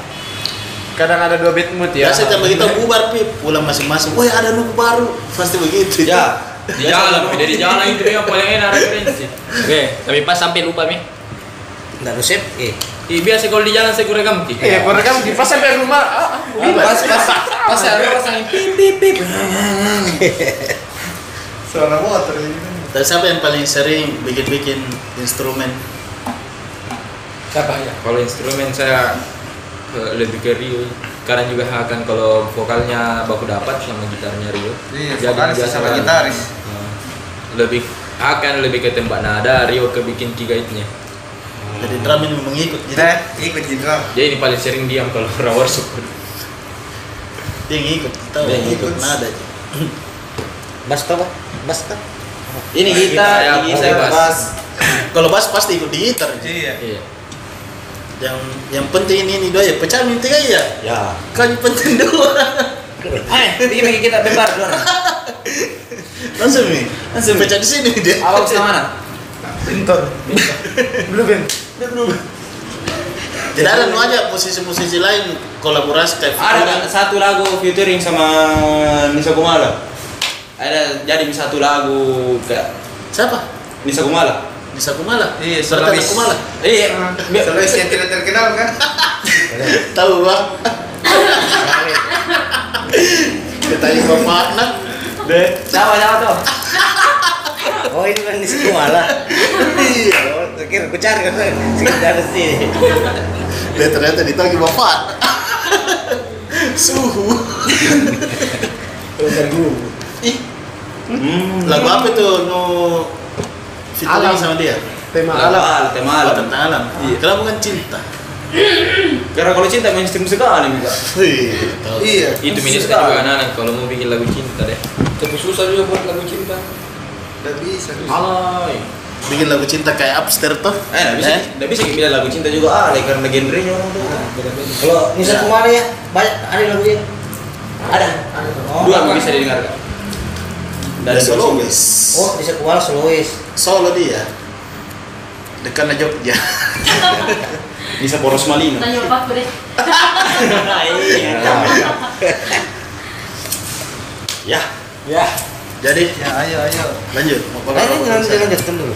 Kadang ada dua bad mood
ya
ya.
saya begitu bubar pip pulang masing-masing wah ada nu baru pasti begitu
ya
Di jalan, dari jalan itu yang paling enak referensi.
Oke, tapi pas sampai lupa mi.
Enggak Nusip. Eh,
Ih, Iya, biasa kalau di jalan saya kurekam ki.
Eh,
Iya.
baru kan di pas sampai rumah. ah, ah, gimana?
pas pas pas saya ada pasangin pip pip pip
Suara motor ini.
dan siapa yang paling sering bikin-bikin instrumen
Siapa ya?
Kalau instrumen saya eh, lebih ke Rio. Sekarang juga akan kalau vokalnya baku dapat sama gitarnya Rio.
Iya,
Jadi
vokalis
biasa
sama
kan,
gitaris.
eh, Lebih akan lebih ke tembak nada Rio ke bikin gigaitnya.
jadi drum ini mengikut
Nah,
jadi
ikut jendral.
Jadi ini paling sering diam kalau orang workshop.
dia yang ikut tahu
Dia yang
yang ikut
ikut.
nada
Bas tau Bang? Bas tau?
Nah,
Iya, ini kita
gitu.
Saya-
ini saya
saya
pas
kalau bass pasti ikut di gitar
Iya.
Iya.
yang yang penting ini ini dua ya pecah minta kaya ya
Ya.
kami penting dua
Eh, bikin bikin kita bebar dulu.
langsung nih langsung pecah di sini dia
Apa ke mana?
Bentor. Belum Ben.
tidak ada nu aja posisi-posisi lain kolaborasi kayak
Ada kan
figuran.
satu lagu featuring sama Nisa Kumala. Ada jadi satu lagu kayak
siapa
Nisa Kumala.
Nisa Kumala
Iya,
Bertanda
Solaris.
Kumala
Iya.
Solois yang tidak terkenal kan?
tahu bang kita juga makna
Siapa siapa tuh?
Oh ini kan di situ malah. Iya, oh, kira ku cari kan sekitar sini.
dia ternyata ditagi bapak suhu Ih,
Hmm.
lagu apa tuh nu featuring sama dia
Tema
Alam, alam, Iya. tema
Oh,
alam.
tentang alam kenapa bukan cinta
Karena kalau cinta mainstream sekali juga.
Wih, tahu.
Iya.
itu minusnya juga anak-anak kalau mau bikin lagu cinta deh
Tapi susah juga buat lagu cinta.
Tidak bisa.
Alay.
bikin lagu cinta kayak upstairs tuh
Eh, nggak bisa, nggak bisa bilang lagu cinta juga alay karena genrenya orang tuh.
Oh,
beda-beda.
Kalau Nisa Kumari ya, banyak ada lagunya. Ada. Oh,
Dua lagu
apa?
bisa didengarkan. Dari
dari
Solo.
Solo
Oh, Nisa Kumari Sulawesi.
Solo dia dekat Jogja
Bisa boros malino.
Tanya papaku deh.
Iya.
ya
Ya.
jadi
Ya ayo ayo.
lanjut mau
Nah, ini lanjut
kolaborasi
lanjutkan dulu.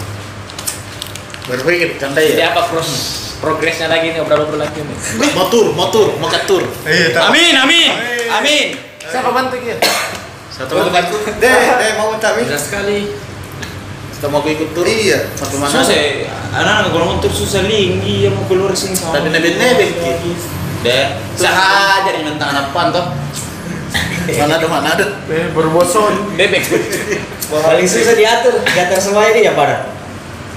berpikir kan
Iya.
Jadi
Iya.
dia
apa pros progresnya lagi nih obrol-obrol lagi nih.
motor motor mau ke tur
Iya, tahu.
Amin, amin, amin.
Siapa bantu dia?
satu mau ikut
Deh, deh mau minta
Mudah sekali
satu mau ikut tur iya satu mana
Susah, eh. anak-anak kalau motor susah linggi, yang mau keluar sini sama.
Tapi nebek-nebek, gitu.
Deh, sahaja di mentang anak pan toh.
mana ada mana ada
Eh, berboson.
Bebek.
Paling susah diatur, diatur semua ini ya para.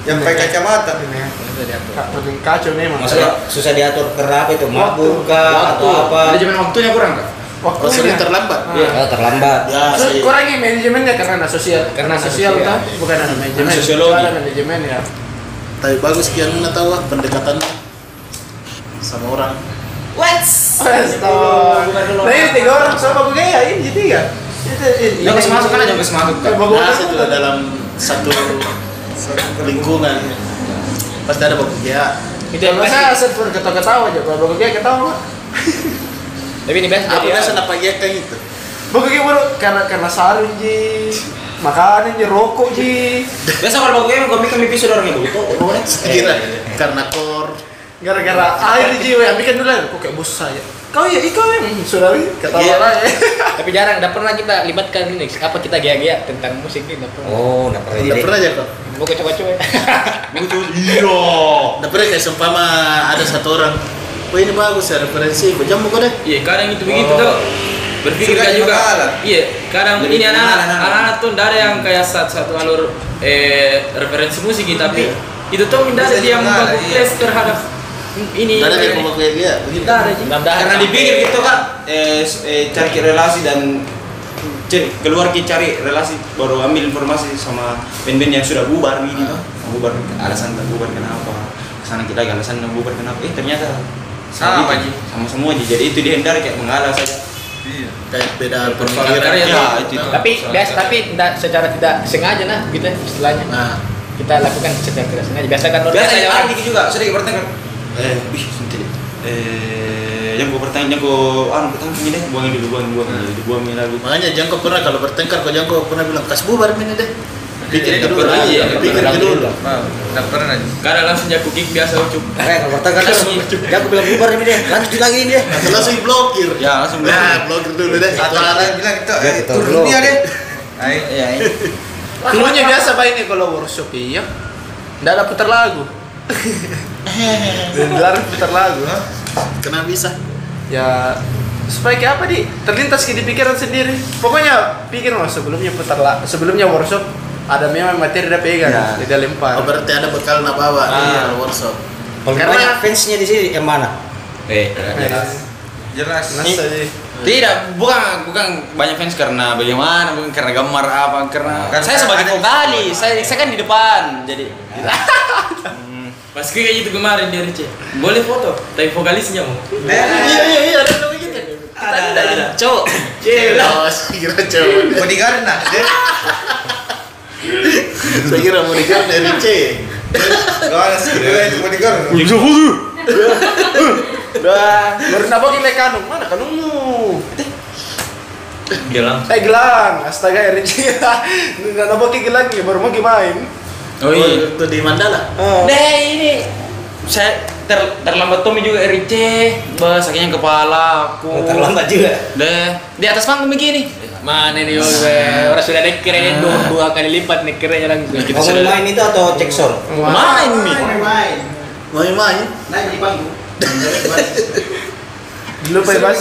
Yang pakai kacamata.
Kak, paling kacau nih emang.
Susah diatur karena apa itu mabuk kah atau
Eh,
apa?
Manajemen waktunya kurang kak?
kalau Oh, sering terlambat
Iya.
Oh, terlambat.
ya
So,
sih
kurangi manajemennya karena anak sosial karena sosial kan bukan anak manajemen
Anak sosiologi.
Itu anak manajemen ya
tapi bagus kian mana tahu lah pendekatan sama orang
Astagfirullah. nah ini tiga orang sama gue ya ini tiga itu ini
Ya kasih masuk kan aja kasih masuk kak.
Bagus.
nah itu dalam satu lingkungan pasti ada bapak ya
Itu yang
Kalau saya
biasa.
aset pun kan? ketawa-ketawa aja, kalau bagus ketawa mah.
Tapi ini
Iya.
biasa
apa
jadi.
biasa apa ya kayak gitu
Bagus baru karena karena sarung ji, makanan ji, rokok ji.
Biasa kalau bagus yang komik kami pisau orang itu.
Iya,
kira karena kor
Gara-gara air ji, yang bikin dulu aku kayak bos saya. Kau ya, kau ya, Hmm, saudari ketawa
Iya.
lah ya.
Tapi jarang, tidak pernah kita libatkan ini. Apa kita gaya-gaya tentang musik ini? Tidak pernah.
Oh, enggak
Iya,
pernah
udah
jadi.
pernah aja kok
Bukan coba-coba.
Iya.
Oh.
udah pernah kayak seumpama ada satu orang Wah ini bagus ya referensi, jam buku deh
iya kadang
Oh.
itu begitu tuh berpikir
Suka
kan juga
dimakan.
iya kadang
Lebih
ini anak-anak
dimakan, anak-anak.
anak-anak tuh tidak ada yang kayak satu, satu alur eh referensi musik gitu, tapi itu tuh tidak ada
Bisa
yang
dimakan,
mengganggu
iya.
place terhadap ini
Gak ada yang
ini.
ngomong kayak dia, begitu
Tidak ada Ji.
Karena dipikir gitu kan, eh, s- eh, cari relasi dan cari keluar ke cari relasi baru ambil informasi sama band-band yang sudah bubar gitu toh. bubar alasan tak bubar kenapa kesana kita lagi alasan tak bubar kenapa eh ternyata sama
Sama,
itu, sama semua aja jadi itu dihindari kayak mengalah saja
Kayak beda
Persoalan
pemikiran
karya,
Ya,
Bang.
itu itu.
Tapi biasa, tapi tidak secara tidak sengaja nah gitu ya, istilahnya.
Nah,
Kita lakukan secara tidak sengaja. Biasa kan orang
biasa
biasa
iya.
yang
orang
ada dikit juga sering bertengkar eh wih senti eh yang gue pertanyaan yang gue ah pertanyaan ini deh buangin dulu buangin buangin dulu buangin lagu
makanya jangko pernah kalau bertengkar kalau jangko pernah bilang kas bubar ini deh. Pikir
Iya,
dulu
pernah,
lagi,
iya,
pikir
pernah.
dulu.
Tidak pernah.
kadang langsung jago kick biasa ucup
Eh, kalau bertengkar kan, ya aku bilang bubar ini deh, lanjut lagi ini deh.
Nah, langsung blokir.
ya langsung
Nah, blokir dulu deh.
Atau orang bilang itu
Ya,
eh,
kita
turun
belum.
dia deh.
Ay, ya, ya.
Dulunya biasa pak ini kalau workshop iya, tidak ada putar lagu. Dan dilarang putar lagu. ha?
Kenapa bisa?
ya supaya kayak apa di terlintas ke di pikiran sendiri pokoknya pikir loh sebelumnya putar la- sebelumnya workshop ada memang materi dia pegang
Ya.
tidak
Oh,
lempar
berarti ada bekal nak bawa
Ah.
di workshop.
Paling
Karena-
banyak fansnya di sini yang mana?
eh
Ya.
Jelas.
Nah, jadi
Ya. Tidak, bukan bukan banyak fans karena bagaimana, bukan karena gambar apa, karena,
Karena
saya sebagai
ada-
vokalis, saya saya kan di depan, jadi Pas kayak gitu kemarin dia Rice, boleh foto, tapi vokalisnya mau.
Iya,
iya iya ada yang begitu. Kita ada ada cowok.
Jelas, Oh, kira cowok.
Bodyguard nah, deh.
Saya kira mau nikah dari C.
Gak sih, gue itu bodyguard.
Udah, baru nabok ini kanung. Mana kanungmu?
Eh. Gelang.
Eh gelang, astaga Erin. Nggak nabok ini gelang ya, baru mau main.
Oh iya.
Itu di Mandala.
Ah.
Deh ini saya ter- terlambat Tommy juga Rice, bah sakitnya kepala aku.
Oh, Terlambat juga.
Deh di atas panggung begini.
Mana nih Obe? Orang sudah naik
Ah.
kerennya dua, dua kali lipat naik kerennya langsung.
Kita
Mau
sudah
main itu atau cek sound?
main nih.
main
Main-main.
naik di panggung
Dulu Pak Bas.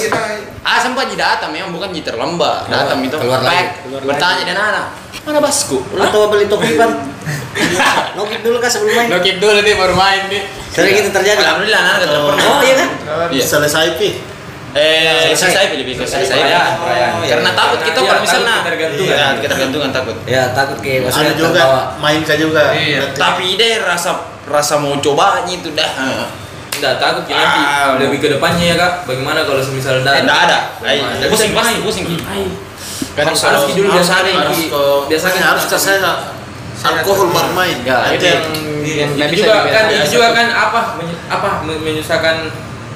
Ah sempat jadi datang memang bukan jadi terlambat. Datang itu.
keluar lagi.
Baik, Bertanya dengan anak. Mana basku?
Atau beli topi pan? Nokip dulu kan sebelum main.
Nokip dulu nih baru main nih.
Sering itu terjadi.
Alhamdulillah anak tidak pernah.
Oh iya kan?
Iya.
Selesai pi.
Eh,
Selesai.
selesai Filipin, selesai
Selesai.
saya.
Oh, iya.
Karena takut kita kalau misalnya
Tergantungan.
Iya, kita gantungan takut.
Ya takut kayak
Ada
maksudnya
juga
terbawa.
main kah juga.
Iya.
Nanti.
Tapi deh rasa rasa mau cobanya itu dah. Eh,
Enggak takut ya nanti
Ah,
lebih ke depannya ya kak. Bagaimana kalau semisal
Eh,
dan
enggak ada. Eh,
Ay,
Pusing, pusing, pusing.
Kan
Harus
harus
harus
dulu
harus
biasa
ada
nih.
harus
ke
Biasa kan
harus ke saya alkohol Nah, baru main.
Enggak,
Nanti
itu yang
yang
nggak bisa
juga
dibiasakan.
kan itu juga kan apa menye- apa men- menyusahkan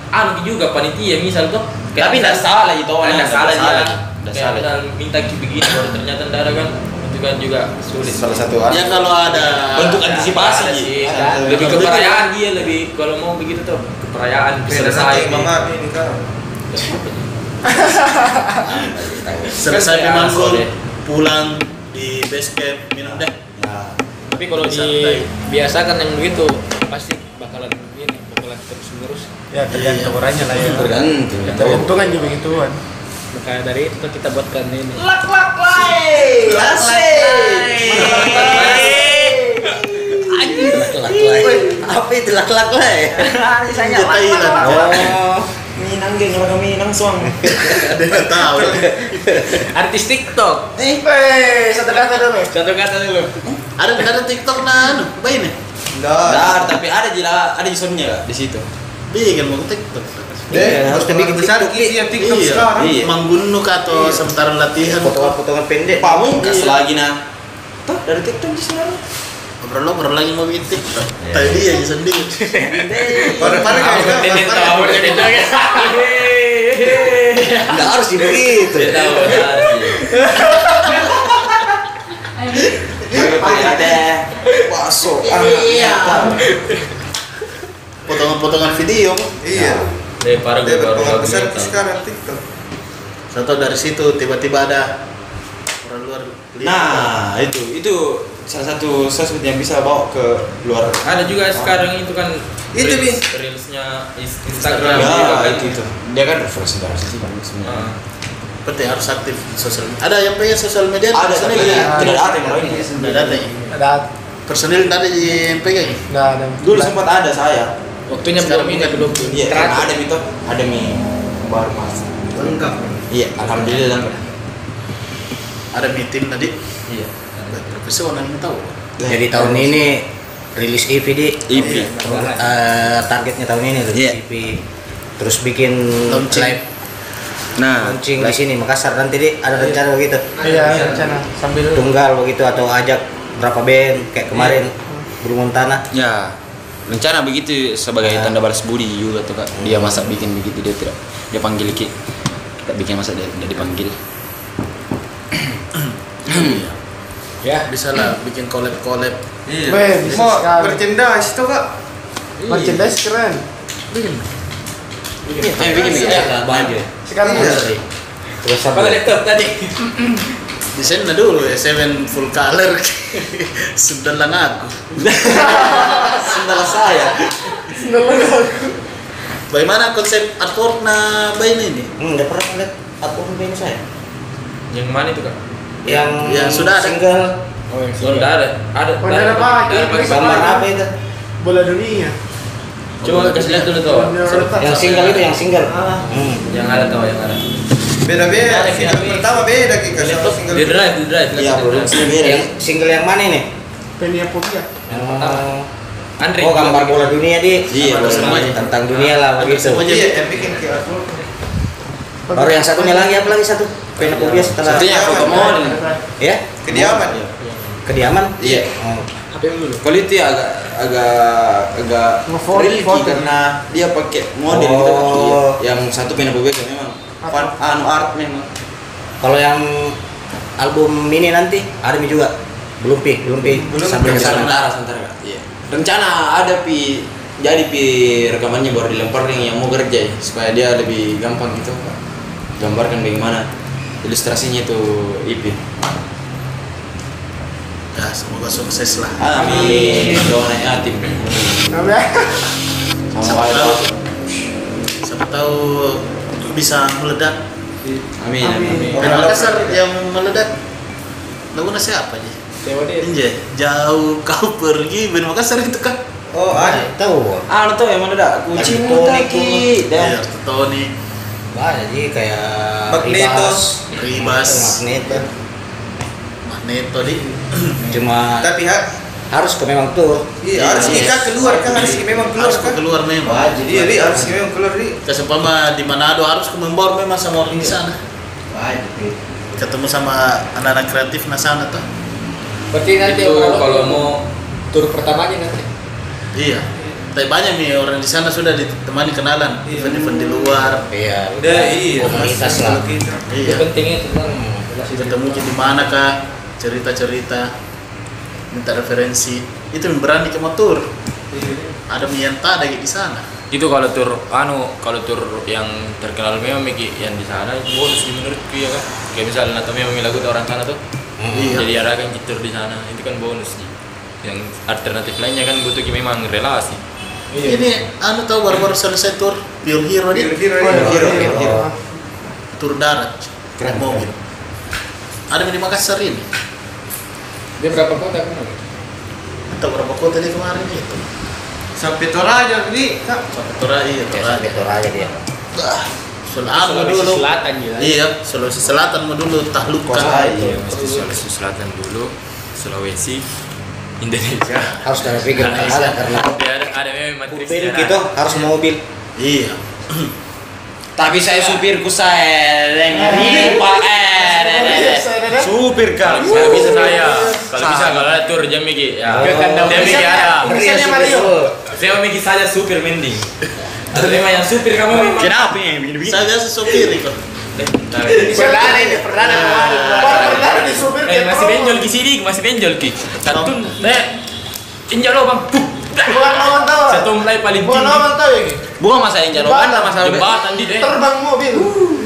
anu juga panitia misal tuh.
Tapi enggak salah itu
Oh,
orang.
enggak salah dia.
Enggak
Kayak
salah.
misal minta gitu begini baru ternyata enggak ada kan. Itu kan juga sulit.
salah satu
Ya kalau ada
Bentuk antisipasi.
Ada
Ji.
sih. Lebih ke perayaan dia lebih kalau mau begitu tuh ke perayaan bisa selesai. Iya.
Mama ini kan.
selesai
Kan
pi
saya
manggul
asal deh.
pulang di base camp minum deh.
Tapi kalau dibiasakan yang begitu pasti bakalan ini bakalan terus menerus.
Ya, kalian keberannya lah ya.
Tergantung.
Keuntungan juga begituan.
Maka dari itu kan kita buatkan ini.
Lak-lak. Apa itu lak-lak lah ya?
Ke Thailand.
Oh.
Minang geng, orang Minang suang.
Ada yang tahu.
Artis TikTok.
Eh, satu kata dulu.
Satu kata dulu.
Ada ada TikTok anu. nan, bayi nih.
Dar, tapi ada jila, ada jisonnya lah di situ.
Bikin mau ke TikTok.
Eh,
Iya, harus dibikin besar.
Iya, TikTok
Iya.
sekarang.
Iya.
Manggunuk atau sementara latihan. Iya.
Potongan-potongan pendek.
Pamungkas lagi nah. Tuh dari TikTok di sana.
Ngobrol-ngobrol lagi mau bikin TikTok. Tadi ya sendiri.
Baru-baru kayak gitu,
Ini
baru-baru.
tahu ini tahu ya.
Enggak harus gitu. dibegitu.
Tahu enggak ada sih.
iya. Ada bakso. Iya.
Potongan-potongan video.
Iya.
Eh, parah
Dia
gue baru baru
berpengaruh besar
gitu.
ingat.
sekarang TikTok.
Satu dari situ tiba-tiba ada orang luar lihat.
Nah, itu itu salah satu sosmed yang bisa bawa ke luar.
Ada juga sekarang itu kan
Itu, Bi.
reels- reelsnya is- Instagram
Instagram.
juga
Ya,
kan.
itu itu. Dia kan referensi dari sisi banyak sebenarnya.
Ah.
Berarti harus aktif di sosial media. Ada yang punya sosial media?
Ada tapi
personil ya?
tidak ada yang lain.
Tidak ada ya?
Ada,
Personil tidak ada yang pegang ya?
nggak ada.
Dulu sempat ada saya.
Waktunya belum
Sekarang
ini
bukan.
belum.
Iya, karena ada itu, ada mie baru mas.
Lengkap.
Iya, alhamdulillah.
Ada meeting tadi?
Iya.
Profesi orang yang tahu
Nah, Jadi tahun ini rilis EP di
IP.
Eh, targetnya tahun ini rilis
Iya.
EP. Terus bikin
Launching.
live
Nah,
launching di sini Makassar nanti di ada rencana begitu.
Iya, rencana sambil
Tunggal begitu atau ajak berapa band kayak kemarin Burung Tanah.
Ya, rencana begitu sebagai
Ya.
tanda balas budi juga tuh kak. Dia masak bikin begitu dia tidak dia panggil ki, tak bikin masak dia, dia dipanggil.
Bisa lah bikin collab-collab
Weh, bisa
Mau
sekali.
merchandise itu kak?
Merchandise keren.
Eh, bikin bikin.
Iya, banjir.
Sekarang
Iya.
Terus apa?
laptop tadi?
Desain lah dulu, ya, seven full color Sudah lah ngaku
Sendal saya.
Bagaimana konsep artwork na bayi ini?
Hmm, udah pernah lihat aku band saya.
Yang mana itu kak?
Yang
Ya, sudah ada.
single
Oh, enggak ada. Ada.
Oh, enggak ada pagi.
gambar apa itu?
Bola dunia.
Coba kasih lihat dulu tuh. Wak.
Yang single itu yang single.
Ah,
Hmm.
Yang ada tuh yang ada.
Beda-beda.
Ada,
Video
beda.
pertama beda
Di
kita sama
laptop,
single.
di drive, di drive.
Iya,
laptop
ya.
di drive.
produksi beda.
Yang single yang mana nih?
Penia Popia.
Yang pertama.
Andre
Oh gambar bola dunia di
Iya,
Gambar
bola
dunia.
dunia.
tentang dunia lah begitu.
Semua
Iya,
jadi
yang bikin QR code.
Baru yang satunya lagi apa lagi satu? Penopobia setelah
Satunya foto model.
ya
Kediaman.
kediaman.
Iya.
Oh.
Kalau itu ya agak agak agak
Ngevote,
tricky
vote.
karena dia pakai model gitu kan.
Oh.
Iya. Yang satu pengen berbeda memang. Fan, anu art memang.
Kalau yang album ini nanti Army juga belum pi belum pi
Belum,
sampai ke sana.
Sementara, sementara. Kak. Iya. Rencana ada pi jadi pi rekamannya baru dilempar nih yang mau kerja ya, supaya dia lebih gampang gitu. Kak. Gambarkan bagaimana ilustrasinya itu IP.
Ya, semoga sukses lah.
Amin. Doain ya tim. Sama
Siapa tahu,
Allah.
siapa tahu bisa meledak.
Amin. Amin. amin.
Dan Makassar yang meledak, lagunya siapa aja? Inje, jauh kau pergi, Ben Makassar itu kan?
Oh ada tahu.
Anu tuh yang mana dah? Kucing
Lagi tonik
mutaki.
Iya.
Ya,
Dah.
Tony,
Banyak jadi kayak
Magneto.
Ribas,
Ribas,
Magneto.
Magneto di.
Cuma
Tapi hak
harus ke memang tuh.
iya, harus
Iya.
kita keluar kan harus memang keluar
Harus
kan.
keluar memang.
Wah,
Jadi ya. Ri, harus memang keluar Ri.
Kesempatan di Manado harus membor memang sama orang di sana. Ketemu sama anak-anak kreatif di sana tuh.
Berarti nanti
itu kalau mau
tur pertamanya nanti.
Iya. Tapi banyak nih orang di sana sudah ditemani kenalan. Event-event di luar.
Iya.
Udah, iya.
Komunitas lah.
Iya.
pentingnya
kan.
tentang
Ketemu di mana kah? Cerita-cerita. Minta referensi. Itu yang berani ke motor. Ada Mianta ada di sana.
itu kalau tur anu kalau tur yang terkenal memang Miki yang di sana bonus sih menurutku ya kan kayak misalnya atau memang lagu tuh orang sana tuh
Iya.
jadi arahkan ke tur di sana itu kan bonus sih yang alternatif lainnya kan butuh memang relasi
Iya.
Ini anu tahu baru-baru selesai tur Pure Hero
Ri,
di
Ri,
iya.
Ri, Ri, Ri, Ri.
tur darat naik mobil. Ada di Makassar ini.
Dia berapa kota kan?
Atau berapa kota dia kemarin itu?
Sampai toraja Ri. Kak.
Sampai Toraja, iya,
Kayak
Toraja.
sampai tur aja dia.
Ah, Sulawesi dulu.
Selatan ya.
Iya, Sulawesi Selatan mau dulu tahlukan.
iya mesti Sulawesi Selatan dulu Sulawesi Indonesia
Harus dari pikir kalah karena
ada ada memang
mobil
matriks daerah.
gitu harus mobil.
Iya.
Tapi saya supirku saya dengerin Pak R. Supir
kalau
kan.
bisa bisa saya kalau bisa kalau ada tur jam Miki ya
Ke kandang
dia Miki ada
Misalnya Mario.
Saya Miki saja supir mending. Terima yang supir kamu memang.
Kenapa ya begini-begini?
Saya biasa sopir iya. kok.
Eh, bentar. Eh,
Perdana ini, perdana kemarin. Perdana di supir kayak
masih
pro.
benjol ki sini, masih benjol ki. Satu, eh, injak lo bang. Puh.
Bukan lawan tahu.
Satu mulai paling
Bukan
tinggi.
lawan tahu ya. Ki.
Bukan masalah yang jalan, bukan masalah
Jembatan di deh.
Terbang mobil.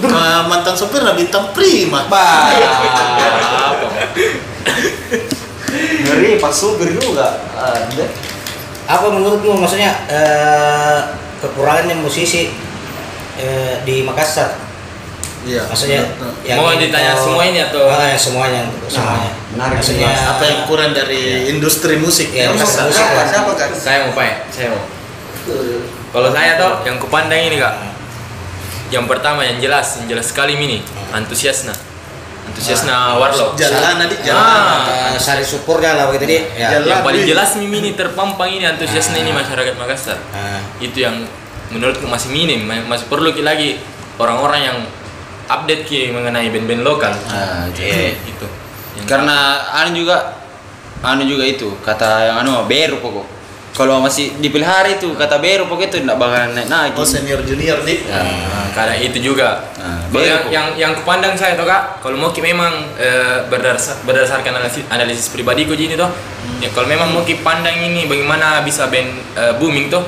Ma- mantan sopir lah bintang prima.
Bah.
Apa?
Ngeri pas supir juga. Ada.
Apa menurutmu maksudnya eh, kekurangannya musisi eh, di Makassar?
Iya.
Maksudnya yang
Mau
ini
ditanya
kalau-
semuanya atau-
Ah, yang semuanya untuk
Nah,
semuanya.
menarik
maksudnya
apa yang kurang dari industri musik
Iya,
ya?
Makassar.
Makassar.
Siapa siapa kan?
Saya mau pak, ya. saya mau. Kalau saya toh yang kupandang ini kak. Yang pertama yang jelas, yang jelas sekali ini antusiasna. Antusiasna Warlock.
Jalan nanti jalan.
Ah,
eh, sari syukurnya lah begitu dia. Ya.
Iya.
Jalan.
yang paling
Wi.
jelas mimini terpampang ini antusiasnya ini
Ah.
masyarakat Makassar.
Ah,
itu yang menurutku masih minim ma- masih perlu ki lagi orang-orang yang update ki mengenai band-band lokal
Ah, itu.
Iya, itu Yang-
Karena anu juga anu juga itu kata yang anu beru pokok. Kalau masih dipelihara itu kata beru pokok itu enggak bakal naik naik.
Oh senior junior nih.
Ya.
Nah, karena itu juga
Nah,
Kalau yang,
beru.
yang yang kupandang saya toh kak kalau mau ki memang eh, berdasar, berdasarkan analisis, analisis pribadiku jadi toh ya kalau memang mau ki pandang ini bagaimana bisa band eh, booming toh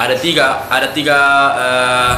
ada tiga ada tiga eh,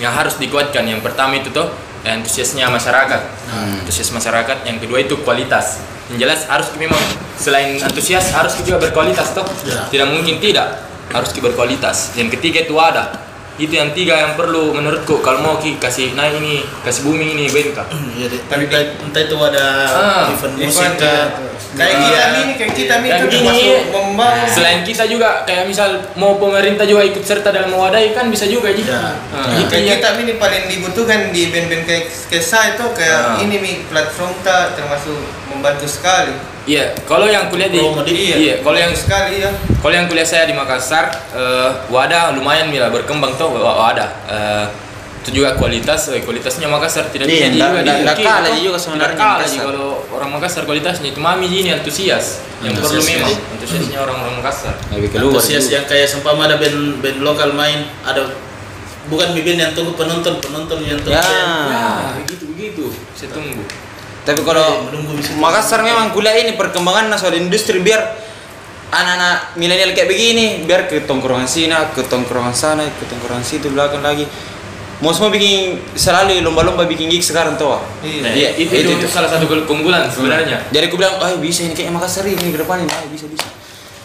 yang harus dikuatkan yang pertama itu toh antusiasnya masyarakat
Hmm.
antusias masyarakat yang kedua itu kualitas yang jelas harus memang selain antusias harus juga berkualitas toh
Ya.
tidak mungkin tidak harus juga berkualitas yang ketiga itu ada itu yang tiga yang perlu menurutku kalau mau ki kasih naik ini kasih booming ini band kak
Iya deh. Entah, entah itu ada
Ah,
event musik kah?
Kayak
Iya.
kita ini, kayak kita ini
Kayak
itu
gini.
termasuk membangun.
selain kita juga kayak misal mau pemerintah juga ikut serta dalam mewadahi kan bisa juga ji
Ya.
Ah, itu
Nah, Kayak
yang-
kita ini paling dibutuhkan di band-band kayak Kesa itu kayak
Ah.
ini mi platform ta termasuk membantu sekali.
Iya, kalau yang kuliah di
Promo di-
iya, kalau yang
sekali ya
kalau yang kuliah saya di Makassar eh, wadah lumayan mila berkembang tuh wa- wadah. Eh, itu juga kualitas, eh, kualitasnya Makassar tidak
Iya,
tinggi
ndak-
juga di
ndak- ndak
Turki,
kalah
toh.
juga sebenarnya
Tidak kalah
Makassar.
juga kalau orang Makassar kualitasnya itu mami ini antusias yang perlu
Antusias,
ya.
memang
iya.
antusiasnya orang-orang Makassar.
lebih keluar
antusias
juga.
Ya.
yang kayak sempama ada band band lokal main ada bukan bibin yang tunggu penonton penonton yang tunggu
ya
band.
Nah, begitu begitu. Saya tunggu.
tapi kalau
menunggu bisa
Makassar memang kuliah ini perkembangan soal industri biar anak-anak milenial kayak begini biar ke tongkrongan sini ke tongkrongan sana ke tongkrongan situ belakang lagi mau semua bikin selalu lomba-lomba bikin gig sekarang tuh Wak.
Nah,
Iya,
itu,
itu- Hmm.
itu
itu.
salah satu keunggulan sebenarnya.
jadi aku bilang ah bisa ini kayak Makassar ini ke depannya ah bisa bisa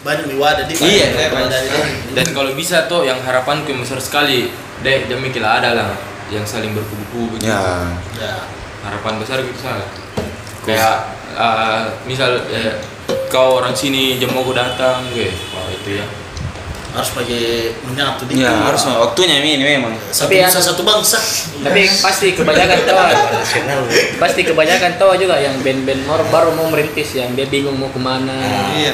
banyak nih wadah di
Iya,
banyak wadah di-
Dan kalau bisa tuh yang harapanku yang besar sekali, deh demi kila ada lah yang saling berkubu-kubu gitu. begitu.
ya
harapan besar gitu salah kayak uh, misal eh, kau orang sini jam aku datang gue wah itu ya
harus pakai menyatu
Iya,
di
ya harus Wak. waktunya ini memang
satu
Tapi ya-
bangsa satu bangsa
Tapi pasti kebanyakan tawa,
Nasional.
pasti kebanyakan tawa juga yang band-band mor- baru mau merintis yang dia bingung mau kemana.
eh,
iya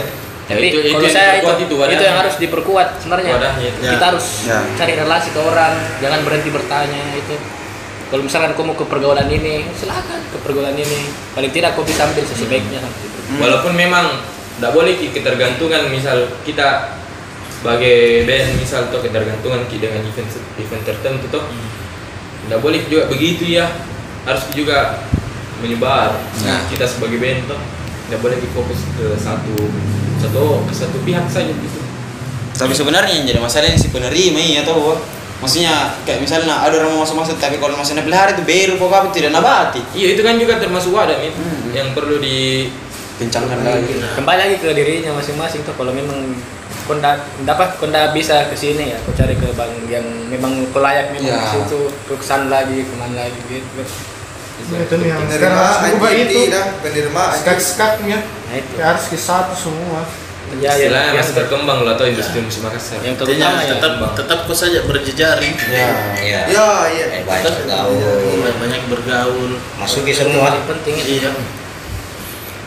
Tapi
Ya, Itu- itu
kalau
yang
saya itu,
diperkuat itu
itu,
wadahnya.
yang harus diperkuat sebenarnya.
Wadahnya itu.
Kita harus
Ya.
cari relasi ke orang, jangan berhenti bertanya itu. Kalau misalkan kau mau ke pergaulan ini, silakan ke pergaulan ini. Paling tidak kau bisa ambil sisi baiknya.
Hmm. walaupun memang tidak boleh ki ketergantungan misal kita sebagai band misal tuh ketergantungan ki dengan event event tertentu tuh
Hmm.
tidak boleh juga begitu ya harus juga menyebar
Nah.
kita sebagai band tuh tidak boleh ki fokus ke satu satu oh, ke satu pihak saja gitu
tapi sebenarnya yang jadi masalahnya si penerima ini atau Wak. ah? maksudnya kayak misalnya nah, ada orang mau masuk-masuk tapi kalau masuknya pelihara itu baru kok apa tidak nabati
Iya itu kan juga termasuk wadah Min.
Hmm.
yang perlu di
kencangkan lagi
Kembali lagi ke dirinya masing-masing tuh kalau memang konda dapat konda bisa ke sini ya, kau cari ke bang yang memang kau layak memang
Ya.
ke situ, ke sana lagi, kemana lagi gitu.
Iya, itu nih yang sekarang
penerima
harus berubah itu
anjing dah penerima
skak skaknya
Nah itu.
ya harus ke satu semua
Ya, ya,
istilahnya
yang, Nah.
masih berkembang lah atau industri musik Makassar.
yang
Intinya
terutama ya.
tetap tetap kau saja berjejaring
Iya.
ya iya
Eh, banyak tahu.
banyak, banyak bergaul
Masuki semua.
Yang penting itu.
iya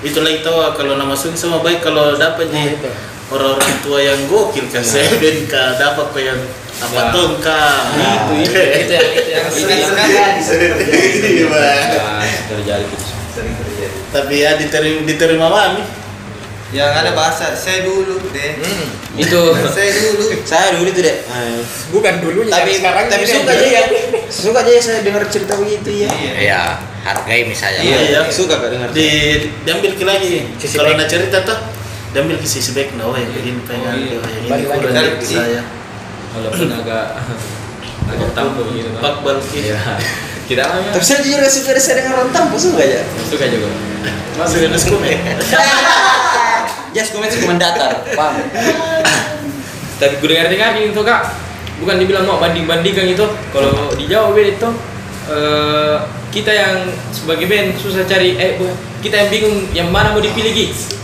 itu lagi tahu ah, kalau nama sung sama baik kalau dapat
Nah,
nih
itu.
orang-orang tua yang gokil kan
Iya.
saya band ka dapat kau yang apa
Ya.
tuh Nah, kah
Itu itu
Itu yang itu yang
Itu yang
Iya, Bang.
terjadi gitu.
tapi ya diterima diterima mami
yang Ya, ada bahasa saya dulu deh
Itu
Iya.
saya dulu
saya dulu itu deh
bukan dulunya
tapi
sekarang
tapi
ini
suka
yang
aja ya suka aja saya dengar cerita begitu ya
Iya, hargai misalnya.
iya
Iya.
suka kak dengar
di diambil ke lagi
Sisi
kalau
baik.
nak cerita tuh diambil ke sisi baik nah oh yang begini pengen oh, yang ini
iya. Balik lagi.
kurang ya. dari saya
walaupun agak agak tampil gitu kan.
pak balki
Iya. Kita kan ya.
tapi saya jujur gak suka saya dengar rontang pas suka aja
Suka juga.
masuk ke nusku
jas komen sih komen datar paham
Tapi gue dengar dengar itu kak bukan dibilang mau banding bandingkan itu kalau di Jawa beda itu eh, kita yang sebagai band susah cari eh bu- kita yang bingung yang mana mau dipilih gigs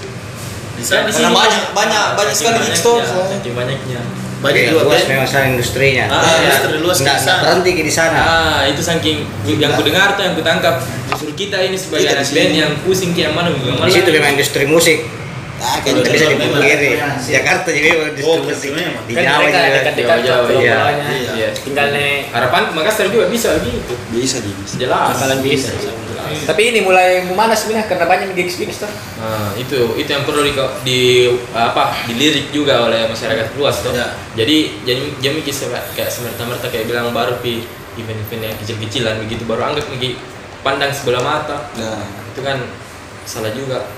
di
Kan di
sana
sini
Karena banyak- banyak- banyak sekali
Saking
gigs tuh.
banyaknya, saking banyaknya.
banyak
Iya,
juga kan?
luas
band
memang sana industrinya.
Ah,
Ah,
iya.
industri luas
Nggak
ke
nggak
sana.
berhenti di sana.
Ah, itu saking yang ku dengar tuh yang ku tangkap justru kita ini sebagai
Kita Iya, di
anak
sini.
band yang pusing ke yang mana yang mana.
Di situ kan memang industri musik.
ah kayak
Tidak bisa
gitu.
dipungkiri. Jakarta jadi memang industri
Oh,
musik.
gitu memang.
Di
kan
Jawa
mereka
juga.
dekat-dekat
Jawa, Jawa,
iya.
Jawa-Jawanya.
Iya.
tinggal nih
Harapan Makassar juga bisa gitu.
bisa di bisa
Jelas.
bakalan bisa.
Jelas.
Tapi ini mulai memanas sebenarnya karena banyak gigs gigs tuh.
Nah, itu itu yang perlu di, di- apa dilirik juga oleh masyarakat luas tuh.
Ya.
Jadi jadi jadi kisah kayak semerta-merta kayak bilang baru pi event-event yang kecil-kecilan begitu baru anggap lagi pandang sebelah mata
nah
itu kan salah juga.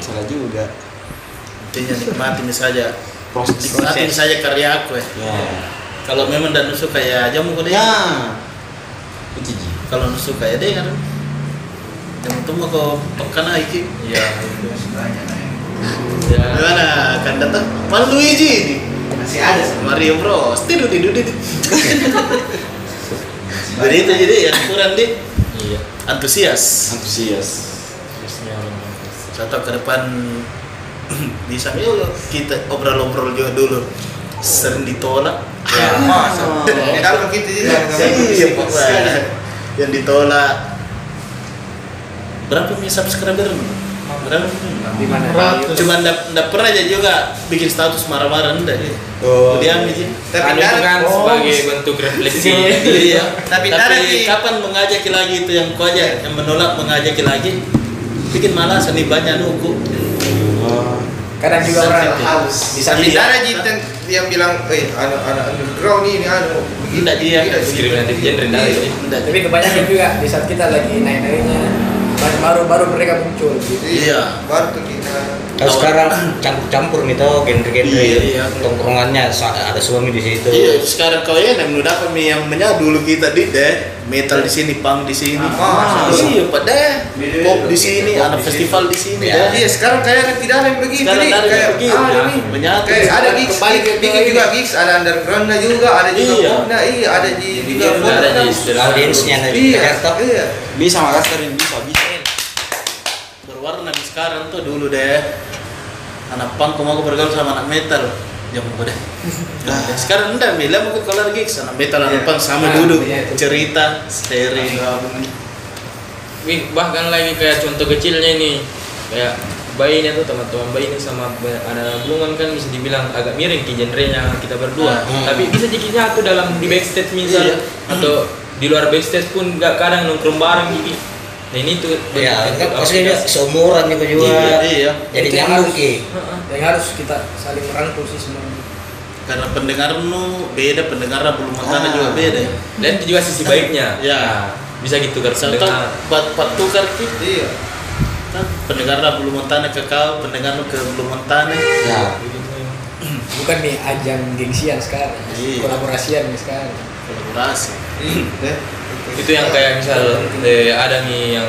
salah juga
intinya nikmati misalnya
proses
nikmati misalnya karya aku ya
ya
kalau memang dan suka ya jamu kau deh
ya itu ji
kalau nu suka ya deh kan jamu tuh mau kau pekan lagi
Iya. ya.
gimana akan datang Mas Luigi ini masih ada sama Mario Bros tidur tidur tidur jadi itu jadi yang kurang di
Iya.
antusias
antusias
Terusnya orang-orang Makassar.
atau ke depan bisa yuk kita obrol-obrol juga dulu sering ditolak
ya masa ya dapat gitu sih
Iya, Pak. yang ditolak berapa punya subscriber Padahal
di mana
Cuma enggak pernah aja juga bikin status marah-marah enggak dia.
Oh.
Diam aja.
Tapi
Ada itu
tidak-
kan
oh,
sebagai bentuk refleksi.
Iya. Tapi,
Tapi tidak di-
kapan mengajak lagi itu yang kau aja yang menolak mengajak lagi bikin malas nih banyak nunggu. Oh.
kadang juga orang haus
bisa
Iya.
bicara jitan yang bilang eh anu anu underground ini anu
Tidak dia
Tidak,
Diskriminatif gender rendah
Iya.
ini.
Tidak.
tapi kebanyakan juga di saat kita lagi naik naiknya baru baru mereka muncul gitu
Iya.
baru tuh kita
Kalau
sekarang campur-campur nih tau genre-genre
Iya, iya.
tongkrongannya sa- ada suami di situ
Iya, sekarang kau ya yang udah kami yang menyadu dulu kita di deh metal di sini, punk di sini,
Ah,
iya, pada pop di sini,
Pop
anak
di
festival di sini,
Iya.
deh.
iya sekarang kayak tidak ada yang begitu
Sekarang
nih.
ada yang
kayak
begitu.
ah, ini
Ya, Menyatu.
kayak ada gigs
Kembali ke
bikin juga gigs ada undergroundnya juga ada juga
Iya.
popnya, iya ada di juga
Nggak ada di istilah.
audiensnya nanti
iya
Jakarta
iya
bisa makas kering bisa bisa
berwarna di sekarang tuh dulu deh. Anak punk mau aku bergaul sama anak metal, jam aku deh. Nah, sekarang enggak, bila mungkin kalau lagi anak metal, anak
Iya.
punk sama
Ah,
duduk
iya, itu.
cerita, sharing.
Wih, bahkan lagi kayak contoh kecilnya ini kayak bayi ini tuh teman-teman bayi ini sama ba- ada hubungan kan bisa dibilang agak miring ki genrenya kita berdua tapi bisa jadi nyatu dalam di backstage misal
Iya.
atau di luar backstage pun nggak kadang nongkrong bareng gitu nah ini tuh
ya
bentuk-
kan
bentuk
maksudnya
aplikasi.
seumuran juga juga
Iya, iya.
jadi
Itu yang
nyambung
harus-
ki
Heeh.
yang harus kita saling merangkul sih semua
Karena pendengar nu beda, pendengarnya belum mengkana juga beda. ya.
dan itu juga sisi baiknya
Iya.
Nah, bisa gitu kan
Serta
pendengar.
pat pat tukar gitu. Iya. Pendengarnya belum mentane ke kau, pendengarnya ke belum mentane.
ya
bukan nih ajang gengsian sekarang
Iya.
kolaborasian nih sekarang
Kolaborasi.
itu yang kayak misal eh, ada nih yang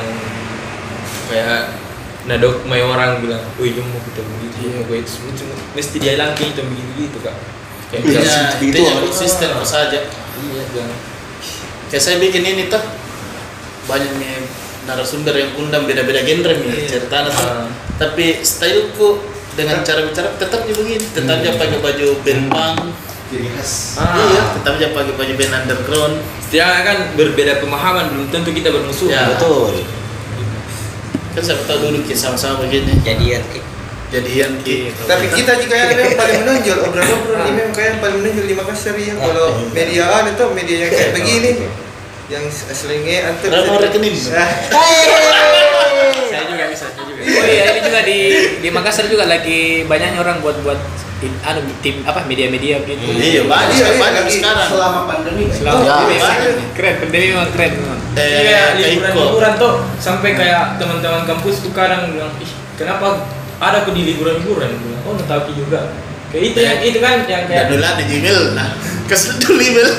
kayak nadok main orang bilang, wih jom mau gitu." kita begitu, yeah. gue Iya, itu itu- mesti dia langki itu begitu gitu kak. Kayak
Iya,
misal,
itu yang konsisten kok saja.
iya bilang,
Kayak Ya, saya bikin ini tuh banyak nih narasumber yang undang beda-beda genre nih ceritanya
Ah.
tuh. Tapi styleku dengan cara bicara tetap dia begini, tetap dia pakai baju band punk.
jadi khas
ah,
Iya, tetap dia pakai baju band underground.
Setidaknya kan berbeda pemahaman belum tentu kita bermusuhan.
Ya.
betul
Kan siapa tahu dulu kita sama-sama begini.
jadian ki
Jadian gitu.
tapi kita juga yang memang paling menonjol obrolan-obrolan ini memang kayak yang paling menonjol di Makassar
Ah,
ya kalau
iya.
media ada tuh media yang kayak begini yang selingnya antar
Berapa rekening?
Saya juga bisa, saya juga.
Oh iya, ini juga di di Makassar juga lagi banyaknya orang buat-buat tim, anu, tim apa media-media gitu.
Iya, banyak
Iya, iya,
banyak
lagi
sekarang.
selama pandemi
Selama
Ya,
pandemi.
banyak nih.
keren, pandemi memang keren. memang.
Eh,
Iya,
kayak Iko.
liburan-liburan tuh sampai kayak teman-teman kampus tuh kadang bilang, ih kenapa ada aku di liburan-liburan? Bilang, oh Nataki juga. Kayak itu yang itu kan yang
Dan
kayak
dulu ada jimil, nah kesel dulu jimil.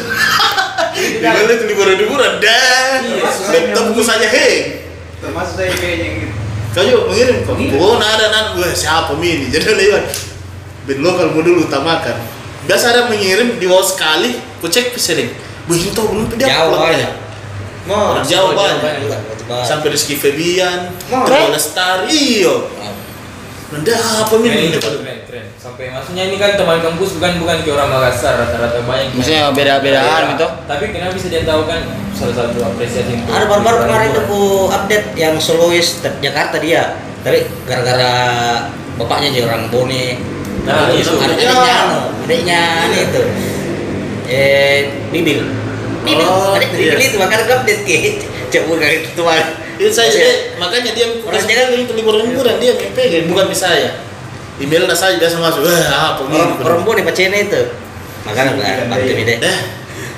Jimil itu liburan-liburan dah.
Iya.
Laptopku saja hei.
termasuk saya kayaknya gitu
Kau juga mengirim kok. Oh, nah ada nah, gue siapa mini? Jadi lewat. Ben lokal mau dulu utamakan. Biasa ada mengirim di wall sekali, ku cek sering. Bu ini tau belum dia
Jauh
pulang
banyak.
mau
Orang Jawa banyak.
Bukan, bukan.
Sampai Rizky Febian,
Ah. Mau.
Terlalu Lestari, iyo. Rendah apa
Ya,
mini?
itu keren, keren. Sampai maksudnya ini kan teman kampus bukan bukan ke orang Makassar rata-rata banyak.
maksudnya gitu. beda-beda
Iya.
gitu.
itu
Tapi kenapa bisa dia tahu kan salah satu apresiasi. untuk
ada baru-baru kemarin tuh
liburan.
ku update yang Solois ter- Jakarta dia tapi gara-gara bapaknya aja orang Bone
Nah,
Terus
itu.
ada adiknya anu, adiknya ini itu eh Bibil Bibil
Oh,
adik Bibil
iya.
itu makanya ku update ke cabut dari ketua
Itu saya
Iya.
dia- makanya dia
Orang
orang jangan itu liburan-liburan dia MPG bukan di saya. Email nah saya biasa masuk. Wah, apa
orang Kan
ini?
orang Bone pacarnya itu makanya aku update deh
iya. Dah,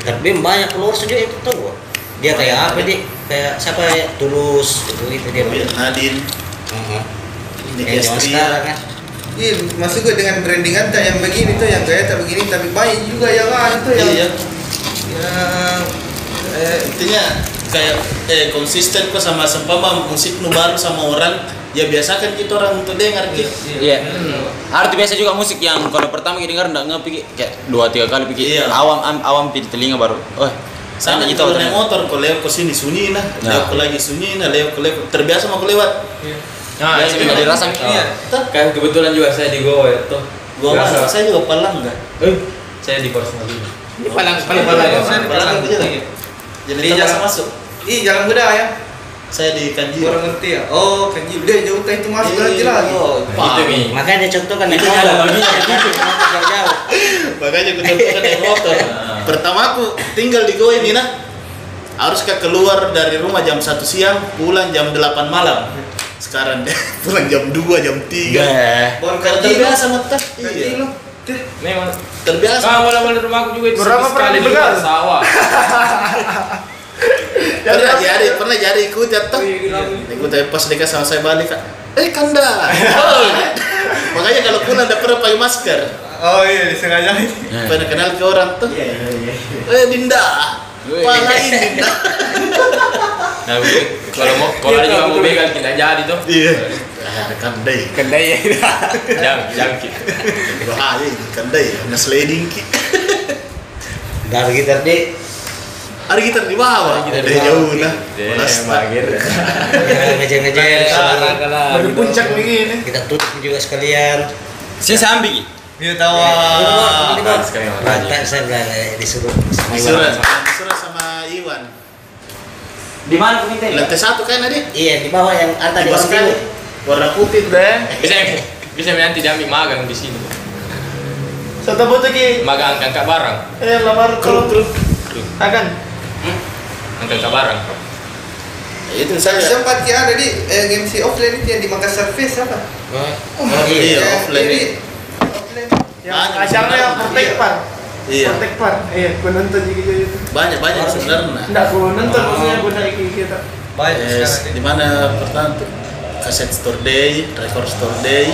tapi banyak keluar sejak itu tuh dia kayak apa dia kayak siapa ya tulus gitu gitu
Oh, iya.
dia
Nadin,
Heeh.
Nick
Kayak zaman sekarang
Astria.
kan
iya maksud gue dengan branding antar yang begini tuh yang kayak tak begini tapi banyak juga yang anu tuh yang
Iya,
yang eh,
intinya kayak eh konsisten kok sama sempama musik nu baru sama orang ya biasakan kita orang untuk dengar gitu.
iya arti biasa juga musik yang kalau pertama kita dengar nggak ngepikir kayak dua tiga kali pikir
Iya.
awam am- awam di telinga baru oh
Sana
enak
kita naik motor, kalau lewat ke sini sunyi nah, lewat ke lagi sunyi nah, lewat ke lewat terbiasa mau ke lewat.
Nah,
Biasa
itu
memang dirasa,
Iya.
Iya, tuh.
Kan kebetulan juga saya di Goa itu.
Gua
Dirasa.
mah saya juga palang enggak.
Eh, saya di Goa sendiri.
Ini
Iya, Kan
palang
ya? Palang,
kan
palang
palang, palang, palang, palang, palang, palang, palang, palang,
Iya, jalan kuda ya
Saya di Iya, Kanji.
Orang ngerti ya? Oh, kanji. Dia jauh itu masuk berarti lagi.
oh,
Gitu
Gitu,
Itu mi.
Makanya contoh kan
Itu ada baginya gitu. Makanya aku contohkan naik motor. Ah. Pertama aku tinggal di Goa ini nah. Haruskah keluar dari rumah jam 1 siang, pulang jam 8 malam. Sekarang deh, pulang jam 2, jam
Iya.
3. Karena
Baru kanji lu.
terbiasa sama tas. Iya.
Kanji lu.
Memang.
Terbiasa.
Kau awal awal rumah aku juga itu
Berapa
sepi
pernah
sekali di
dibegal?
luar sawah.
Pernah jadi, pernah jadi ikut ya toh. Ikut tapi pas dekat sama saya balik kak. Eh kanda. Oh. Makanya kalau pulang udah pernah pakai masker.
Oh iya, disengaja ini.
Eh. Nah.
Pernah kenal ke orang tuh. Eh Dinda. Pala ini Dinda.
Nah, begitu. kalau mau kalau ada juga mau begal tidak jadi tuh.
Iya. Ah, Kandai.
Kendai ya.
Jangan, jangan ki.
Bahaya ini kandai. Ngesleding ki.
Dari gitar di
Ada gitar di bawah. Iya, Ada jauh lah.
Damn,
Lasta.
Iya,
ngejer-ngejer sebelum
Baru puncak begini.
kita tutup juga sekalian.
Saya sambil.
Dia tahu.
Ah,
Nah, sekali lagi.
Mantap saya bilang
ya,
eh, disuruh sama
Disuruh
Iwan.
disuruh sama Iwan.
Di mana aku minta?
Lantai satu kan tadi?
Iya di bawah yang ada di
Di bawah sekali.
orang
Warna putih deh.
Bisa bisa nanti diambil magang di sini.
Satu butuh ki.
Magang angkat barang,
Eh lamar kalau terus. Akan.
angkat angkat barang.
Itu saya.
Sempat ya ada di eh, MC offline itu yang di Makassar Fest apa?
Iya,
Yang
offline.
ini.
ini.
Offline.
Yang
Banyak
acaranya yang
sebenarnya.
Protect Par.
Iya.
Protect Par. Iya, gua nonton juga itu.
Banyak banyak sebenarnya.
Enggak gua nonton
Oh.
maksudnya gua naik ke kita.
Banyak
Yes,
sekarang
di mana pertama tuh kaset store day, record store day.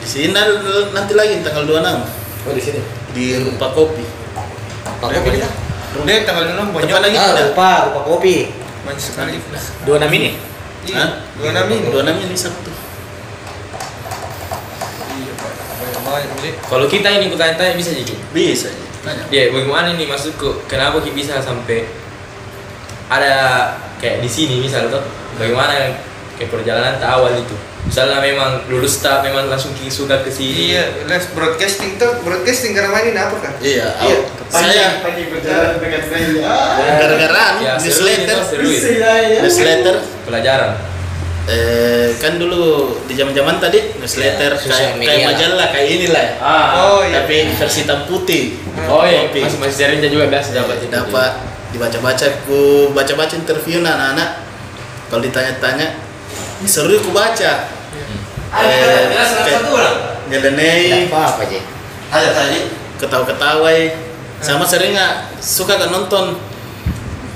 Di sini nanti- nanti lagi tanggal 26
Oh di sini.
di Rupa Kopi.
Rupa kopi kita.
ini. Dia tanggal 6 banyak
Tempat lagi
Ah
ada.
rupa rupa kopi.
banyak sekali. Iya,
Dua enam ini.
Hah?
Dua enam ini.
26 ini Sabtu.
Banyak banyak beli.
Kalau kita ini aku tanya-tanya bisa jadi.
Bisa. Tanya.
Ya, bagaimana ini maksudku? Kenapa kita bisa sampai ada kayak di sini misal tuh? Bagaimana kayak perjalanan tak awal itu? Misalnya memang lulus tak memang langsung ki suka ke sini.
Iya, les broadcasting tuh broadcasting karena mainin apa kan?
Iya,
Iya.
aw- saya
pagi berjalan dekat saya.
Ah,
Iya.
gara-garaan
Ya, seru ini
newsletter,
tuh, seru ini.
iya,
newsletter
Pelajaran.
eh, kan dulu di zaman-zaman tadi newsletter
Ya, sosial
kayak,
media
kayak
lah.
majalah kayak inilah ya.
Ah.
Oh iya.
Tapi versi hitam putih.
Oh iya,
Kopi.
masih masih jaringan juga biasa dapat
dapat
itu.
dapat dibaca-baca ku baca-baca interview anak-anak kalau ditanya-tanya "Ini seru ku baca eh, kayak nyeleneh
Apa apa aja.
ada Hmm. tadi ketawa-ketawai sama sering nggak suka kan nonton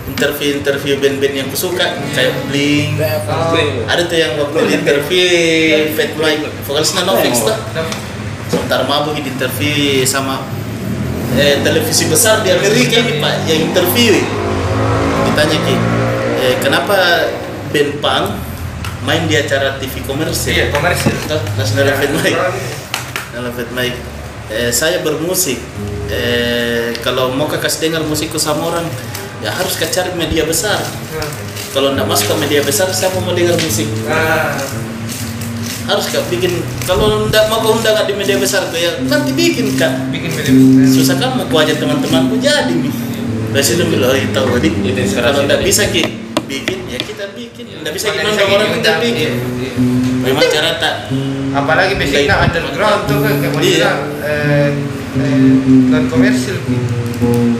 interview-interview band-band yang ku suka kayak Blink
Iya.
ada tuh yang waktu di interview Fat Boy vokalisnya
Oh.
Novix tuh sebentar mabuk di interview sama eh, televisi besar di Amerika
Iya.
ini pak yang interview ditanya ki eh, kenapa band punk main di acara TV komersil
Iya, komersil.
Tuh, National Fat Boy National Fat Boy eh, saya bermusik eh, kalau mau kakak dengar musikku sama orang ya harus kau cari media besar kalau nggak masuk ke media besar siapa mau dengar musik
Nah,
harus kak bikin kalau ndak mau kau undangan di media besar tuh ya kan dibikin kak
bikin video.
susah kan mau ku ajak teman-temanku jadi nih dari situ bilang oh itu tadi
Itu inspirasi
kalau ndak
tadi.
bisa ki bikin ya kita bikin ndak bisa kita undang orang kita bikin memang cara tak
Apalagi basicnya underground tuh kan kayak mau
Iya.
bilang eh eh, non komersil gitu.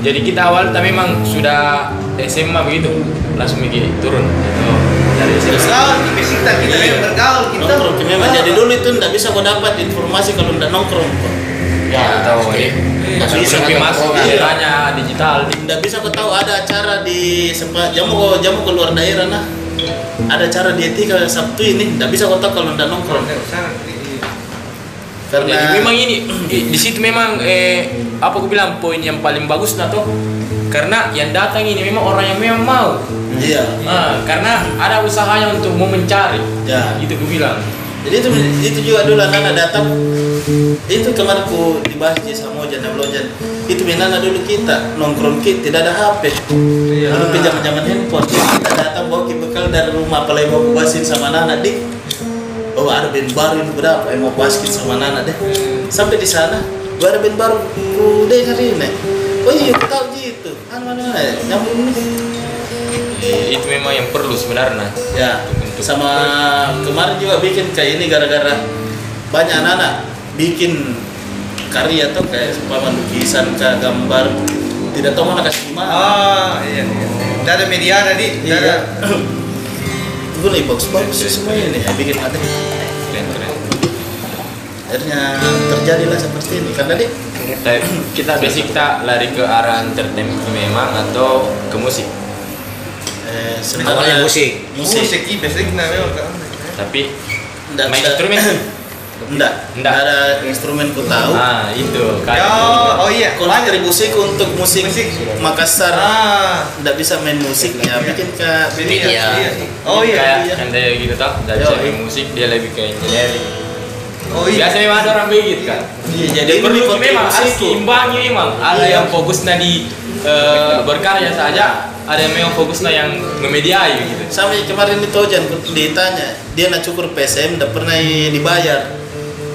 Jadi kita awal tapi memang sudah SMA begitu langsung mikir turun itu dari SMA.
Bergaul, di Besita kita
Iya.
memang bergaul kita. Ah,
nongkrong memang jadi dulu itu ndak bisa kau dapat informasi kalau ndak nongkrong kok
Ah,
Ya, tahu ini.
Langsung
Langsung
masuk
masuk Iya.
ke
tanya digital.
Iya. ndak bisa kau tahu ada acara di sempat jamu jamu keluar daerah nah ada acara dietika Sabtu ini ndak bisa kau tahu kalau ndak nongkrong
Jadi
karena
memang ini di- di situ memang eh apa aku bilang poin yang paling bagus nato karena yang datang ini memang orang yang memang mau
iya
Ah, karena ada usahanya untuk mau mencari
Ya.
itu aku bilang
Jadi itu itu juga dulu Nana datang. Itu kemarin ku dibahas di sama Ojan dan Blojan. Itu Nana dulu kita nongkrong kita tidak ada HP. Dulu pinjam pinjaman handphone. Jadi Kita datang bawa ki bekal dari rumah apalagi mau kubasin sama Nana dik. Oh ada band baru ini berapa? Eh, mau basket sama Nana deh. Sampai di sana, gua ada band baru. Ku dengerin nih. Oh iya, ku tahu gitu. Anu anu, anu, nyambung nih.
Jadi, itu memang yang perlu sebenarnya
ya sama kemarin juga bikin kayak ini gara-gara banyak anak-anak bikin karya tuh kayak seumpama lukisan kayak gambar tidak tahu mana kasih gimana
ah iya iya tidak ada media tadi
Iya.
tidak ada
gue nih bagus bagus sih semuanya nih bikin materi
keren keren
akhirnya terjadilah seperti ini karena dia
Tapi kita basic tak lari ke arah entertainment memang atau ke musik
eh,
Awalnya musik.
musik
musik i basic nah memang kan
tapi
Nggak-
main
nggak-
instrumen
enggak enggak ada instrumen ku tahu
ah itu kayak gitu.
oh oh iya
kontribusi ku untuk musik, Makassar
ah
enggak bisa main musik ya bikin ke
Media,
media
iya. oh
kayak
iya iya
kan dia gitu tau dari
Yo,
segi musik dia lebih ke engineering
oh iya
biasanya memang ada orang begitu kan
Iya, jadi
jadi
ini
perlu memang harus
kontribusi ku
diimbangi memang ada
Iya.
yang fokusnya di eh, berkarya saja ada yang memang fokusnya yang memediai gitu
Sampai kemarin itu Jan ditanya, dia nak cukur PSM dan pernah dibayar.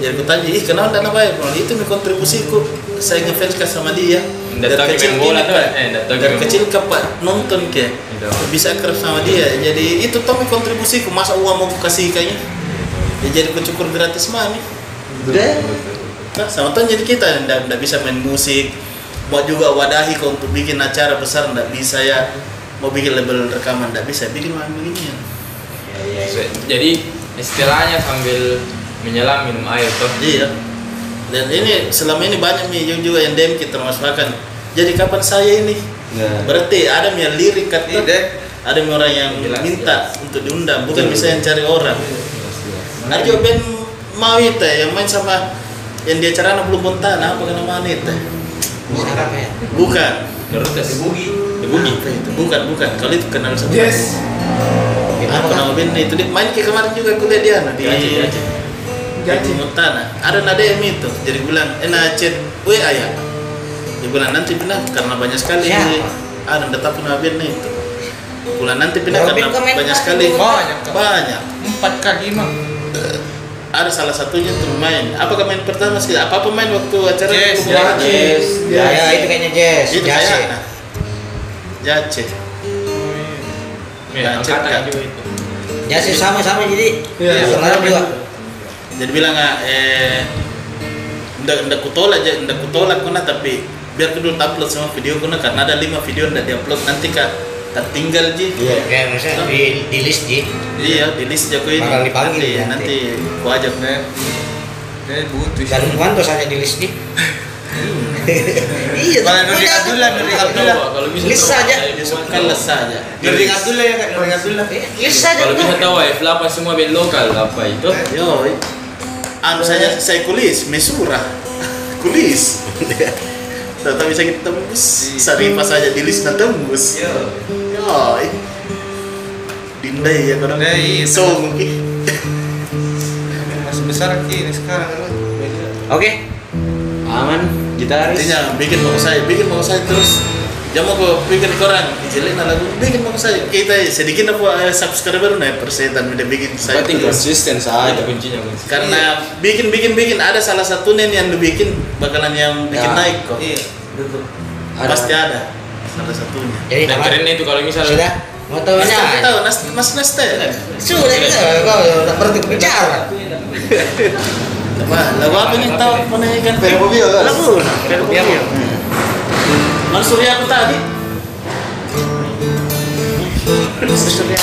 Jadi aku tanya, ih kenapa tidak bayar? Kalau itu nih kontribusiku, saya ngefans kan sama dia.
Nggak tahu main bola
gini,
tuh,
Pak.
eh, nggak tahu
kan. dari
main
kecil ke Pak nonton ke,
Gitu.
bisa kerja sama dia. Jadi itu tuh nih kontribusiku, masa uang mau aku kasih kayaknya. Ya, jadi aku cukur gratis mah nih. Deh. Nah, sama tuh jadi kita ndak ndak bisa main musik, buat juga wadahi kau untuk bikin acara besar ndak bisa ya mau bikin label rekaman ndak bisa bikin main beginian.
jadi istilahnya sambil menyelam minum air toh
Iya. Dan ini selama ini banyak nih yang juga yang DM kita masukkan. Jadi kapan saya ini? Berarti ada yang lirik kan?
Iya, deh.
Ada yang orang yang
Jelas,
minta untuk diundang, bukan bisa yang cari orang. Ada juga band mau itu ya, yang main sama yang dia acara anak belum bontan apa kan nama itu? Bukan,
Gerudes
bukan, bukan, bukan. Kalau itu kenal sama.
Yes.
Iya,
Aku
kan?
nama bandnya itu dia main ke kemarin juga aku lihat dia nah, di
Aceh, di
Aceh.
Aceh.
Di Timur Tanah. Ada nada yang itu. Jadi bulan eh nah chat WA ya. Di bulan nanti pindah karena banyak sekali
Siapa?
ini. Ada tetap nama bandnya itu. Bulan nanti pindah
Robin
karena
komen
banyak
lagi
sekali.
dulu.
Banyak, Kak.
Banyak. Eh,
empat kaki mah
Ada salah satunya tuh main. Apa main pertama sih? Apa pemain waktu acara
Yes,
Kubu Haji?
Yes.
Ya, ya, itu kayaknya jazz,
Itu
jazz.
saya.
ya.
nah. Jace.
ya,
Aceh,
angkatan
Kak.
juga itu
Jazz sih ya, sama-sama jadi.
Iya.
Sekarang juga.
jadi bilang ah, eh ndak ndak kutolak aja ndak kutolak kuna tapi biar kudu upload semua video kuna karena ada lima video ndak diupload nanti kak tertinggal ji
Iya, kayak misalnya di, di list Ji.
iya di list jago ini
Bakal dipanggil
nanti, nanti
nanti.
ku ajak nih
eh butuh
Dan Wanto saja di list Ji. Iya,
Malah
tapi
Nurdin
ada-
Abdullah, Nurdin Abdullah.
Coba, kalau bisa
List
tahu,
saja.
saya buat-
kan lesa aja
Nurdin Abdullah ya kan Nurdin Abdullah
Iya, List saja.
kalau bisa
tuh.
tahu ya apa semua band lokal apa itu
yo anu saya saya kulis mesura kulis Tata bisa kita tembus Sarifa saja di list nanti tembus
Yo.
Yoi. Dinda ya kadang
Dinda, iya.
So mungkin
masih besar Ki ini sekarang kan
Oke. Aman gitaris.
Intinya bikin mau saya, bikin mau saya terus Jangan mau bikin korang, izinin lagu bikin mau saya Kita sedikit apa eh, subscriber nah persetan udah bikin saya
Penting
terus
konsisten
Ah, itu
saja.
kuncinya kunci
Karena bikin bikin bikin ada salah satu nih yang dibikin bakalan yang bikin
Ya.
naik kok
iya
Ada.
Pasti ada salah satunya
Jadi,
dan
apa?
kerennya Nah, itu kalau misalnya
sudah mau tahu
Mas Teh
aja.
tahu, Nas- Mas Nasta ya kan?
Sudah kita kau tak berhenti bicara.
Wah, lagu apa nih tahu mana ya kan? Permobil kan? Lagu, permobil. Mas Surya aku tadi. Mas Surya.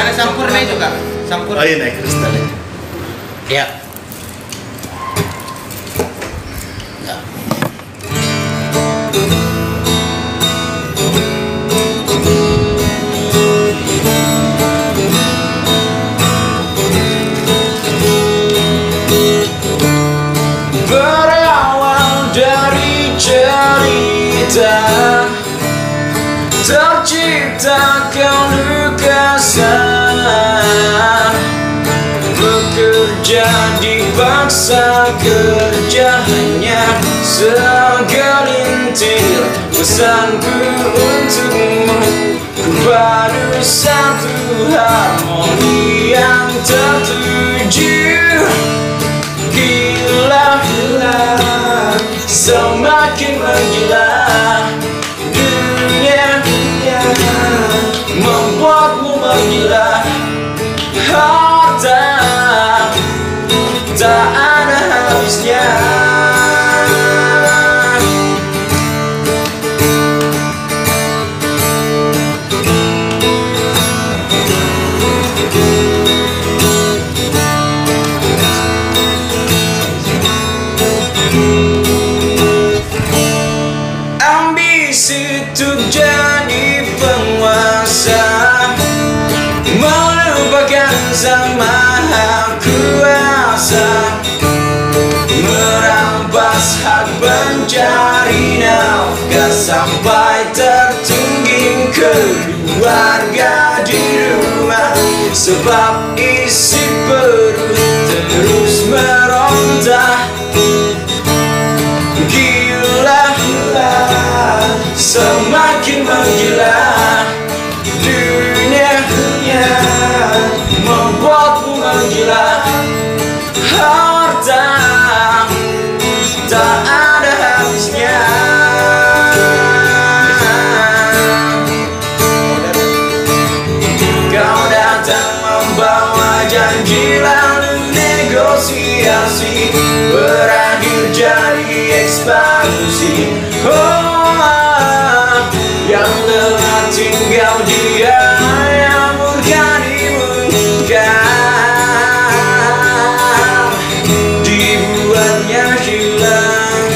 ada sampurna juga sampurna
Oh iya naik kristal ya.
Ya.
Berawal dari cerita Tercipta kau lukasan Bekerja dipaksa kerja hanya segelintir Pesanku untukmu Kupadu satu harmoni yang tertuju Gila, gila, semakin menggila dunia, dunia. tak ada habisnya Ambisi untuk jadi penguasa Melupakan sama kuasa Merampas hak pencari nafkah Sampai tertungging keluarga di rumah Sebab isi perut terus meronta Gila, semakin menggila Dunianya membuatku menggila Harta tak ada habisnya Kau datang membawa janji lalu negosiasi Berakhir jadi ekspansi Oh, ah, yang telah tinggal dia yang murka dimungkam Dibuatnya hilang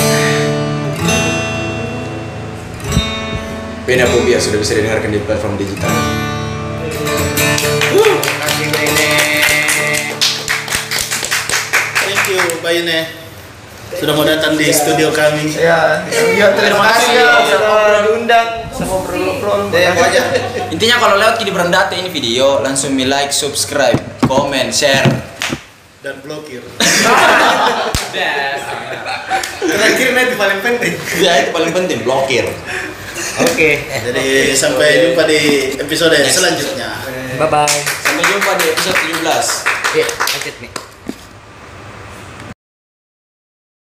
Beda Fobia sudah bisa didengarkan di platform digital
Thank you, Bayne. Sudah mau datang di studio kami.
Ya, ya terima kasih ya sudah diundang. Ngobrol-ngobrol.
Ya, aja.
Intinya kalau lewat kini berendate ini video langsung di like, subscribe, komen, share.
Dan blokir. Terakhir nanti paling penting.
Ya itu paling penting blokir.
Oke. Jadi sampai jumpa di episode selanjutnya.
Bye bye.
Sampai jumpa di episode 17.
Iya, lanjut nih.